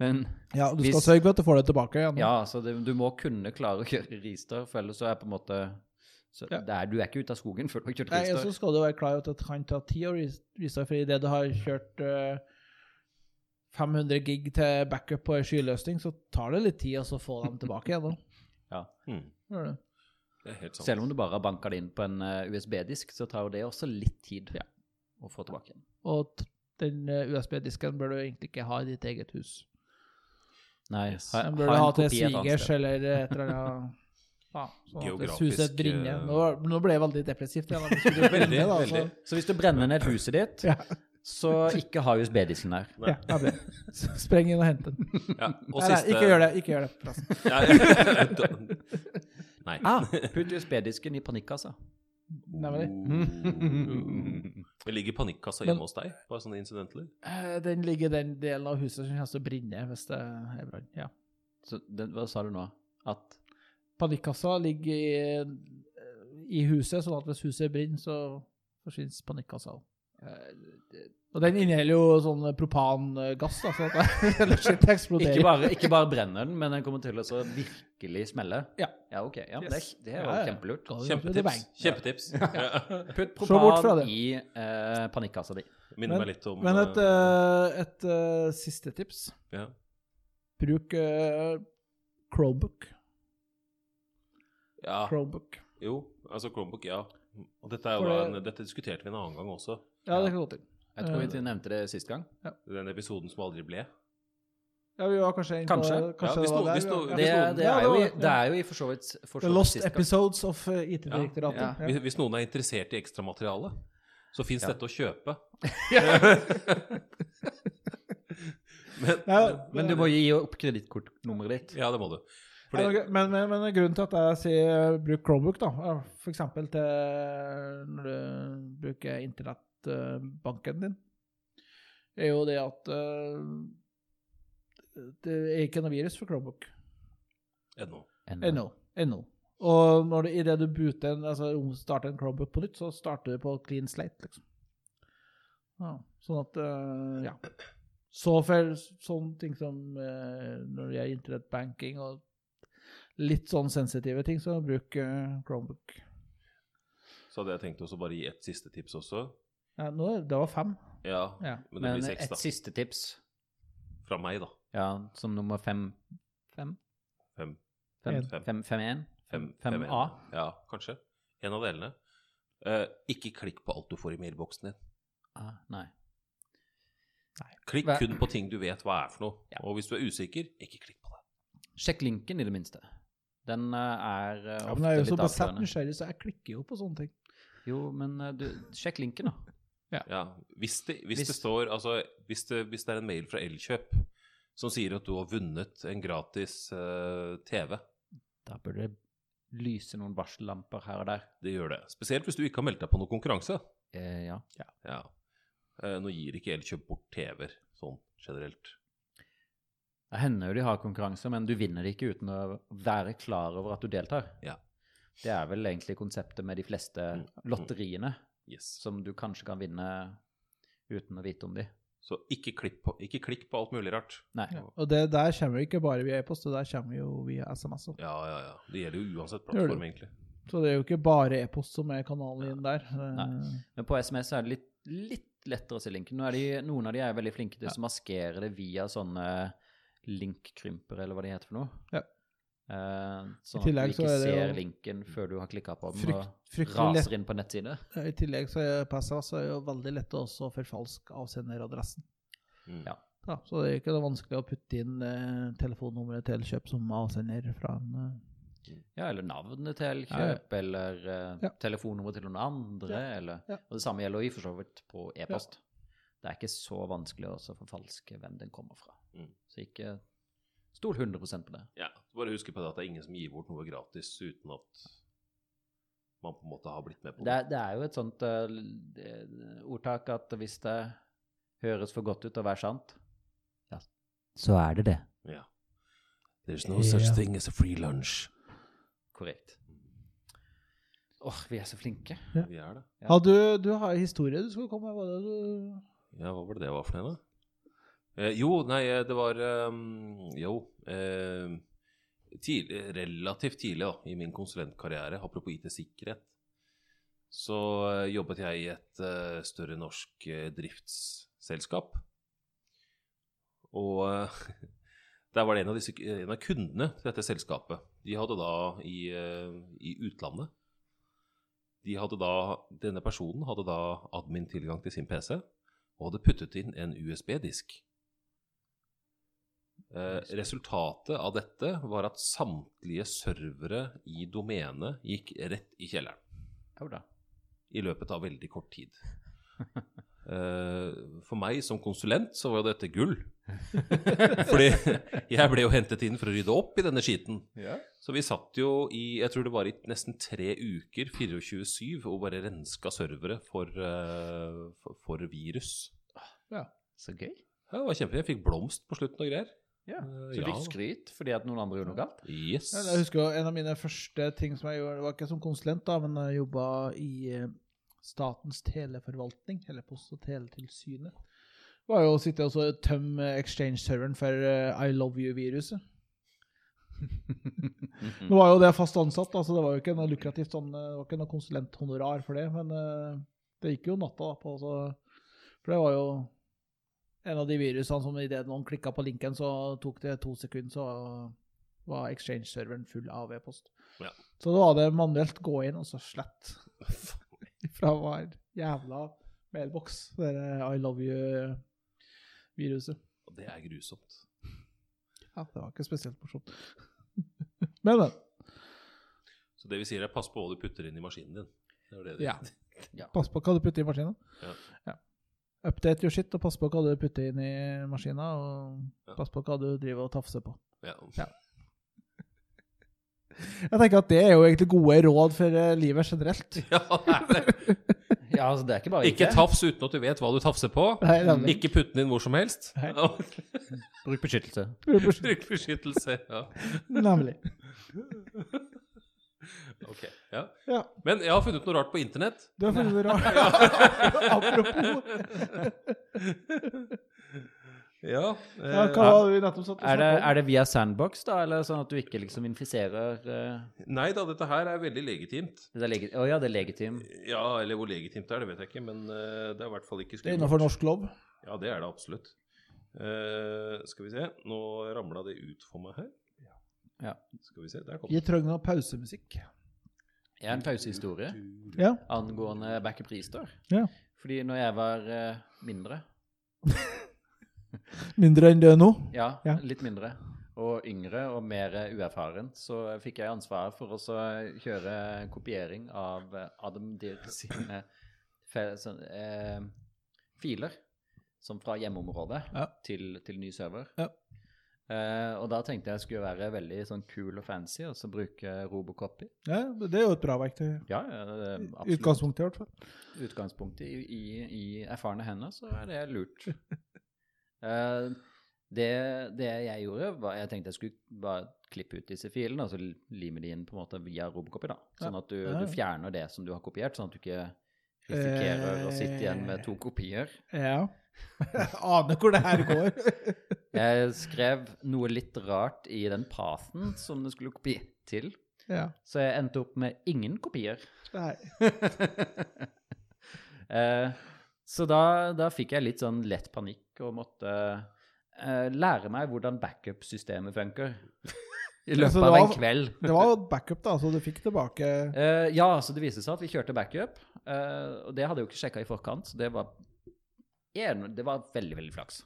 Speaker 4: men
Speaker 3: Ja, du skal
Speaker 4: Hvis-
Speaker 3: sørge for at du får det tilbake igjen.
Speaker 4: Ja, altså det, du må kunne klare å kjøre rister, for ellers så er på en måte så
Speaker 3: Ja.
Speaker 4: det er, Du er ikke ute av skogen før du har kjørt
Speaker 3: Nei, altså,
Speaker 4: rister.
Speaker 3: så skal du være klar over at det kan ta ti år vise for idet du har kjørt eh, 500 gig til backup på en skyløsning, så tar det litt tid å få dem tilbake igjen. da.
Speaker 4: Ja.
Speaker 2: Mm,
Speaker 3: Gjør det.
Speaker 2: det er helt sant.
Speaker 4: Selv om du bare har banka det inn på en eh, USB-disk, så tar jo det også litt tid å få tilbake igjen.
Speaker 3: Og t- den eh, USB-disken bør du egentlig ikke ha i ditt eget hus.
Speaker 4: Nei,
Speaker 2: Yes.
Speaker 4: ha,
Speaker 3: Den
Speaker 4: ha
Speaker 3: bør du
Speaker 4: en
Speaker 3: ha til
Speaker 4: kopi et annet
Speaker 3: svigers
Speaker 4: sted.
Speaker 3: eller et eller annet. Ja, sånn at hvis
Speaker 2: Geografisk,
Speaker 3: huset brenner.
Speaker 2: eh,
Speaker 3: Nå, nå ble jeg veldig depressivt. igjen, da. Hvis huset brenner,
Speaker 2: Veldig,
Speaker 3: da,
Speaker 2: veldig.
Speaker 3: så-
Speaker 4: Så hvis du brenner ned huset ditt,
Speaker 3: Ja.
Speaker 4: så ikke ha USB-disken der.
Speaker 3: Ja, da blir det. S- Spreng inn og hent den.
Speaker 2: Ja, og
Speaker 3: Nei, nei,
Speaker 2: siste
Speaker 3: ikke gjør det. ikke gjør det. forresten.
Speaker 2: Nei.
Speaker 4: Ah, putt USB-disken i altså. panikkassa.
Speaker 3: Nemlig.
Speaker 2: Det ligger panikkassa
Speaker 3: Men-
Speaker 2: hjemme hos deg? Bare sånne incidentler?
Speaker 3: Eh, Den ligger i den delen av huset som kommer til å brenne hvis det er brann. Ja.
Speaker 4: Så den, hva sa du nå? At
Speaker 3: Panikkassa ligger i, eh, i huset, sånn at hvis huset brenner, så forsvinner panikkassa. Og den inneholder jo sånn propangass, da, sånn at det ellers ikke eksploderer.
Speaker 4: ikke bare, ikke bare brenner den, men den kommer til å så virkelig smelle?
Speaker 3: Ja.
Speaker 4: Ja, ok. Ja, det,
Speaker 3: Yes.
Speaker 4: er- det er jo
Speaker 3: Ja, ja.
Speaker 4: kjempelurt.
Speaker 3: Ga det ut med
Speaker 2: Kjempetips.
Speaker 3: bang.
Speaker 2: Kjempetips. Ja.
Speaker 3: Se
Speaker 4: Putt
Speaker 3: bort fra
Speaker 4: propan
Speaker 3: det.
Speaker 4: i eh, panikkassa di.
Speaker 2: Minner
Speaker 3: Men-
Speaker 2: meg litt om
Speaker 3: Men et,
Speaker 2: eh,
Speaker 3: eh, et eh, siste tips.
Speaker 2: ja.
Speaker 3: Bruk eh, Chromebook.
Speaker 2: ja,
Speaker 3: Chromebook.
Speaker 2: jo. Altså Chromebook, ja. Og dette, er jo
Speaker 3: For
Speaker 2: da
Speaker 3: det-
Speaker 2: en, dette diskuterte vi en annen gang også.
Speaker 3: Ja, det kan gå til.
Speaker 4: Jeg tror
Speaker 3: Eh.
Speaker 4: vi nevnte det sist gang.
Speaker 2: Den episoden som aldri ble.
Speaker 3: Ja, vi var kanskje inne på
Speaker 4: Kanskje.
Speaker 3: kanskje
Speaker 2: Ja, vi
Speaker 3: det var
Speaker 2: sto- vi
Speaker 3: der,
Speaker 2: sto-
Speaker 3: ja.
Speaker 4: Det,
Speaker 2: Episoden.
Speaker 4: det,
Speaker 3: Ja,
Speaker 4: er, jo i,
Speaker 3: var-
Speaker 4: det er jo i for så vidt for
Speaker 3: The
Speaker 4: så vidt
Speaker 3: Lost
Speaker 4: sist gang.
Speaker 3: Episodes of eh,
Speaker 2: Ja.
Speaker 3: IT-direktoratet.
Speaker 4: Ja.
Speaker 2: Hvis, hvis noen er interessert i ekstramateriale, så fins dette å kjøpe. men,
Speaker 3: Ja,
Speaker 4: Men du må gi opp kredittkortnummeret ditt.
Speaker 2: ja, det må du.
Speaker 3: Ja,
Speaker 2: Fordi,
Speaker 3: ok, men, men, men grunnen til at jeg sier eh, bruk Chromebook, da, er for eksempel til når du bruker internettbanken din, er jo det at eh, det er ikke noe virus for Chromebook.
Speaker 2: ennå.
Speaker 3: Ennå. Ennå. Og når du, i det du booter en, altså, starter en Chromebook på nytt, så starter du på clean slate, liksom. Ja, sånn at, eh, ja. Så for sånne ting som eh, når det gjelder internettbanking og litt sånn sensitive ting, så bruk eh, Chromebook.
Speaker 2: Så hadde jeg tenkt også bare gi ett siste tips også.
Speaker 3: Ja, nå, det var fem.
Speaker 2: Ja,
Speaker 3: Ja.
Speaker 2: men det
Speaker 4: Men
Speaker 2: blir seks,
Speaker 4: et
Speaker 2: da.
Speaker 4: siste tips,
Speaker 2: Fra meg, da.
Speaker 4: ja, som nummer fem Fem?
Speaker 2: Fem.
Speaker 4: Fem,
Speaker 3: En.
Speaker 2: Fem.
Speaker 4: fem, fem, en?
Speaker 2: Fem,
Speaker 4: Fem
Speaker 2: fem en.
Speaker 4: A.
Speaker 2: Ja, kanskje. En av delene. Eh, ikke klikk på alt du får i mailboksen din.
Speaker 4: Ah, nei.
Speaker 2: Klikk
Speaker 4: Hva-
Speaker 2: kun på ting du vet hva er for noe. Og hvis du er usikker, ikke klikk på det.
Speaker 4: Sjekk linken, i det minste. Den eh, er eh,
Speaker 3: Ja,
Speaker 4: ofte
Speaker 3: men jeg er jo
Speaker 4: litt
Speaker 3: så besatt
Speaker 4: avslørende.
Speaker 3: nysgjerrig, så jeg klikker jo på sånne ting.
Speaker 4: Jo, men eh, du, sjekk linken, da.
Speaker 2: Ja, hvis det, hvis
Speaker 4: Hvis-
Speaker 2: det står Altså, hvis det, hvis det er en mail fra Elkjøp som sier at du har vunnet en gratis eh, TV,
Speaker 4: Da bør det lyse noen varsellamper her og der.
Speaker 2: det gjør det. Spesielt hvis du ikke har meldt deg på noen konkurranse.
Speaker 4: Eh, ja.
Speaker 2: Ja. Eh, nå gir ikke Elkjøp bort TV-er sånn generelt.
Speaker 4: Det hender jo de har konkurranser, men du vinner det ikke uten å være klar over at du deltar.
Speaker 2: Ja.
Speaker 4: Det er vel egentlig konseptet med de fleste
Speaker 2: Mm.
Speaker 4: lotteriene,
Speaker 2: Yes.
Speaker 4: som du kanskje kan vinne uten å vite om de.
Speaker 2: Så ikke klikk på, ikke klikk på alt mulig rart.
Speaker 4: Nei.
Speaker 2: Ja.
Speaker 3: Og det der kommer jo ikke bare via e-post, det der kommer jo via SMS også.
Speaker 2: Ja, ja, ja. Det gjelder jo uansett
Speaker 3: Gjør det.
Speaker 2: plattform, egentlig.
Speaker 3: Så det er jo ikke bare e-post som er kanalen din der. eh,
Speaker 4: Nei. Men på SMS er det litt, litt lettere å se linken. Nå er de, noen av de er veldig flinke til å maskere det via sånne linkkrympere, eller hva de heter for noe.
Speaker 3: Ja.
Speaker 4: Eh, sånn
Speaker 3: I tillegg
Speaker 4: at du
Speaker 3: så
Speaker 4: ikke
Speaker 3: er det
Speaker 4: ser
Speaker 3: jo
Speaker 4: linken før du har klikka på den
Speaker 3: Frykt-
Speaker 4: og
Speaker 3: fryktelig
Speaker 4: raser inn på nettside.
Speaker 3: I tillegg så er PSA så er det jo veldig lett å også forfalske avsenderadressen.
Speaker 2: Mm.
Speaker 4: Ja.
Speaker 3: Da, så det er ikke noe vanskelig å putte inn eh, telefonnummeret til kjøp som avsender fra en eh,
Speaker 4: Ja, eller navnet til
Speaker 3: Ja, ja.
Speaker 4: kjøp, eller eh,
Speaker 3: Ja.
Speaker 4: telefonnummer til noen andre, eller
Speaker 3: ja.
Speaker 4: Og det samme gjelder jo i for så vidt på e-post. Det er ikke så vanskelig også å forfalske hvem den kommer fra.
Speaker 2: Mm.
Speaker 4: Så ikke stol 100 på det.
Speaker 2: Ja, så bare husk på det at det er ingen som gir bort noe gratis uten at man på en måte har blitt med på
Speaker 4: Det
Speaker 2: det.
Speaker 4: er, det er jo et sånt eh, l- eh, ordtak at hvis det høres for godt ut til å være sant, så er det det.
Speaker 2: Ja. There's no such
Speaker 3: Ja.
Speaker 2: thing as a free lunch.
Speaker 4: Korrekt. Mm. Åh, vi er så flinke.
Speaker 3: Ja.
Speaker 2: Vi er det.
Speaker 4: Ja.
Speaker 3: Ja, du, du har en historie du skulle komme med. Var det du
Speaker 2: Ja, hva var det det var for noe, da? Eh, jo, nei, eh, det var ehm, Jo. Eh, tidlig, relativt tidlig da, i min konsulentkarriere, apropos IT-sikkerhet, så eh, jobbet jeg i et eh, større norsk eh, driftsselskap. Og eh, der var det en av, disse, en av kundene til dette selskapet. De hadde da i, eh, i utlandet de hadde da, Denne personen hadde da admin-tilgang til sin PC og hadde puttet inn en USB-disk. Eh, resultatet av dette var at samtlige servere i domenet gikk rett i kjelleren
Speaker 4: Jo da.
Speaker 2: i løpet av veldig kort tid. Eh, for meg som konsulent så var jo dette gull. Fordi jeg ble jo hentet inn for å rydde opp i denne skiten. Så vi satt jo i jeg tror det var i nesten tre uker, 24-7, og bare renska servere for, eh, for, for virus.
Speaker 4: Så gøy.
Speaker 2: Ja, det var kjempefint. Jeg fikk blomst på slutten og greier.
Speaker 4: Ja.
Speaker 2: Eh,
Speaker 4: Så du fikk skryt fordi at noen andre gjorde noe galt?
Speaker 2: Yes.
Speaker 3: Ja, Jeg husker jo en av mine første ting som jeg gjorde, det var ikke som konsulent da, men jeg jobba i eh, Statens teleforvaltning, eller Post- og teletilsynet. Det var jo å sitte og så tømme eh, Exchange-serveren for eh, I love you-viruset.
Speaker 4: Mm. Mm-hmm.
Speaker 3: Nå var jo det fast ansatt, da, så det var jo ikke noe lukrativt sånn, eh, det var ikke noe konsulenthonorar for det, men eh, det gikk jo natta da på, så, for det var jo en av de virusene som i det noen klikket på linken, så tok det to sekunder, så var Exchange-serveren full av e-post.
Speaker 2: Ja.
Speaker 3: Så da var det manuelt gå inn og så slett fra hver jævla mailboks, det der eh, I love you-viruset.
Speaker 2: Og Det er grusomt.
Speaker 3: Ja, det var ikke spesielt morsomt. Men, men,
Speaker 2: Så det vi sier er pass på hva du putter inn i maskinen din. Det er jo det du-
Speaker 3: Ja.
Speaker 4: Ja.
Speaker 3: Pass på hva du putter i maskina.
Speaker 2: Ja.
Speaker 3: Update your shit, og pass på hva du putter inn i maskina, og
Speaker 2: Ja.
Speaker 3: pass på hva du driver og tafser på.
Speaker 2: Ja.
Speaker 3: Ja. Jeg tenker at det er jo egentlig gode råd for eh, livet generelt.
Speaker 2: Ja, det er det.
Speaker 4: Ja, altså, det er ikke bare
Speaker 2: Ikke tafs uten at du vet hva du tafser på.
Speaker 3: Nei, nemlig.
Speaker 2: Ikke putt den inn hvor som helst.
Speaker 3: Nei.
Speaker 2: Og
Speaker 4: Bruk beskyttelse.
Speaker 2: Bruk beskyttelse. Ja.
Speaker 3: Nemlig.
Speaker 2: Ok, ja.
Speaker 3: Ja,
Speaker 2: Men jeg har funnet noe rart på internett.
Speaker 3: du har funnet det rart. Apropos,
Speaker 2: Ja,
Speaker 3: ja, hva
Speaker 4: Ja.
Speaker 3: var det vi nettopp satt og
Speaker 4: Er det,
Speaker 3: snakket om?
Speaker 4: er det via sandbox, da, eller sånn at du ikke liksom infiserer eh,
Speaker 2: Nei da, dette her er veldig legitimt.
Speaker 4: det er legi- Å ja, det er legitim.
Speaker 2: Ja, eller hvor legitimt det er, det vet jeg ikke, men eh, det er i hvert fall ikke
Speaker 3: Det er innenfor norsk lov.
Speaker 2: Ja, det er det absolutt. Eh, skal vi se, nå ramla det ut for meg her.
Speaker 4: Ja.
Speaker 2: Skal vi se, der kom
Speaker 3: Vi trenger noe pausemusikk.
Speaker 4: Jeg har en pausehistorie
Speaker 3: Ja.
Speaker 4: angående back up store.
Speaker 3: Ja.
Speaker 4: Fordi når jeg var eh, mindre
Speaker 3: Mindre enn det er nå.
Speaker 4: Ja,
Speaker 3: Ja.
Speaker 4: litt mindre. Og yngre og mer uerfaren. Så fikk jeg ansvaret for å så kjøre kopiering av eh, Adam Dirk sine fe- sånn, eh, filer. Som fra hjemmeområdet
Speaker 3: Ja.
Speaker 4: til, til ny server.
Speaker 3: Ja.
Speaker 4: Eh, og da tenkte jeg skulle være veldig sånn cool og fancy og så bruke Robocopy.
Speaker 3: Ja, det er jo et bra verktøy.
Speaker 4: Ja, ja, det er
Speaker 3: I
Speaker 4: absolutt.
Speaker 3: utgangspunktet, i hvert fall.
Speaker 4: utgangspunktet i, i, i erfarne hender, så er det lurt. Eh, det, det jeg gjorde, var jeg tenkte jeg skulle bare klippe ut disse filene, og så lime de inn på en måte via Robocopy, da. Sånn at du,
Speaker 3: Ja, ja.
Speaker 4: du fjerner det som du har kopiert, sånn at du ikke risikerer å sitte igjen med to kopier.
Speaker 3: Ja. Aner hvor det her går.
Speaker 4: Jeg skrev noe litt rart i den pathen som det skulle kopi til,
Speaker 3: Ja.
Speaker 4: så jeg endte opp med ingen kopier.
Speaker 3: Nei.
Speaker 4: Eh, Så da, da fikk jeg litt sånn lett panikk og måtte eh, lære meg hvordan backup-systemet funker. I
Speaker 3: Ja, så det
Speaker 4: løpet av en
Speaker 3: var-
Speaker 4: kveld.
Speaker 3: Det var jo backup, da, så du fikk tilbake
Speaker 4: Eh, ja, så det viste seg at vi kjørte backup, eh, og det hadde jeg jo ikke sjekka i forkant. Så det var, en, det var veldig, veldig flaks.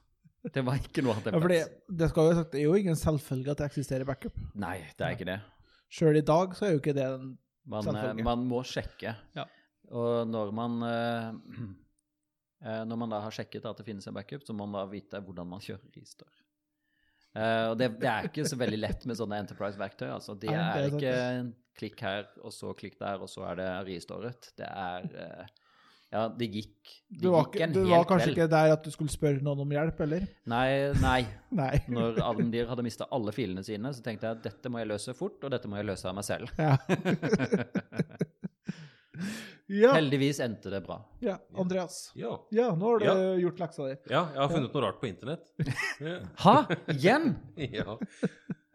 Speaker 4: Det var ikke noe annet
Speaker 3: ja,
Speaker 4: enn
Speaker 3: fordi,
Speaker 4: flaks.
Speaker 3: det, skal jo være sagt, det er jo ingen selvfølge at det eksisterer backup.
Speaker 4: Nei, det er ikke det.
Speaker 3: Sjøl i dag så er jo ikke det en
Speaker 4: Man,
Speaker 3: Selvfølgelig.
Speaker 4: eh, man må sjekke.
Speaker 3: Ja.
Speaker 4: Og når man, eh, eh, når man da har sjekket at det finnes en backup, så må man da vite hvordan man kjører restore. Eh, og det, det er ikke så veldig lett med sånne Enterprise-verktøy. altså. De
Speaker 3: Nei,
Speaker 4: er
Speaker 3: det er sant.
Speaker 4: ikke en klikk her, og så klikk der, og så er det restoret. Det er eh, Ja, det gikk,
Speaker 3: Du
Speaker 4: det
Speaker 3: var,
Speaker 4: gikk
Speaker 3: ikke,
Speaker 4: en
Speaker 3: du
Speaker 4: hel
Speaker 3: var kanskje
Speaker 4: kveld.
Speaker 3: ikke der at du skulle spørre noen om hjelp, eller?
Speaker 4: Nei, nei.
Speaker 3: Nei.
Speaker 4: Når Avendir hadde mista alle filene sine, så tenkte jeg at dette må jeg løse fort, og dette må jeg løse av meg selv.
Speaker 3: Ja. ja.
Speaker 4: Heldigvis endte det bra.
Speaker 3: ja. Andreas.
Speaker 2: Ja.
Speaker 3: Ja, nå har du
Speaker 2: Ja.
Speaker 3: gjort leksa di.
Speaker 2: ja, jeg har funnet noe rart på internett. Ja.
Speaker 4: Ha! Igjen!
Speaker 2: ja.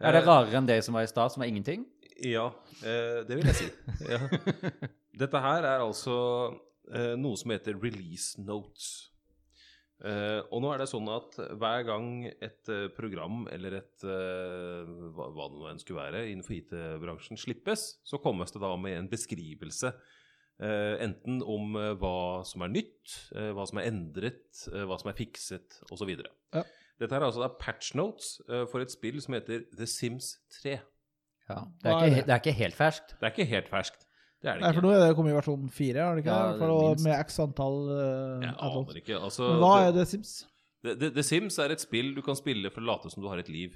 Speaker 4: Er det rarere enn det som var i stad, som var ingenting?
Speaker 2: Ja, eh, det vil jeg si. Ja. Dette her er altså eh, noe som heter release notes. Eh, og nå er det sånn at hver gang et eh, program eller et eh, hva, hva det nå enn skulle være innenfor IT-bransjen slippes, så kommes det da med en beskrivelse. eh, enten om eh, hva som er nytt, eh, hva som er endret, eh, hva som er fikset, osv.
Speaker 3: Ja.
Speaker 2: Dette her er altså da patch notes eh, for et spill som heter The Sims 3.
Speaker 4: Ja, det,
Speaker 3: Hva er
Speaker 4: er ikke,
Speaker 3: det?
Speaker 4: he- det er ikke helt ferskt.
Speaker 2: Det er ikke helt ferskt. Det er det
Speaker 3: Nei, for
Speaker 2: ikke.
Speaker 3: nå er det kommet i versjon fire, har det ikke?
Speaker 4: Ja,
Speaker 3: det? For å-
Speaker 4: minst.
Speaker 3: med x antall eh,
Speaker 2: Jeg
Speaker 3: add-ons.
Speaker 2: aner ikke. Altså,
Speaker 3: Men hva er det Sims?
Speaker 2: The, The, The Sims er et spill du kan spille for å late som du har et liv.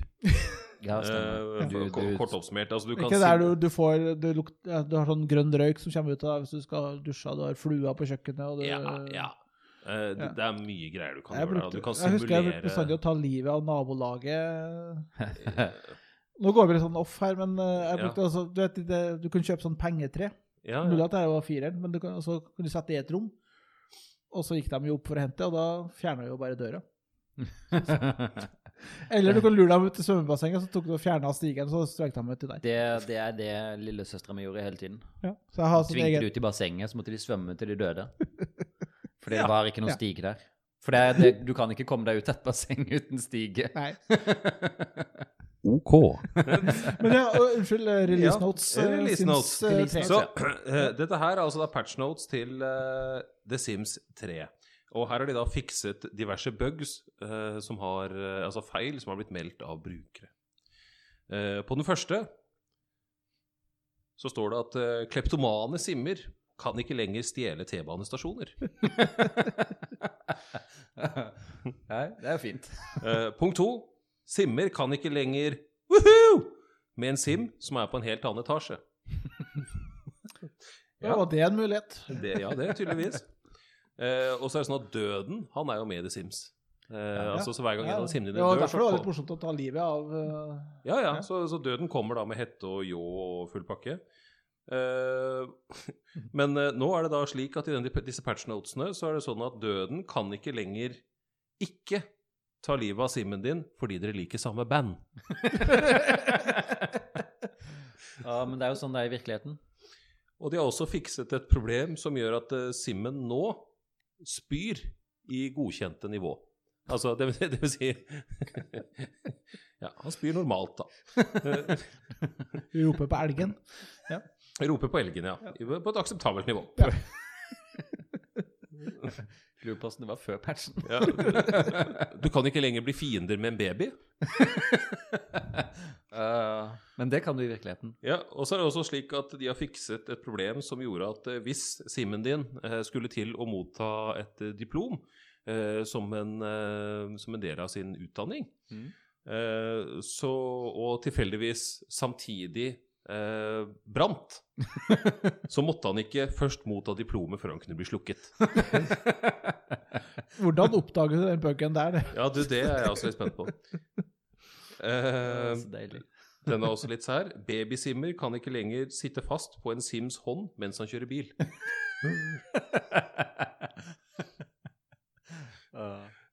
Speaker 4: Ja, stemmer.
Speaker 2: Eh,
Speaker 4: Du,
Speaker 2: for- ko- kort
Speaker 4: du,
Speaker 2: oppsummert. Altså, du
Speaker 3: Det er
Speaker 2: kan
Speaker 3: ikke der du,
Speaker 2: sim-
Speaker 3: du får du, luk, ja, du har sånn grønn røyk som kommer ut av deg hvis du skal dusje, du har flua på kjøkkenet og du
Speaker 2: Ja, ja. Eh, det,
Speaker 3: Ja.
Speaker 2: det er mye greier du kan
Speaker 3: Jeg,
Speaker 2: gjøre der. og
Speaker 3: brukte,
Speaker 2: Du kan
Speaker 3: jeg husker jeg brukte
Speaker 2: simulere
Speaker 3: bestandig å ta livet av nabolaget. Nå går vi litt sånn off her, men eh, jeg
Speaker 2: Ja.
Speaker 3: brukte altså, du, vet, det, du kunne kjøpe sånn pengetre.
Speaker 2: ja,
Speaker 3: Mulig
Speaker 2: ja.
Speaker 3: at det var fireren, men du kan, så kunne du sette det i et rom. Og så gikk de jo opp for å hente, og da fjerna jo bare døra.
Speaker 4: Eh,
Speaker 3: Eller du kan lure dem ut til svømmebassenget, så tok du og fjerna stigen, så strøk de ut til deg.
Speaker 4: det, det er det lillesøstera mi gjorde hele tiden.
Speaker 3: Ja. Så jeg har sånn
Speaker 4: Tvingte
Speaker 3: egen
Speaker 4: de ut i bassenget, så måtte de svømme til de døde. Fordi
Speaker 2: Ja,
Speaker 4: det var ikke noen
Speaker 3: ja.
Speaker 4: stige der. For det, er- det, du kan ikke komme deg ut av et basseng uten stige.
Speaker 3: Nei.
Speaker 2: OK.
Speaker 3: Men ja, og, unnskyld, eh, release
Speaker 2: Ja,
Speaker 3: notes. eh,
Speaker 2: release
Speaker 3: Sims,
Speaker 2: notes.
Speaker 3: eh, tre.
Speaker 4: Release notes.
Speaker 2: Så eh, dette her er altså da patch notes til eh, The Sims 3. Og her har de da fikset diverse bugs, eh, som har, eh, altså feil, som har blitt meldt av brukere. Eh, på den første så står det at eh, kleptomane simmer kan ikke lenger stjele T-banestasjoner.
Speaker 4: Nei, det er fint.
Speaker 2: Eh, punkt to simmer kan ikke lenger woohoo, med en sim som er på en helt annen etasje.
Speaker 3: Ja, var det en mulighet?
Speaker 2: Det, ja, det er tydeligvis. Eh, og så er det sånn at døden, han er jo med i The Sims. Eh, altså, så hver gang en
Speaker 3: Ja,
Speaker 2: av simene
Speaker 3: det
Speaker 2: dine
Speaker 3: var
Speaker 2: dør,
Speaker 3: derfor det var litt
Speaker 2: kom-
Speaker 3: morsomt å ta livet av eh,
Speaker 2: ja, ja, så, så døden kommer da med hette og ljå og full pakke. Eh, men eh, nå er det da slik at i den, disse patchnotesene så er det sånn at døden kan ikke lenger ikke ta livet av simmen din fordi dere liker samme band.
Speaker 4: Ja, men det er jo sånn det er i virkeligheten.
Speaker 2: Og de har også fikset et problem som gjør at eh, simmen nå spyr i godkjente nivå. Altså, det vil si, det vil si Ja, han spyr normalt, da. Eh,
Speaker 3: roper på elgen.
Speaker 2: Roper på elgen, ja. På et akseptabelt nivå.
Speaker 4: Lurer på åssen det var før patchen.
Speaker 2: Ja. Du kan ikke lenger bli fiender med en baby.
Speaker 4: Eh, men det kan du i virkeligheten.
Speaker 2: Ja, Og så er det også slik at de har fikset et problem som gjorde at eh, hvis simmen din eh, skulle til å motta et eh, diplom eh, som, en, eh, som en del av sin utdanning,
Speaker 4: Mhm.
Speaker 2: eh, så, og tilfeldigvis samtidig eh, brant, så måtte han ikke først motta diplomet før han kunne bli slukket.
Speaker 3: Hvordan oppdaget du den pucken der?
Speaker 2: Ja, du, det er jeg også litt spent på. Eh,
Speaker 4: Så deilig.
Speaker 2: Den er også litt sær. Babysimmer kan ikke lenger sitte fast på en sims hånd mens han kjører bil.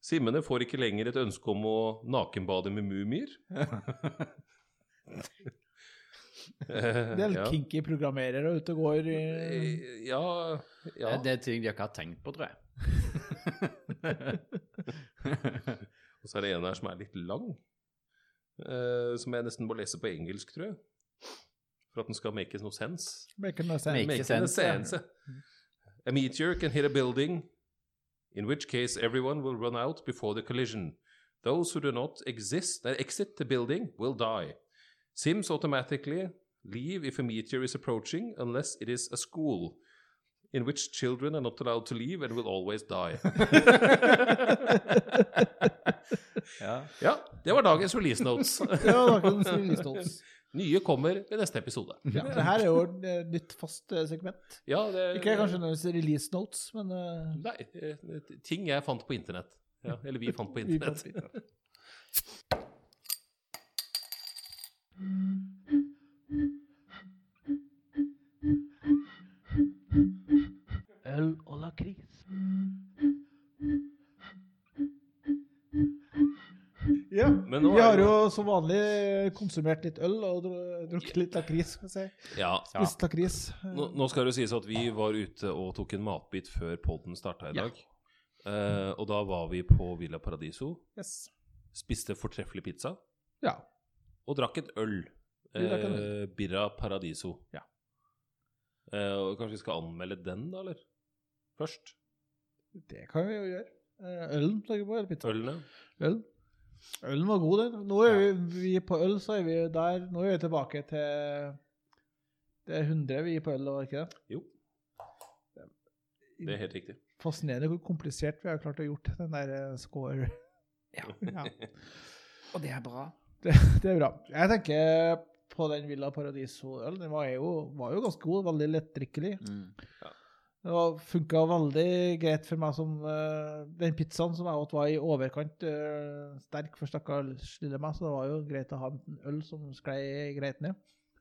Speaker 2: Simmene får ikke lenger et ønske om å nakenbade med mumier. Eh,
Speaker 3: Det er litt
Speaker 2: ja.
Speaker 3: kinky programmerere ute og går. i-
Speaker 2: Eh, Ja, ja.
Speaker 4: Det er ting de ikke har tenkt på, tror jeg.
Speaker 2: Og så er det en her som er litt lang, eh, som jeg nesten må lese på engelsk, tror jeg. For at den skal make no sense.
Speaker 3: Make no sense.
Speaker 4: Make
Speaker 2: Make
Speaker 4: sense, ja.
Speaker 2: sense. A meteor can hit a building, in which case everyone will run out before the collision. Those who do not exist, uh, exit the building will die. Sims automatically leave if a meteor is approaching, unless it is a school, in which children are not allowed to leave and will always die.
Speaker 4: Ja.
Speaker 2: ja, det var dagens release notes.
Speaker 3: Ja, da kan du si litt stolt.
Speaker 2: Nye kommer ved neste episode.
Speaker 3: Ja, det her er jo et eh, nytt fast eh, segment.
Speaker 2: Ja, det,
Speaker 3: Ikke kanskje nødvendigvis release notes, men eh,
Speaker 2: Nei, eh, ting jeg fant på internett. Ja, eller vi fant på
Speaker 3: vi får
Speaker 2: internett.
Speaker 3: finne ut. Øl og lakris. Ja,
Speaker 2: Men nå
Speaker 3: vi
Speaker 2: er
Speaker 3: har
Speaker 2: det-
Speaker 3: jo som vanlig konsumert litt øl og dru- drukket litt lakris. skal vi si.
Speaker 2: Ja,
Speaker 3: Spist lakris.
Speaker 2: Nå, nå skal det sies at vi var ute og tok en matbit før podden starta i
Speaker 3: Ja.
Speaker 2: dag. Eh, og da var vi på Villa Paradiso,
Speaker 3: Yes.
Speaker 2: spiste fortreffelig pizza
Speaker 3: Ja.
Speaker 2: og drakk et øl.
Speaker 3: Vi drakk en
Speaker 2: Eh, Birra Paradiso.
Speaker 3: Ja.
Speaker 2: Eh, og kanskje vi skal anmelde den, da, eller? Først.
Speaker 3: Det kan vi jo gjøre. Eh, Ølen tenker jeg på, eller pizza?
Speaker 2: Ølene.
Speaker 3: Øl. Ølen var god, den. Nå er vi, vi på øl, så er vi der. Nå er vi tilbake til Det er 100 vi gir på øl, var det ikke det?
Speaker 2: Jo, det er helt riktig.
Speaker 3: Fascinerende hvor komplisert vi har klart å gjort den der eh, score.
Speaker 4: Ja.
Speaker 3: Ja.
Speaker 4: Og det er bra.
Speaker 3: Det, det er bra. Jeg tenker på den Villa Paradiso-ølen. Den var jo, var jo ganske god. Veldig lettdrikkelig.
Speaker 4: Mm.
Speaker 3: Det funka veldig greit for meg som eh, Den pizzaen som jeg åt, var i overkant eh, sterk for stakkars lille meg, så det var jo greit å ha en øl som sklei greit ned.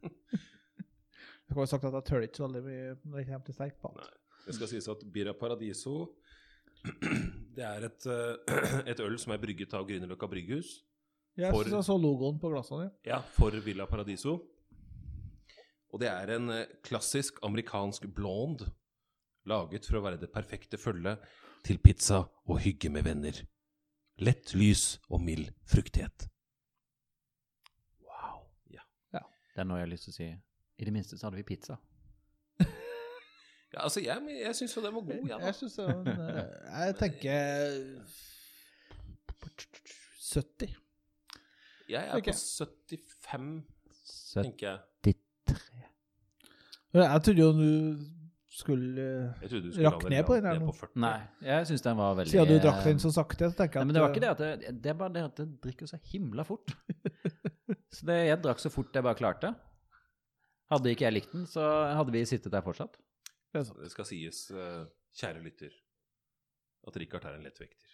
Speaker 3: Jeg kan jo sagt at jeg tøler ikke så veldig mye når det kommer til sterk mat.
Speaker 2: Det skal sies at Birra Paradiso det er et, eh, et øl som er brygget av Grünerløkka brygghus.
Speaker 3: Jeg
Speaker 2: For-
Speaker 3: syns jeg så logoen på glassene dine.
Speaker 2: Ja, for Villa Paradiso. Og det er en eh, klassisk amerikansk blond laget for å være det perfekte følge til pizza og hygge med venner. Lett lys og mild fruktighet. Wow. Ja,
Speaker 4: Det er noe jeg har lyst til å si. I det minste så hadde vi pizza.
Speaker 2: ja altså, jeg, jeg syns jo den var
Speaker 4: Oh,
Speaker 2: god, jeg,
Speaker 3: Jeg
Speaker 2: da.
Speaker 3: synes det var en, eh, Jeg tenker 70.
Speaker 2: Jeg er
Speaker 3: Ok.
Speaker 2: på 75, tenker jeg.
Speaker 4: 73.
Speaker 3: Jeg trodde jo du skulle eh,
Speaker 2: Jeg trodde du skulle
Speaker 3: Rakk
Speaker 2: ha
Speaker 3: ned på den
Speaker 2: ned
Speaker 3: her nå.
Speaker 2: på 40.
Speaker 4: Nei, jeg syns den var veldig eh,
Speaker 3: Siden du drakk den så sakte, så tenker jeg
Speaker 4: Nei, men det var ikke det at det, det er bare det at det drikker så himla fort. Så det, jeg drakk så fort jeg bare klarte. Hadde ikke jeg likt den, så hadde vi sittet der fortsatt.
Speaker 3: det er sant.
Speaker 2: Det skal sies, eh, kjære lytter, at Richard er en lettvekter.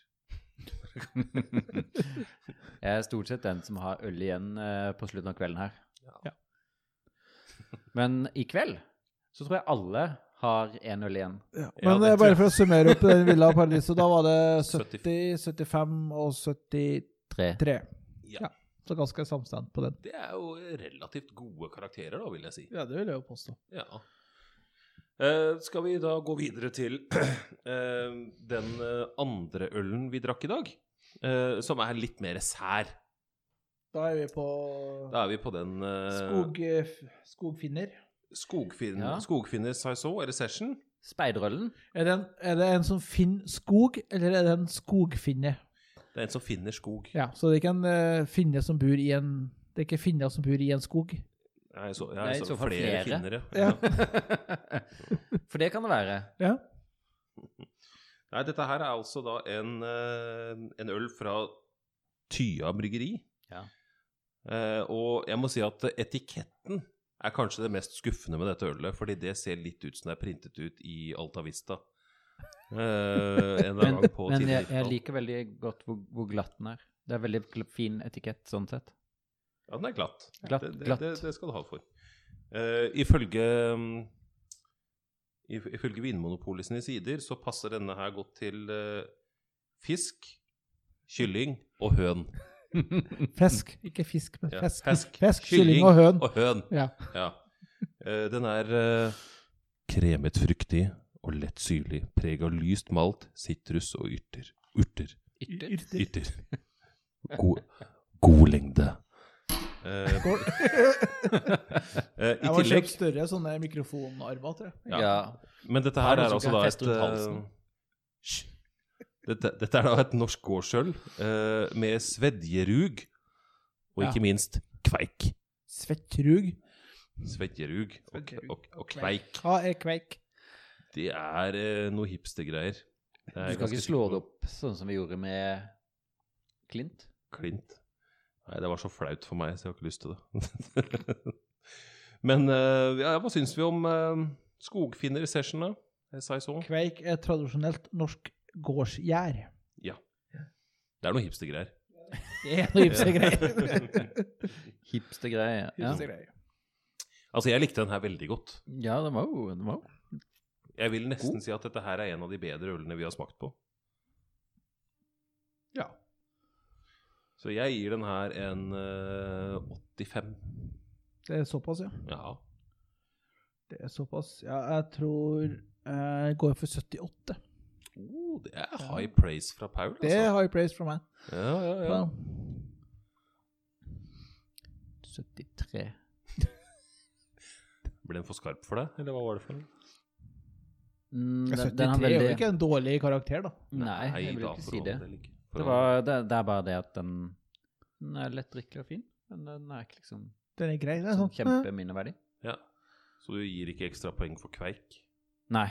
Speaker 4: Jeg er stort sett den som har øl igjen eh, på slutten av kvelden her.
Speaker 3: Ja.
Speaker 4: Men i kveld så tror jeg alle har en øl igjen.
Speaker 3: Ja,
Speaker 2: Ja,
Speaker 3: men
Speaker 2: det
Speaker 3: eh,
Speaker 2: tror
Speaker 3: bare
Speaker 2: jeg.
Speaker 3: for å summere opp den Villa Paradiso, da var det
Speaker 2: 70.
Speaker 3: 70, 75 og 73.
Speaker 4: Tre.
Speaker 2: Ja,
Speaker 3: Ja. Så ganske samstemt på den.
Speaker 2: Det er jo relativt gode karakterer, da, vil jeg si.
Speaker 3: Ja, det vil jeg jo påstå.
Speaker 2: Ja. Eh, skal vi da gå videre til eh, den eh, andre ølen vi drakk i dag? eh, som er litt mer sær.
Speaker 3: Da er vi på
Speaker 2: Da er vi på den eh,
Speaker 3: skog, eh, f- skogfinner.
Speaker 2: skogfin,
Speaker 4: Ja.
Speaker 2: Skogfinner Saison, eller Session.
Speaker 4: Speiderølen.
Speaker 3: Er det, en, er det en som finner skog, eller er det en skogfinne?
Speaker 2: Det er en som finner skog.
Speaker 3: Ja, så det er ikke en eh, finne som bor i en Det er ikke finner som bor i en skog.
Speaker 2: Nei, så, ja,
Speaker 4: Nei, i
Speaker 2: så
Speaker 4: så fall
Speaker 2: flere,
Speaker 4: flere.
Speaker 2: finnere.
Speaker 3: Ja.
Speaker 4: For det kan det være.
Speaker 3: Ja.
Speaker 2: Nei, dette her er altså da en, eh, en øl fra Tya bryggeri.
Speaker 4: Ja.
Speaker 2: Eh, og jeg må si at etiketten er kanskje det mest skuffende med dette ølet, fordi det ser litt ut som det er printet ut i Alta Vista. Eh, en eller
Speaker 4: Men,
Speaker 2: annen gang på
Speaker 4: men
Speaker 2: tidlig
Speaker 4: jeg, jeg
Speaker 2: 90-tall.
Speaker 4: liker veldig godt hvor, hvor glatt den er. Det er veldig gl- fin etikett sånn sett.
Speaker 2: Ja, den er glatt.
Speaker 4: Glatt,
Speaker 2: det, det,
Speaker 4: glatt.
Speaker 2: Det, det skal du ha for. Eh, ifølge mm, if- Ifølge Vinmonopolet sine sider så passer denne her godt til eh, fisk, kylling og høn.
Speaker 3: Fisk. Ikke fisk, men
Speaker 2: Ja,
Speaker 3: fisk.
Speaker 2: fisk,
Speaker 3: Fisk, kylling og høn.
Speaker 2: Og høn.
Speaker 3: Ja.
Speaker 2: Ja. Eh, den er eh, kremet fruktig og lett syrlig, preg av lyst malt, sitrus og yrter. Urter.
Speaker 4: Ytter.
Speaker 2: Yrter. God, god lengde. Eh,
Speaker 3: Skål.
Speaker 2: eh, I
Speaker 3: Jeg må
Speaker 2: tillegg
Speaker 3: kjøpe større sånne mikrofonarmer, tror jeg.
Speaker 4: Ja.
Speaker 2: Men dette
Speaker 4: Er
Speaker 2: her
Speaker 4: det
Speaker 2: er
Speaker 4: noen
Speaker 2: altså
Speaker 4: som
Speaker 2: da
Speaker 4: kan
Speaker 2: et
Speaker 4: feste rundt halsen?
Speaker 2: eh, hysj. dette, dette er da et norsk gårdsøl eh, med svedjerug, og
Speaker 3: Ja.
Speaker 2: ikke minst kveik.
Speaker 3: Svettrug.
Speaker 2: Svedjerug og,
Speaker 3: Svedjerug.
Speaker 2: og, og kveik.
Speaker 3: Hva er kveik?
Speaker 2: Det er eh, noe hipstergreier. Det er
Speaker 4: Du
Speaker 2: jeg
Speaker 4: skal
Speaker 2: ganske
Speaker 4: ikke slå
Speaker 2: sikker
Speaker 4: det
Speaker 2: på.
Speaker 4: opp sånn som vi gjorde med Klint?
Speaker 2: Klint. Nei, det var så flaut for meg, så jeg har ikke lyst til det. Men eh, ja, hva syns vi om eh, skogfinner-session, da? SISO?
Speaker 3: Kveik er tradisjonelt norsk gårdsgjær.
Speaker 2: Det er noe hipstergreier.
Speaker 3: Det er noe ymse greier.
Speaker 4: Hipste greie. Ja.
Speaker 3: Ymse greier.
Speaker 2: Altså, jeg likte den her veldig godt.
Speaker 4: ja, det var jo, det var jo.
Speaker 2: Jeg vil nesten si at dette her er en av de bedre ølene vi har smakt på.
Speaker 3: Ja.
Speaker 2: Så jeg gir den her en eh, 85.
Speaker 3: Det er såpass, ja.
Speaker 2: Ja.
Speaker 3: Det er såpass. Ja, jeg tror eh, jeg går for 78.
Speaker 2: Oh, det er high praise fra Paul,
Speaker 3: Det er
Speaker 2: altså.
Speaker 3: high praise for meg.
Speaker 2: Ja, ja, ja.
Speaker 3: Ja.
Speaker 4: 73.
Speaker 2: Ble den for skarp for deg, eller hva var det for noe?
Speaker 4: Mm, den, den
Speaker 3: 73
Speaker 4: har
Speaker 3: er jo
Speaker 4: veldig
Speaker 3: ikke en dårlig karakter, da.
Speaker 4: Nei, jeg vil
Speaker 2: da,
Speaker 4: ikke si det.
Speaker 2: forholder ikke.
Speaker 4: Det, var, det, det er bare det at den, den er lett drikkelig og fin, men den er ikke liksom
Speaker 3: Den er grei. Den er
Speaker 4: sånn
Speaker 3: sånn.
Speaker 4: kjempeminneverdig.
Speaker 2: Ja. Så du gir ikke ekstra poeng for kveik?
Speaker 4: Nei.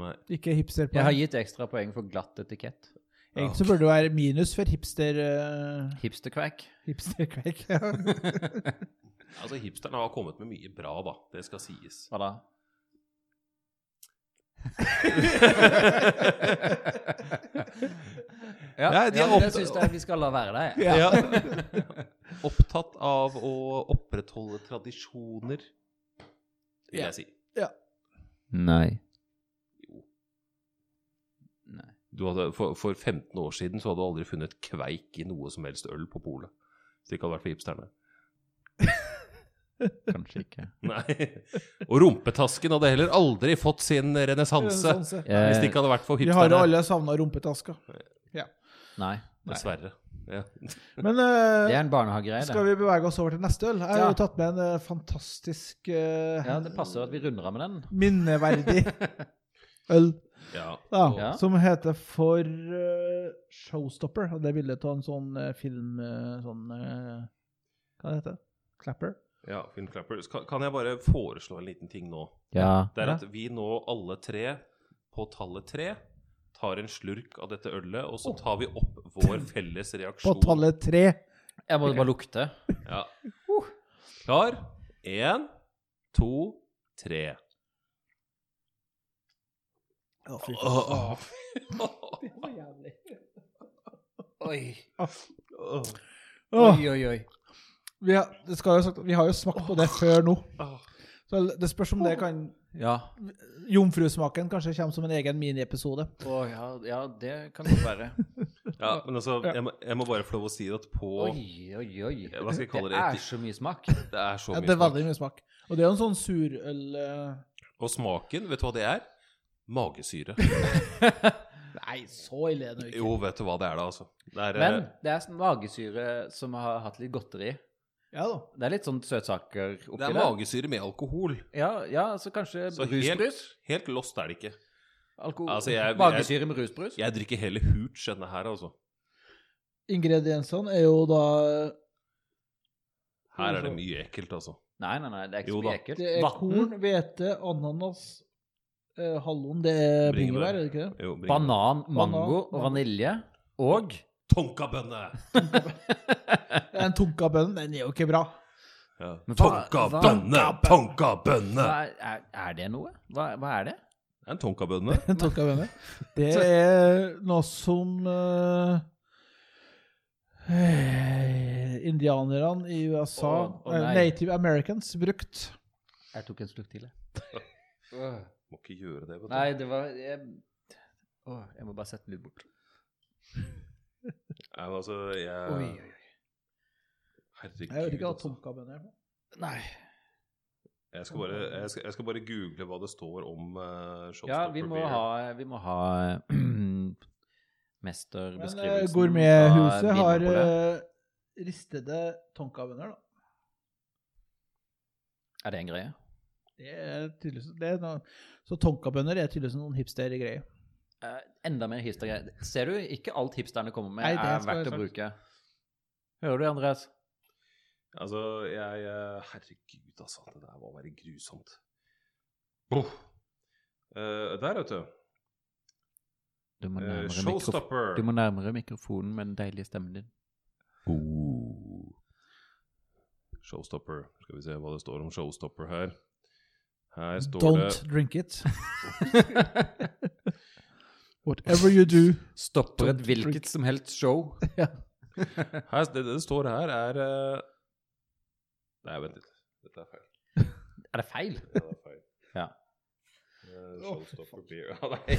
Speaker 2: Nei.
Speaker 3: eh, Ikke hipster på
Speaker 4: Jeg har gitt ekstra poeng for glatt etikett.
Speaker 3: Egentlig så burde det være minus for hipster uh,
Speaker 4: Hipsterkvæk.
Speaker 3: hipsterkveik. Ja.
Speaker 2: Altså, hipsterne har kommet med mye bra, da. Det skal sies.
Speaker 4: Hva da? ja,
Speaker 2: Nei, de
Speaker 4: ja,
Speaker 2: er
Speaker 4: men jeg
Speaker 2: opptatt-
Speaker 4: syns det er- vi skal la være det. jeg.
Speaker 2: Ja. Opptatt av å opprettholde tradisjoner, vil
Speaker 3: Ja.
Speaker 2: jeg si.
Speaker 4: Nei. Nei.
Speaker 2: Du hadde, for, for 15 år siden så hadde du aldri funnet kveik i noe som helst øl på polet. Hvis det ikke hadde vært for hipsterne.
Speaker 4: Kanskje ikke.
Speaker 2: Nei. Og rumpetasken hadde heller aldri fått sin renessanse
Speaker 3: Sånn sett.
Speaker 2: hvis
Speaker 4: Eh,
Speaker 2: det ikke hadde vært for
Speaker 3: Vi har jo
Speaker 2: hipsterne.
Speaker 3: alle savna rumpetaska.
Speaker 4: Nei.
Speaker 2: Dessverre. Ja.
Speaker 3: Men
Speaker 4: Det
Speaker 3: eh,
Speaker 4: er en barnehagegreie, det.
Speaker 3: skal vi bevege oss over til neste øl? Jeg har
Speaker 4: Ja.
Speaker 3: jo tatt med en eh, fantastisk eh,
Speaker 4: Ja, det passer at vi runder av med den.
Speaker 3: minneverdig øl
Speaker 2: ja.
Speaker 3: da,
Speaker 4: Ja.
Speaker 3: som heter for eh, Showstopper. Og det er bildet av en sånn eh, film eh, Sånn eh, Hva heter det? Clapper?
Speaker 2: ja Finn Clapper. Skal- Kan jeg bare foreslå en liten ting nå?
Speaker 4: Ja.
Speaker 2: Det er
Speaker 3: Ja.
Speaker 2: at vi nå alle tre, på tallet tre, tar en slurk av dette ølet, og så tar vi opp vår felles
Speaker 3: På
Speaker 2: reaksjon.
Speaker 3: tallet tre.
Speaker 4: Jeg må bare lukte.
Speaker 2: Ja. Klar? Én, to, tre.
Speaker 3: Å, fy faen.
Speaker 2: Åh.
Speaker 4: Oi.
Speaker 2: Åh.
Speaker 3: Åh,
Speaker 4: oi, oi.
Speaker 3: vi, har, det skal jo sagt, vi har jo smakt på det før nå,
Speaker 2: Åh.
Speaker 3: så det spørs om det kan
Speaker 4: Ja.
Speaker 3: Jomfrusmaken kanskje kommer som en egen miniepisode.
Speaker 4: Å, ja, ja, det kan godt være.
Speaker 2: Ja, men altså, jeg må, jeg må bare få lov å si at på
Speaker 4: Oi, oi, oi.
Speaker 2: Hva skal jeg kalle det?
Speaker 4: Det er så mye smak.
Speaker 2: Det er så
Speaker 3: Ja,
Speaker 2: mye
Speaker 3: det er
Speaker 2: smak.
Speaker 3: veldig mye smak. Og det er jo en sånn surøl eh,
Speaker 2: Og smaken, vet du hva det er? Magesyre.
Speaker 3: Nei, så ille er det jo ikke.
Speaker 2: Jo, vet du hva det er da, altså. Det er, eh,
Speaker 4: Men det er sånn magesyre som har hatt litt godteri.
Speaker 3: Ja da.
Speaker 4: Det er litt sånn søtsaker oppi
Speaker 2: det er magesyre med alkohol.
Speaker 4: Ja, ja, så kanskje
Speaker 2: Så helt,
Speaker 4: rusbrus?
Speaker 2: helt lost er det ikke.
Speaker 4: Alkohol.
Speaker 2: Altså, jeg- jeg-
Speaker 4: magesyre med rusbrus?
Speaker 2: Jeg drikker heller hooch enn det her, altså.
Speaker 3: Ingrediensene er jo da
Speaker 2: Her er det mye ekkelt, altså.
Speaker 4: Nei, nei, nei, det er ikke
Speaker 2: Jo
Speaker 4: så mye
Speaker 2: da.
Speaker 4: ekkelt.
Speaker 3: Det er
Speaker 4: Vann,
Speaker 3: korn, hvete, ananas, eh, hallon Det er
Speaker 2: Bringebær.
Speaker 3: bringebær, er det ikke det?
Speaker 2: Jo, bring-
Speaker 4: banan, mango og
Speaker 3: Banan.
Speaker 4: vanilje. Og
Speaker 2: Tonkabønne!
Speaker 3: Det er En tonkabønn, den er jo ikke bra.
Speaker 2: Ja.
Speaker 4: Men hva-
Speaker 2: Tonkabønne! Tonkabønne!
Speaker 4: hva er, er, er det noe? Hva, hva er det?
Speaker 2: Det er en tonkabønne.
Speaker 3: En tonkabønne. Det er noe som eh, eh, indianerne i USA,
Speaker 4: Å, å nei.
Speaker 3: eh, native americans, brukt.
Speaker 4: Jeg tok en slurk til, jeg.
Speaker 2: Må ikke gjøre det, vet du.
Speaker 4: Nei, det var jeg, Åh, jeg må bare sette den litt bort.
Speaker 2: Nei, men altså, jeg
Speaker 4: Oi, oi, oi.
Speaker 2: Herregud.
Speaker 3: Eh, Jeg vet ikke hva
Speaker 2: altså.
Speaker 3: tonkabønn er.
Speaker 4: Nei.
Speaker 2: Jeg skal, bare, jeg, skal, jeg skal bare google hva det står om uh,
Speaker 4: Ja, vi må ha, vi må ha
Speaker 3: Men
Speaker 4: mesterbeskrivelsen.
Speaker 3: eh,
Speaker 4: av
Speaker 3: gourmethuset har
Speaker 4: Vinmonopolet.
Speaker 3: eh, ristede tonkavenner, da.
Speaker 4: Er det en greie?
Speaker 3: Det er tydeligvis det er noe, Så tonkabønner er tydeligvis noen hipstergreier.
Speaker 4: Eh, enda mer hipstergreier. Ser du, ikke alt hipsterne kommer med,
Speaker 3: Nei, det
Speaker 4: er
Speaker 3: skal
Speaker 4: verdt
Speaker 3: jeg
Speaker 4: å
Speaker 3: sagt.
Speaker 4: bruke. Hører du, Andreas?
Speaker 2: Altså, jeg eh, Herregud, altså. Det der må være grusomt. Oh. Eh, der, vet du.
Speaker 4: Du må,
Speaker 2: Eh,
Speaker 4: nærmere mikrof-
Speaker 2: showstopper.
Speaker 4: du må nærmere mikrofonen med den deilige stemmen din.
Speaker 2: Oh. Showstopper. Skal vi se hva det står om showstopper her. Her står
Speaker 3: Don't drink it. Whatever you do.
Speaker 4: Stopper et
Speaker 3: Don't drink.
Speaker 4: hvilket som helst show.
Speaker 2: det her, det, det står her, er eh, Nei, vent litt. Dette er feil.
Speaker 4: Er det feil?
Speaker 2: Ja, det er feil.
Speaker 4: Ja.
Speaker 2: Eh, Showstopper beer Ja, nei.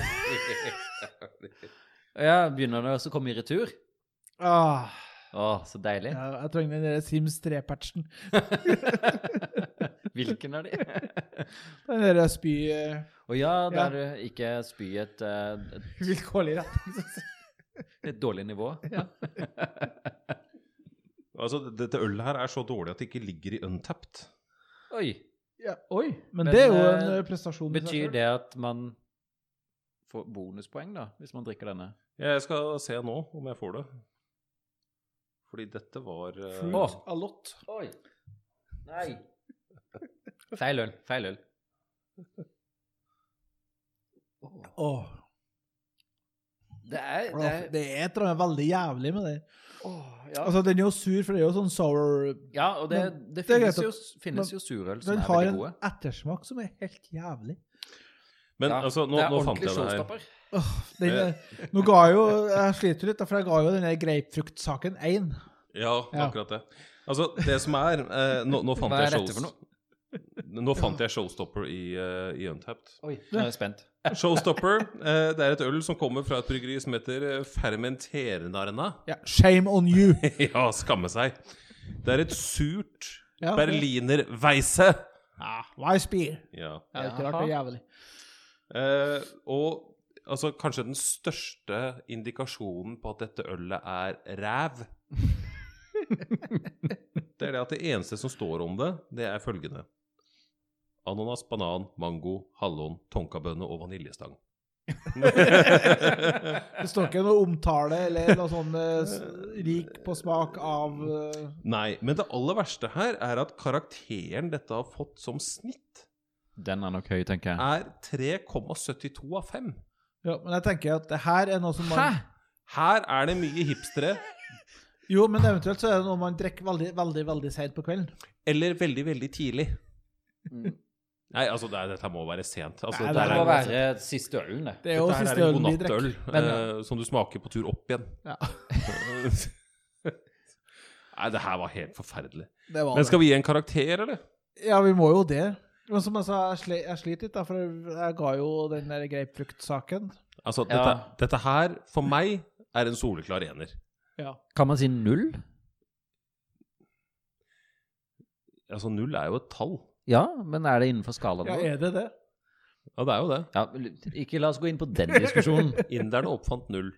Speaker 4: Ja, Begynner det også å komme i retur?
Speaker 3: Ah,
Speaker 4: Å, så deilig.
Speaker 3: ja, jeg trenger den der Sims 3-patchen.
Speaker 4: Hvilken av de?
Speaker 3: Den der spy... eh,
Speaker 4: Å ja,
Speaker 3: Ja.
Speaker 4: der du ikke spy et, eh,
Speaker 3: Vilkårlig retning.
Speaker 4: et, et dårlig nivå.
Speaker 2: Altså, dette ølet her er så dårlig at det ikke ligger i Untapped.
Speaker 4: Oi.
Speaker 3: Ja, oi. Men,
Speaker 4: Men,
Speaker 3: det er jo
Speaker 4: eh,
Speaker 3: en eh, prestasjon. i seg
Speaker 4: Betyr
Speaker 3: selv.
Speaker 4: det at man får bonuspoeng, da, hvis man drikker denne?
Speaker 2: Jeg skal se nå om jeg får det. Fordi dette var eh,
Speaker 3: Fruit
Speaker 4: Åh.
Speaker 3: a lot.
Speaker 4: Oi. Nei. Feil øl. Feil øl.
Speaker 3: Åh,
Speaker 4: Det er,
Speaker 3: det er et eller annet veldig jævlig med det.
Speaker 4: ja.
Speaker 3: Altså, den er jo sur, for det er jo sånn sour
Speaker 4: ja, og det,
Speaker 3: Men
Speaker 4: det
Speaker 3: det er
Speaker 4: finnes,
Speaker 3: greit
Speaker 4: jo,
Speaker 3: at-
Speaker 4: finnes
Speaker 3: men
Speaker 4: jo surøl som
Speaker 3: Den
Speaker 4: er
Speaker 3: har
Speaker 4: veldig
Speaker 3: en
Speaker 4: gode.
Speaker 3: ettersmak som er helt jævlig.
Speaker 2: Men
Speaker 4: Ja,
Speaker 2: altså, nå,
Speaker 4: det er
Speaker 2: nå fant
Speaker 4: ordentlig
Speaker 2: jeg det her.
Speaker 4: showstopper.
Speaker 3: Åh, den, er- nå ga jeg jo Jeg sliter jo litt, da, for jeg ga jo den der grapefruktsaken én.
Speaker 2: Ja,
Speaker 3: Ja.
Speaker 2: akkurat det. Altså, det som er eh, nå, nå fant
Speaker 4: Hva er
Speaker 2: jeg
Speaker 4: dette for noe?
Speaker 2: Nå fant jeg Showstopper i, eh, i Untapped.
Speaker 4: Oi, nå er jeg spent.
Speaker 2: Showstopper eh, det er et øl som kommer fra et bryggeri som heter eh, Fermenternarna.
Speaker 3: Ja, shame on you.
Speaker 2: ja, skamme seg. Det er et surt
Speaker 3: Ja, det-
Speaker 2: berlinerweisse.
Speaker 3: Ja, Wise beer.
Speaker 2: Ja.
Speaker 3: Ja, det er ikke rart det er jævlig.
Speaker 2: Eh, og altså, kanskje den største indikasjonen på at dette ølet er ræv Det er det at det eneste som står om det, det er følgende. Ananas, banan, mango, hallon, tonkabønne og vaniljestang.
Speaker 3: Det står ikke noe omtale eller noe sånn eh, s- rik på smak av eh,
Speaker 2: Nei, men det aller verste her er at karakteren dette har fått som snitt,
Speaker 4: Den er nok høy, tenker jeg.
Speaker 2: er 3,72 av 5.
Speaker 3: Ja, men jeg tenker at det her er noe som man
Speaker 2: Her er det mye hipstere
Speaker 3: Jo, men eventuelt så er det noe man drikker veldig, veldig veldig seint på kvelden.
Speaker 2: eller veldig, veldig tidlig.
Speaker 4: Mm.
Speaker 2: Nei, altså, det, er- dette må være sent. Altså,
Speaker 3: Nei,
Speaker 2: dette
Speaker 4: Det
Speaker 2: er-
Speaker 4: må være siste ølen, det.
Speaker 3: Det er jo
Speaker 2: dette her
Speaker 3: siste
Speaker 2: er en
Speaker 3: ølen vi drikker.
Speaker 2: godnattøl eh, som du smaker på tur opp igjen.
Speaker 3: Ja.
Speaker 2: Nei, det her var helt forferdelig.
Speaker 3: Det var
Speaker 2: Men
Speaker 3: det.
Speaker 2: skal vi gi en karakter, eller?
Speaker 3: Ja, vi må jo det. Men som jeg sa, jeg sli- jeg sliter litt, da, for jeg ga jo den der grapefruktsaken.
Speaker 2: Altså, dette,
Speaker 4: Ja.
Speaker 2: dette her, for meg, er en soleklar ener.
Speaker 3: Ja.
Speaker 4: Kan man si null?
Speaker 2: Altså, null er jo et tall.
Speaker 4: Ja, men er det innenfor skalaen?
Speaker 3: ja,
Speaker 4: nå?
Speaker 3: er det det?
Speaker 2: Ja, det er jo det.
Speaker 4: Ja, ikke la oss gå inn på den diskusjonen.
Speaker 2: Inderne oppfant null.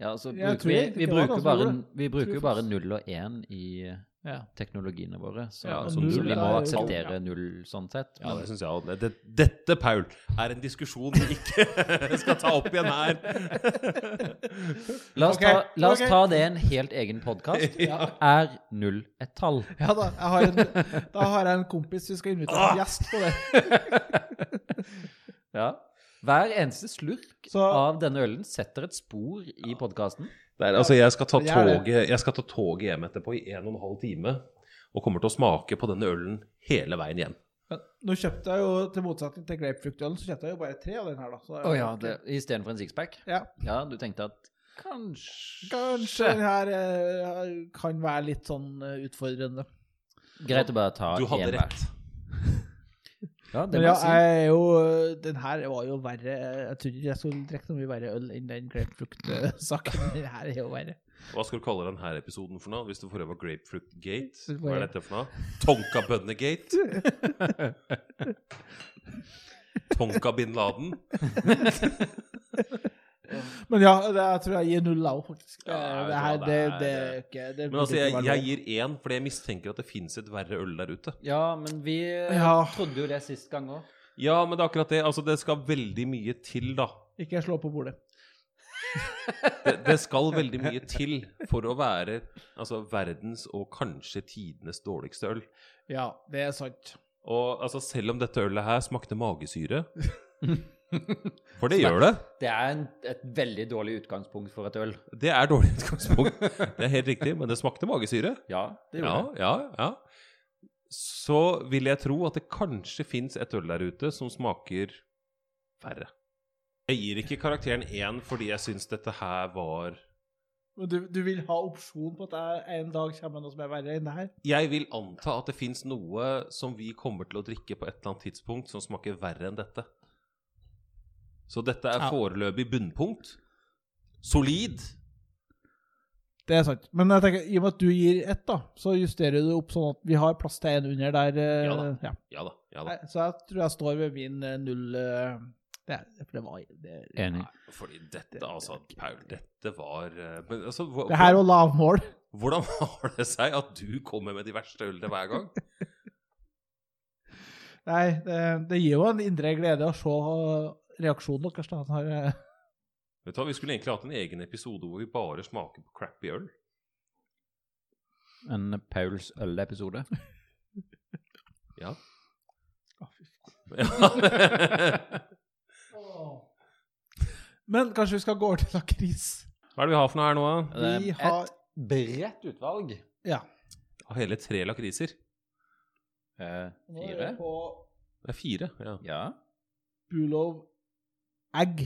Speaker 4: Ja, altså,
Speaker 3: Jeg
Speaker 4: bruker
Speaker 3: tror
Speaker 4: vi,
Speaker 3: ikke
Speaker 4: vi,
Speaker 3: det var
Speaker 4: bruker
Speaker 3: ganske
Speaker 4: bare,
Speaker 3: gode.
Speaker 4: vi bruker jo
Speaker 3: Tror
Speaker 4: bare
Speaker 3: faktisk.
Speaker 4: 0 og 1 i eh,
Speaker 3: Ja.
Speaker 4: teknologiene våre, så,
Speaker 3: Ja,
Speaker 4: så,
Speaker 2: null
Speaker 4: så vi
Speaker 2: er
Speaker 4: må
Speaker 2: jo-
Speaker 4: akseptere
Speaker 3: ja.
Speaker 4: null sånn sett.
Speaker 2: Ja, det
Speaker 4: Men,
Speaker 2: synes jeg også. det, Dette, Paul, er en diskusjon vi ikke skal ta opp igjen her.
Speaker 4: la, oss
Speaker 3: Ok,
Speaker 4: ta, la oss
Speaker 3: ok.
Speaker 4: ta det i en helt egen podkast. Er null et tall?
Speaker 3: Ja da. Jeg har en, da har jeg en kompis vi skal invitere
Speaker 2: Ah!
Speaker 3: som gjest på det.
Speaker 4: Ja. Hver eneste slurk
Speaker 3: Så-
Speaker 4: av denne ølen setter et spor i podkasten.
Speaker 2: Det er, altså, jeg skal, ta
Speaker 3: Det er det.
Speaker 2: toget, jeg skal ta toget hjem etterpå i en og en halv time, og kommer til å smake på denne ølen hele veien hjem.
Speaker 3: Men nå kjøpte jeg jo, til motsetning til grapefruktølen, så kjøpte jeg jo bare tre av den her, da. Så det er jo ikke-
Speaker 4: Istedenfor en sixpack?
Speaker 3: Ja.
Speaker 4: Ja, du tenkte at kanskje
Speaker 3: Kanskje den her eh, kan være litt sånn eh, utfordrende.
Speaker 4: Greit å bare ta
Speaker 2: Du hadde
Speaker 4: én hver.
Speaker 2: rett.
Speaker 4: Ja,
Speaker 3: Men
Speaker 4: det må
Speaker 3: ja,
Speaker 4: jeg si.
Speaker 3: jeg er jo, eh, den her var jo verre Jeg trodde ikke jeg skulle drikke noe mye verre øl enn den grapefruktsaken. Den her er jo verre.
Speaker 2: Hva skal du kalle den her episoden for noe? Hvis det forrige var Grapefruit Gate?
Speaker 3: Det var-
Speaker 2: Hva er dette for noe? Tonka Bønne Gate? Tonka Bin Laden?
Speaker 3: Men ja, det, jeg tror jeg gir null av, faktisk.
Speaker 2: Ja, jeg
Speaker 3: det,
Speaker 2: vet
Speaker 3: her,
Speaker 2: hva,
Speaker 3: det,
Speaker 2: det er-
Speaker 3: det er ikke det
Speaker 2: Men altså,
Speaker 3: burde
Speaker 2: jeg,
Speaker 3: ikke være
Speaker 2: jeg
Speaker 3: lov.
Speaker 2: gir én, fordi jeg mistenker at det fins et verre øl der ute.
Speaker 4: Ja, men vi eh,
Speaker 3: Ja.
Speaker 4: trodde jo det sist gang òg.
Speaker 2: Ja, men det er akkurat det. Altså, det skal veldig mye til, da.
Speaker 3: Ikke slå på bordet.
Speaker 2: Det, det skal veldig mye til for å være altså, verdens og kanskje tidenes dårligste øl.
Speaker 3: Ja, det er sant.
Speaker 2: Og altså, selv om dette ølet her smakte magesyre For det gjør det.
Speaker 4: Det er en, et veldig dårlig utgangspunkt for et øl.
Speaker 2: Det er dårlig utgangspunkt. Det er helt riktig, men det smakte magesyre.
Speaker 4: Ja, det
Speaker 2: Ja,
Speaker 4: gjorde det.
Speaker 2: ja, ja. Så vil jeg tro at det kanskje fins et øl der ute som smaker verre. Jeg gir ikke karakteren én fordi jeg syns dette her var
Speaker 3: Men du, du vil ha opsjon på at jeg en dag kommer med noe som er verre enn det her?
Speaker 2: Jeg vil anta at det fins noe som vi kommer til å drikke på et eller annet tidspunkt som smaker verre enn dette. Så dette er
Speaker 3: Ja.
Speaker 2: foreløpig bunnpunkt. Solid.
Speaker 3: Det er sant. Men jeg tenker, i og med at du gir ett, da, så justerer du opp sånn at vi har plass til en under der. eh,
Speaker 2: Ja da.
Speaker 3: Ja.
Speaker 2: Ja da. ja da.
Speaker 3: Nei, Så jeg tror jeg står ved min eh, null eh, Det, er- for det var det,
Speaker 4: Enig.
Speaker 2: Fordi dette, altså, Paul, dette var eh, Men altså, hva-
Speaker 3: det her var lavmål.
Speaker 2: Hvordan har det seg at du kommer med de verste ølene hver gang?
Speaker 3: Nei, det, det gir jo en indre glede å se eh, reaksjonen deres. da. Han har, eh,
Speaker 2: Vet du hva, Vi skulle egentlig hatt en egen episode hvor vi bare smaker på crappy øl.
Speaker 4: En Pauls øl-episode.
Speaker 2: Ja.
Speaker 3: Å, fy
Speaker 2: ja.
Speaker 3: Men kanskje vi skal gå over til lakris?
Speaker 2: Hva er det vi har for noe her nå? da?
Speaker 3: Vi har
Speaker 4: Eh, Et bredt utvalg.
Speaker 3: Ja.
Speaker 2: Av hele tre lakriser.
Speaker 4: Eh,
Speaker 3: Nå er
Speaker 4: fire.
Speaker 3: vi på
Speaker 2: Det er fire. ja.
Speaker 4: Ja.
Speaker 3: Bulov egg.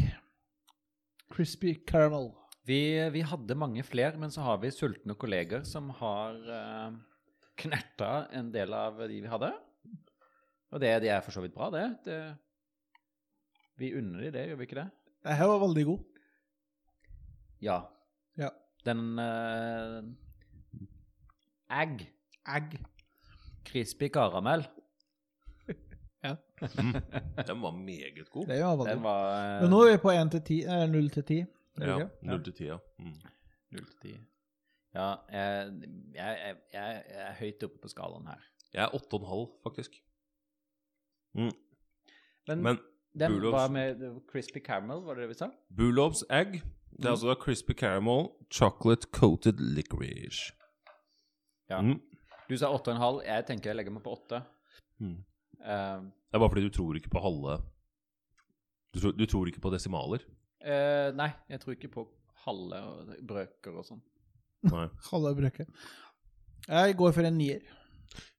Speaker 3: Crispy caramel.
Speaker 4: Vi, vi hadde mange flere, men så har vi sultne kolleger som har eh, knerta en del av de vi hadde. Og det, det er for så vidt bra, det. det vi unner de det, gjør vi ikke det?
Speaker 3: Det her var veldig god.
Speaker 4: Ja.
Speaker 3: Ja.
Speaker 4: Den eh, Egg.
Speaker 3: Egg.
Speaker 4: Crispy karamell.
Speaker 2: Den var meget god.
Speaker 3: Det var veldig
Speaker 4: Den
Speaker 3: god.
Speaker 4: var eh,
Speaker 3: Men nå er vi på 1 til 10, eh, 0 til 10.
Speaker 2: Ja, Null til ti, ja. Mm.
Speaker 4: null til ti. Ja, jeg, jeg, jeg, jeg er høyt oppe på skalaen her.
Speaker 2: Jeg er åtte og en halv, faktisk. Mm.
Speaker 4: Men,
Speaker 2: Men
Speaker 4: den
Speaker 2: Bulovs-
Speaker 4: var med det var Crispy Caramel, var det det vi sa?
Speaker 2: Bulovs egg Det er altså da crispy caramel, chocolate coated licorice.
Speaker 4: Ja.
Speaker 2: Mm.
Speaker 4: Du sa 8,5. Jeg tenker jeg legger meg på Eh, 8.
Speaker 2: Mm. Det er bare fordi du tror ikke på halve Du tror, du tror ikke på desimaler?
Speaker 4: eh, nei, jeg tror ikke på halve og brøker og sånn.
Speaker 2: Nei.
Speaker 3: Halve brøket. Jeg går for en nier.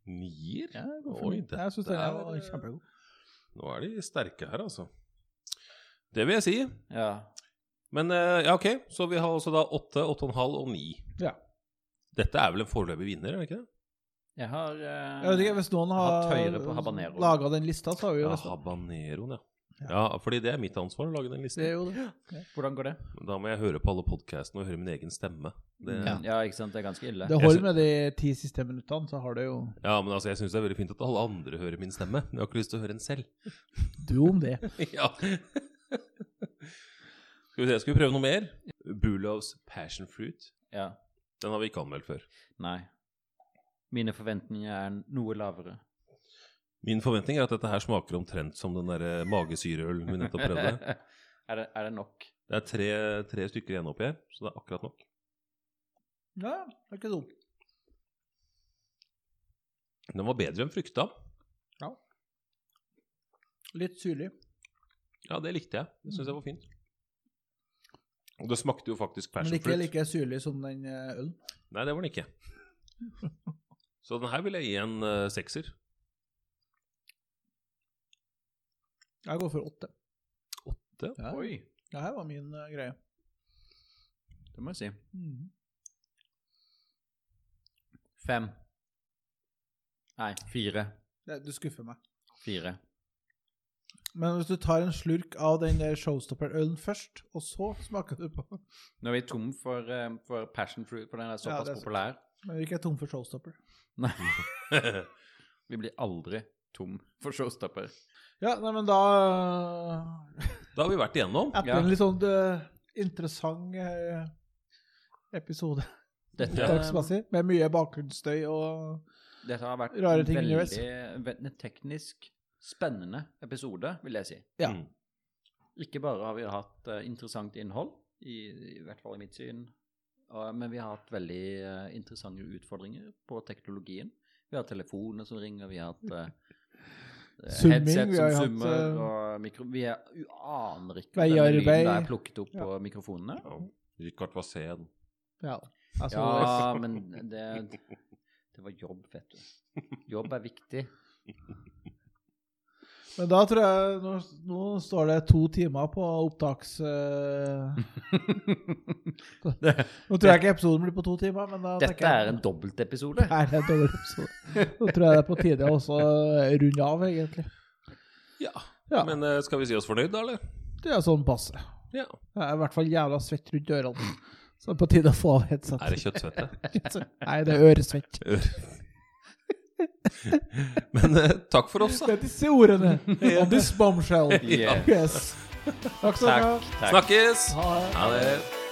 Speaker 2: Nier?
Speaker 3: Jeg går for
Speaker 2: Oi,
Speaker 3: en nier. Jeg syns
Speaker 2: dette
Speaker 3: den her
Speaker 2: er-
Speaker 3: var kjempegod.
Speaker 2: Nå er de sterke her, altså. Det vil jeg si.
Speaker 4: Ja.
Speaker 2: Men eh, ja, ok, så vi har altså da åtte, åtte og en halv og ni.
Speaker 3: Ja.
Speaker 2: Dette er vel en foreløpig vinner, er det ikke det?
Speaker 4: Jeg har eh,
Speaker 3: Jeg vet ikke, Hvis noen
Speaker 4: Hatt høyere på
Speaker 3: har
Speaker 4: habanero.
Speaker 3: laga den lista, så har vi jo
Speaker 2: Ja,
Speaker 3: nesten
Speaker 2: habaneroen, ja. ja. Fordi det er mitt ansvar å lage den
Speaker 3: Det er
Speaker 2: listen.
Speaker 3: jo det.
Speaker 4: Hvordan går det?
Speaker 2: Da må jeg høre på alle podkastene og høre min egen stemme. Det, ja.
Speaker 4: ja. ikke sant? Det er ganske ille.
Speaker 3: Det holder med de ti siste minuttene, så har du jo
Speaker 2: men altså, jeg syns det er veldig fint at alle andre hører min stemme. Men jeg har ikke lyst til å høre den selv.
Speaker 3: du om det.
Speaker 2: ja. Skal vi se, skal vi prøve noe mer? Bulovs passion fruit.
Speaker 4: Ja.
Speaker 2: Den har vi ikke anmeldt før.
Speaker 4: Nei. Mine forventninger er noe lavere.
Speaker 2: Min forventning er at dette her smaker omtrent som den derre magesyreølen vi nettopp prøvde.
Speaker 4: er, det, er det nok?
Speaker 2: Det er tre, tre stykker igjen oppi her, så det er akkurat nok.
Speaker 3: Ja, det er ikke dumt.
Speaker 2: Den var bedre enn frykta.
Speaker 3: Litt syrlig.
Speaker 2: Ja, det likte jeg. Det syns jeg var fint. Og det smakte jo faktisk
Speaker 3: Mm. Men
Speaker 2: passion
Speaker 3: ikke
Speaker 2: fruit.
Speaker 3: like syrlig som den eh, ølen.
Speaker 2: Nei, det var den ikke. Så den her vil jeg gi en eh, sekser.
Speaker 3: Jeg går for åtte.
Speaker 2: Det.
Speaker 3: Ja.
Speaker 4: Oi.
Speaker 3: Det her var min eh, greie.
Speaker 4: Det må jeg si.
Speaker 3: Mhm.
Speaker 4: Fem. Nei, fire.
Speaker 3: Det, du skuffer meg.
Speaker 4: Fire.
Speaker 3: Men hvis du tar en slurk av den der showstopper-ølen først, og så smaker du på
Speaker 4: Nå er vi tom for, eh, for passion fruit, for den er såpass
Speaker 3: det er sant.
Speaker 4: populær.
Speaker 3: Men vi er ikke tom for showstopper.
Speaker 4: Vi blir aldri tom for showstopper.
Speaker 3: Ja, nei, men da eh,
Speaker 2: Da har vi vært igjennom.
Speaker 3: Etter
Speaker 4: Ja.
Speaker 3: en litt sånn eh, interessant eh, episode
Speaker 4: Dette, eh,
Speaker 3: dagsmessig, med mye bakgrunnsstøy og
Speaker 4: dette har vært
Speaker 3: Rare ting
Speaker 4: veldig,
Speaker 3: gjøres.
Speaker 4: veldig teknisk spennende episode, vil jeg si.
Speaker 3: Ja.
Speaker 2: Mm.
Speaker 4: Ikke bare har vi hatt eh, interessant innhold, i, i hvert fall i mitt syn, og- men vi har hatt veldig eh, interessante utfordringer på teknologien. Vi har telefoner som ringer, vi har hatt eh, eh,
Speaker 3: Summing,
Speaker 4: headset
Speaker 3: vi har
Speaker 4: som
Speaker 3: hatt,
Speaker 4: summer,
Speaker 3: eh,
Speaker 4: og mikro... Vi er, u- aner ikke om denne
Speaker 3: Veiarbeid.
Speaker 4: lyden er plukket opp
Speaker 3: Ja.
Speaker 4: på mikrofonene.
Speaker 2: Ja. Richard Vassén.
Speaker 3: Ja. Altså,
Speaker 4: Ja, men det, det var jobb, vet du. Jobb er viktig.
Speaker 3: Men da tror jeg Nå, nå står det to timer på opptaks... eh, nå tror jeg ikke episoden blir på to timer, men da
Speaker 4: Dette
Speaker 3: tenker
Speaker 4: er
Speaker 3: jeg-
Speaker 4: en dobbeltepisode.
Speaker 3: Her er en dårlig episode. Nå tror jeg det er på tide å også eh, runde av, egentlig.
Speaker 2: Ja.
Speaker 3: Ja,
Speaker 2: Men eh, skal vi si oss fornøyd, da, eller?
Speaker 3: Det er sånn passe.
Speaker 2: Ja.
Speaker 3: Jeg er i hvert fall jævla svett rundt ørene. Så det er på tide å få av headset.
Speaker 2: Er det kjøttsvette?
Speaker 3: Nei, det er øresvett.
Speaker 2: Men eh, takk for oss, da.
Speaker 3: Det er disse ordene. On this bombshell.
Speaker 4: Yeah.
Speaker 3: Yes. Takk skal du ha.
Speaker 4: Takk. takk.
Speaker 2: Snakkes!
Speaker 3: Ha det.
Speaker 2: Ha det.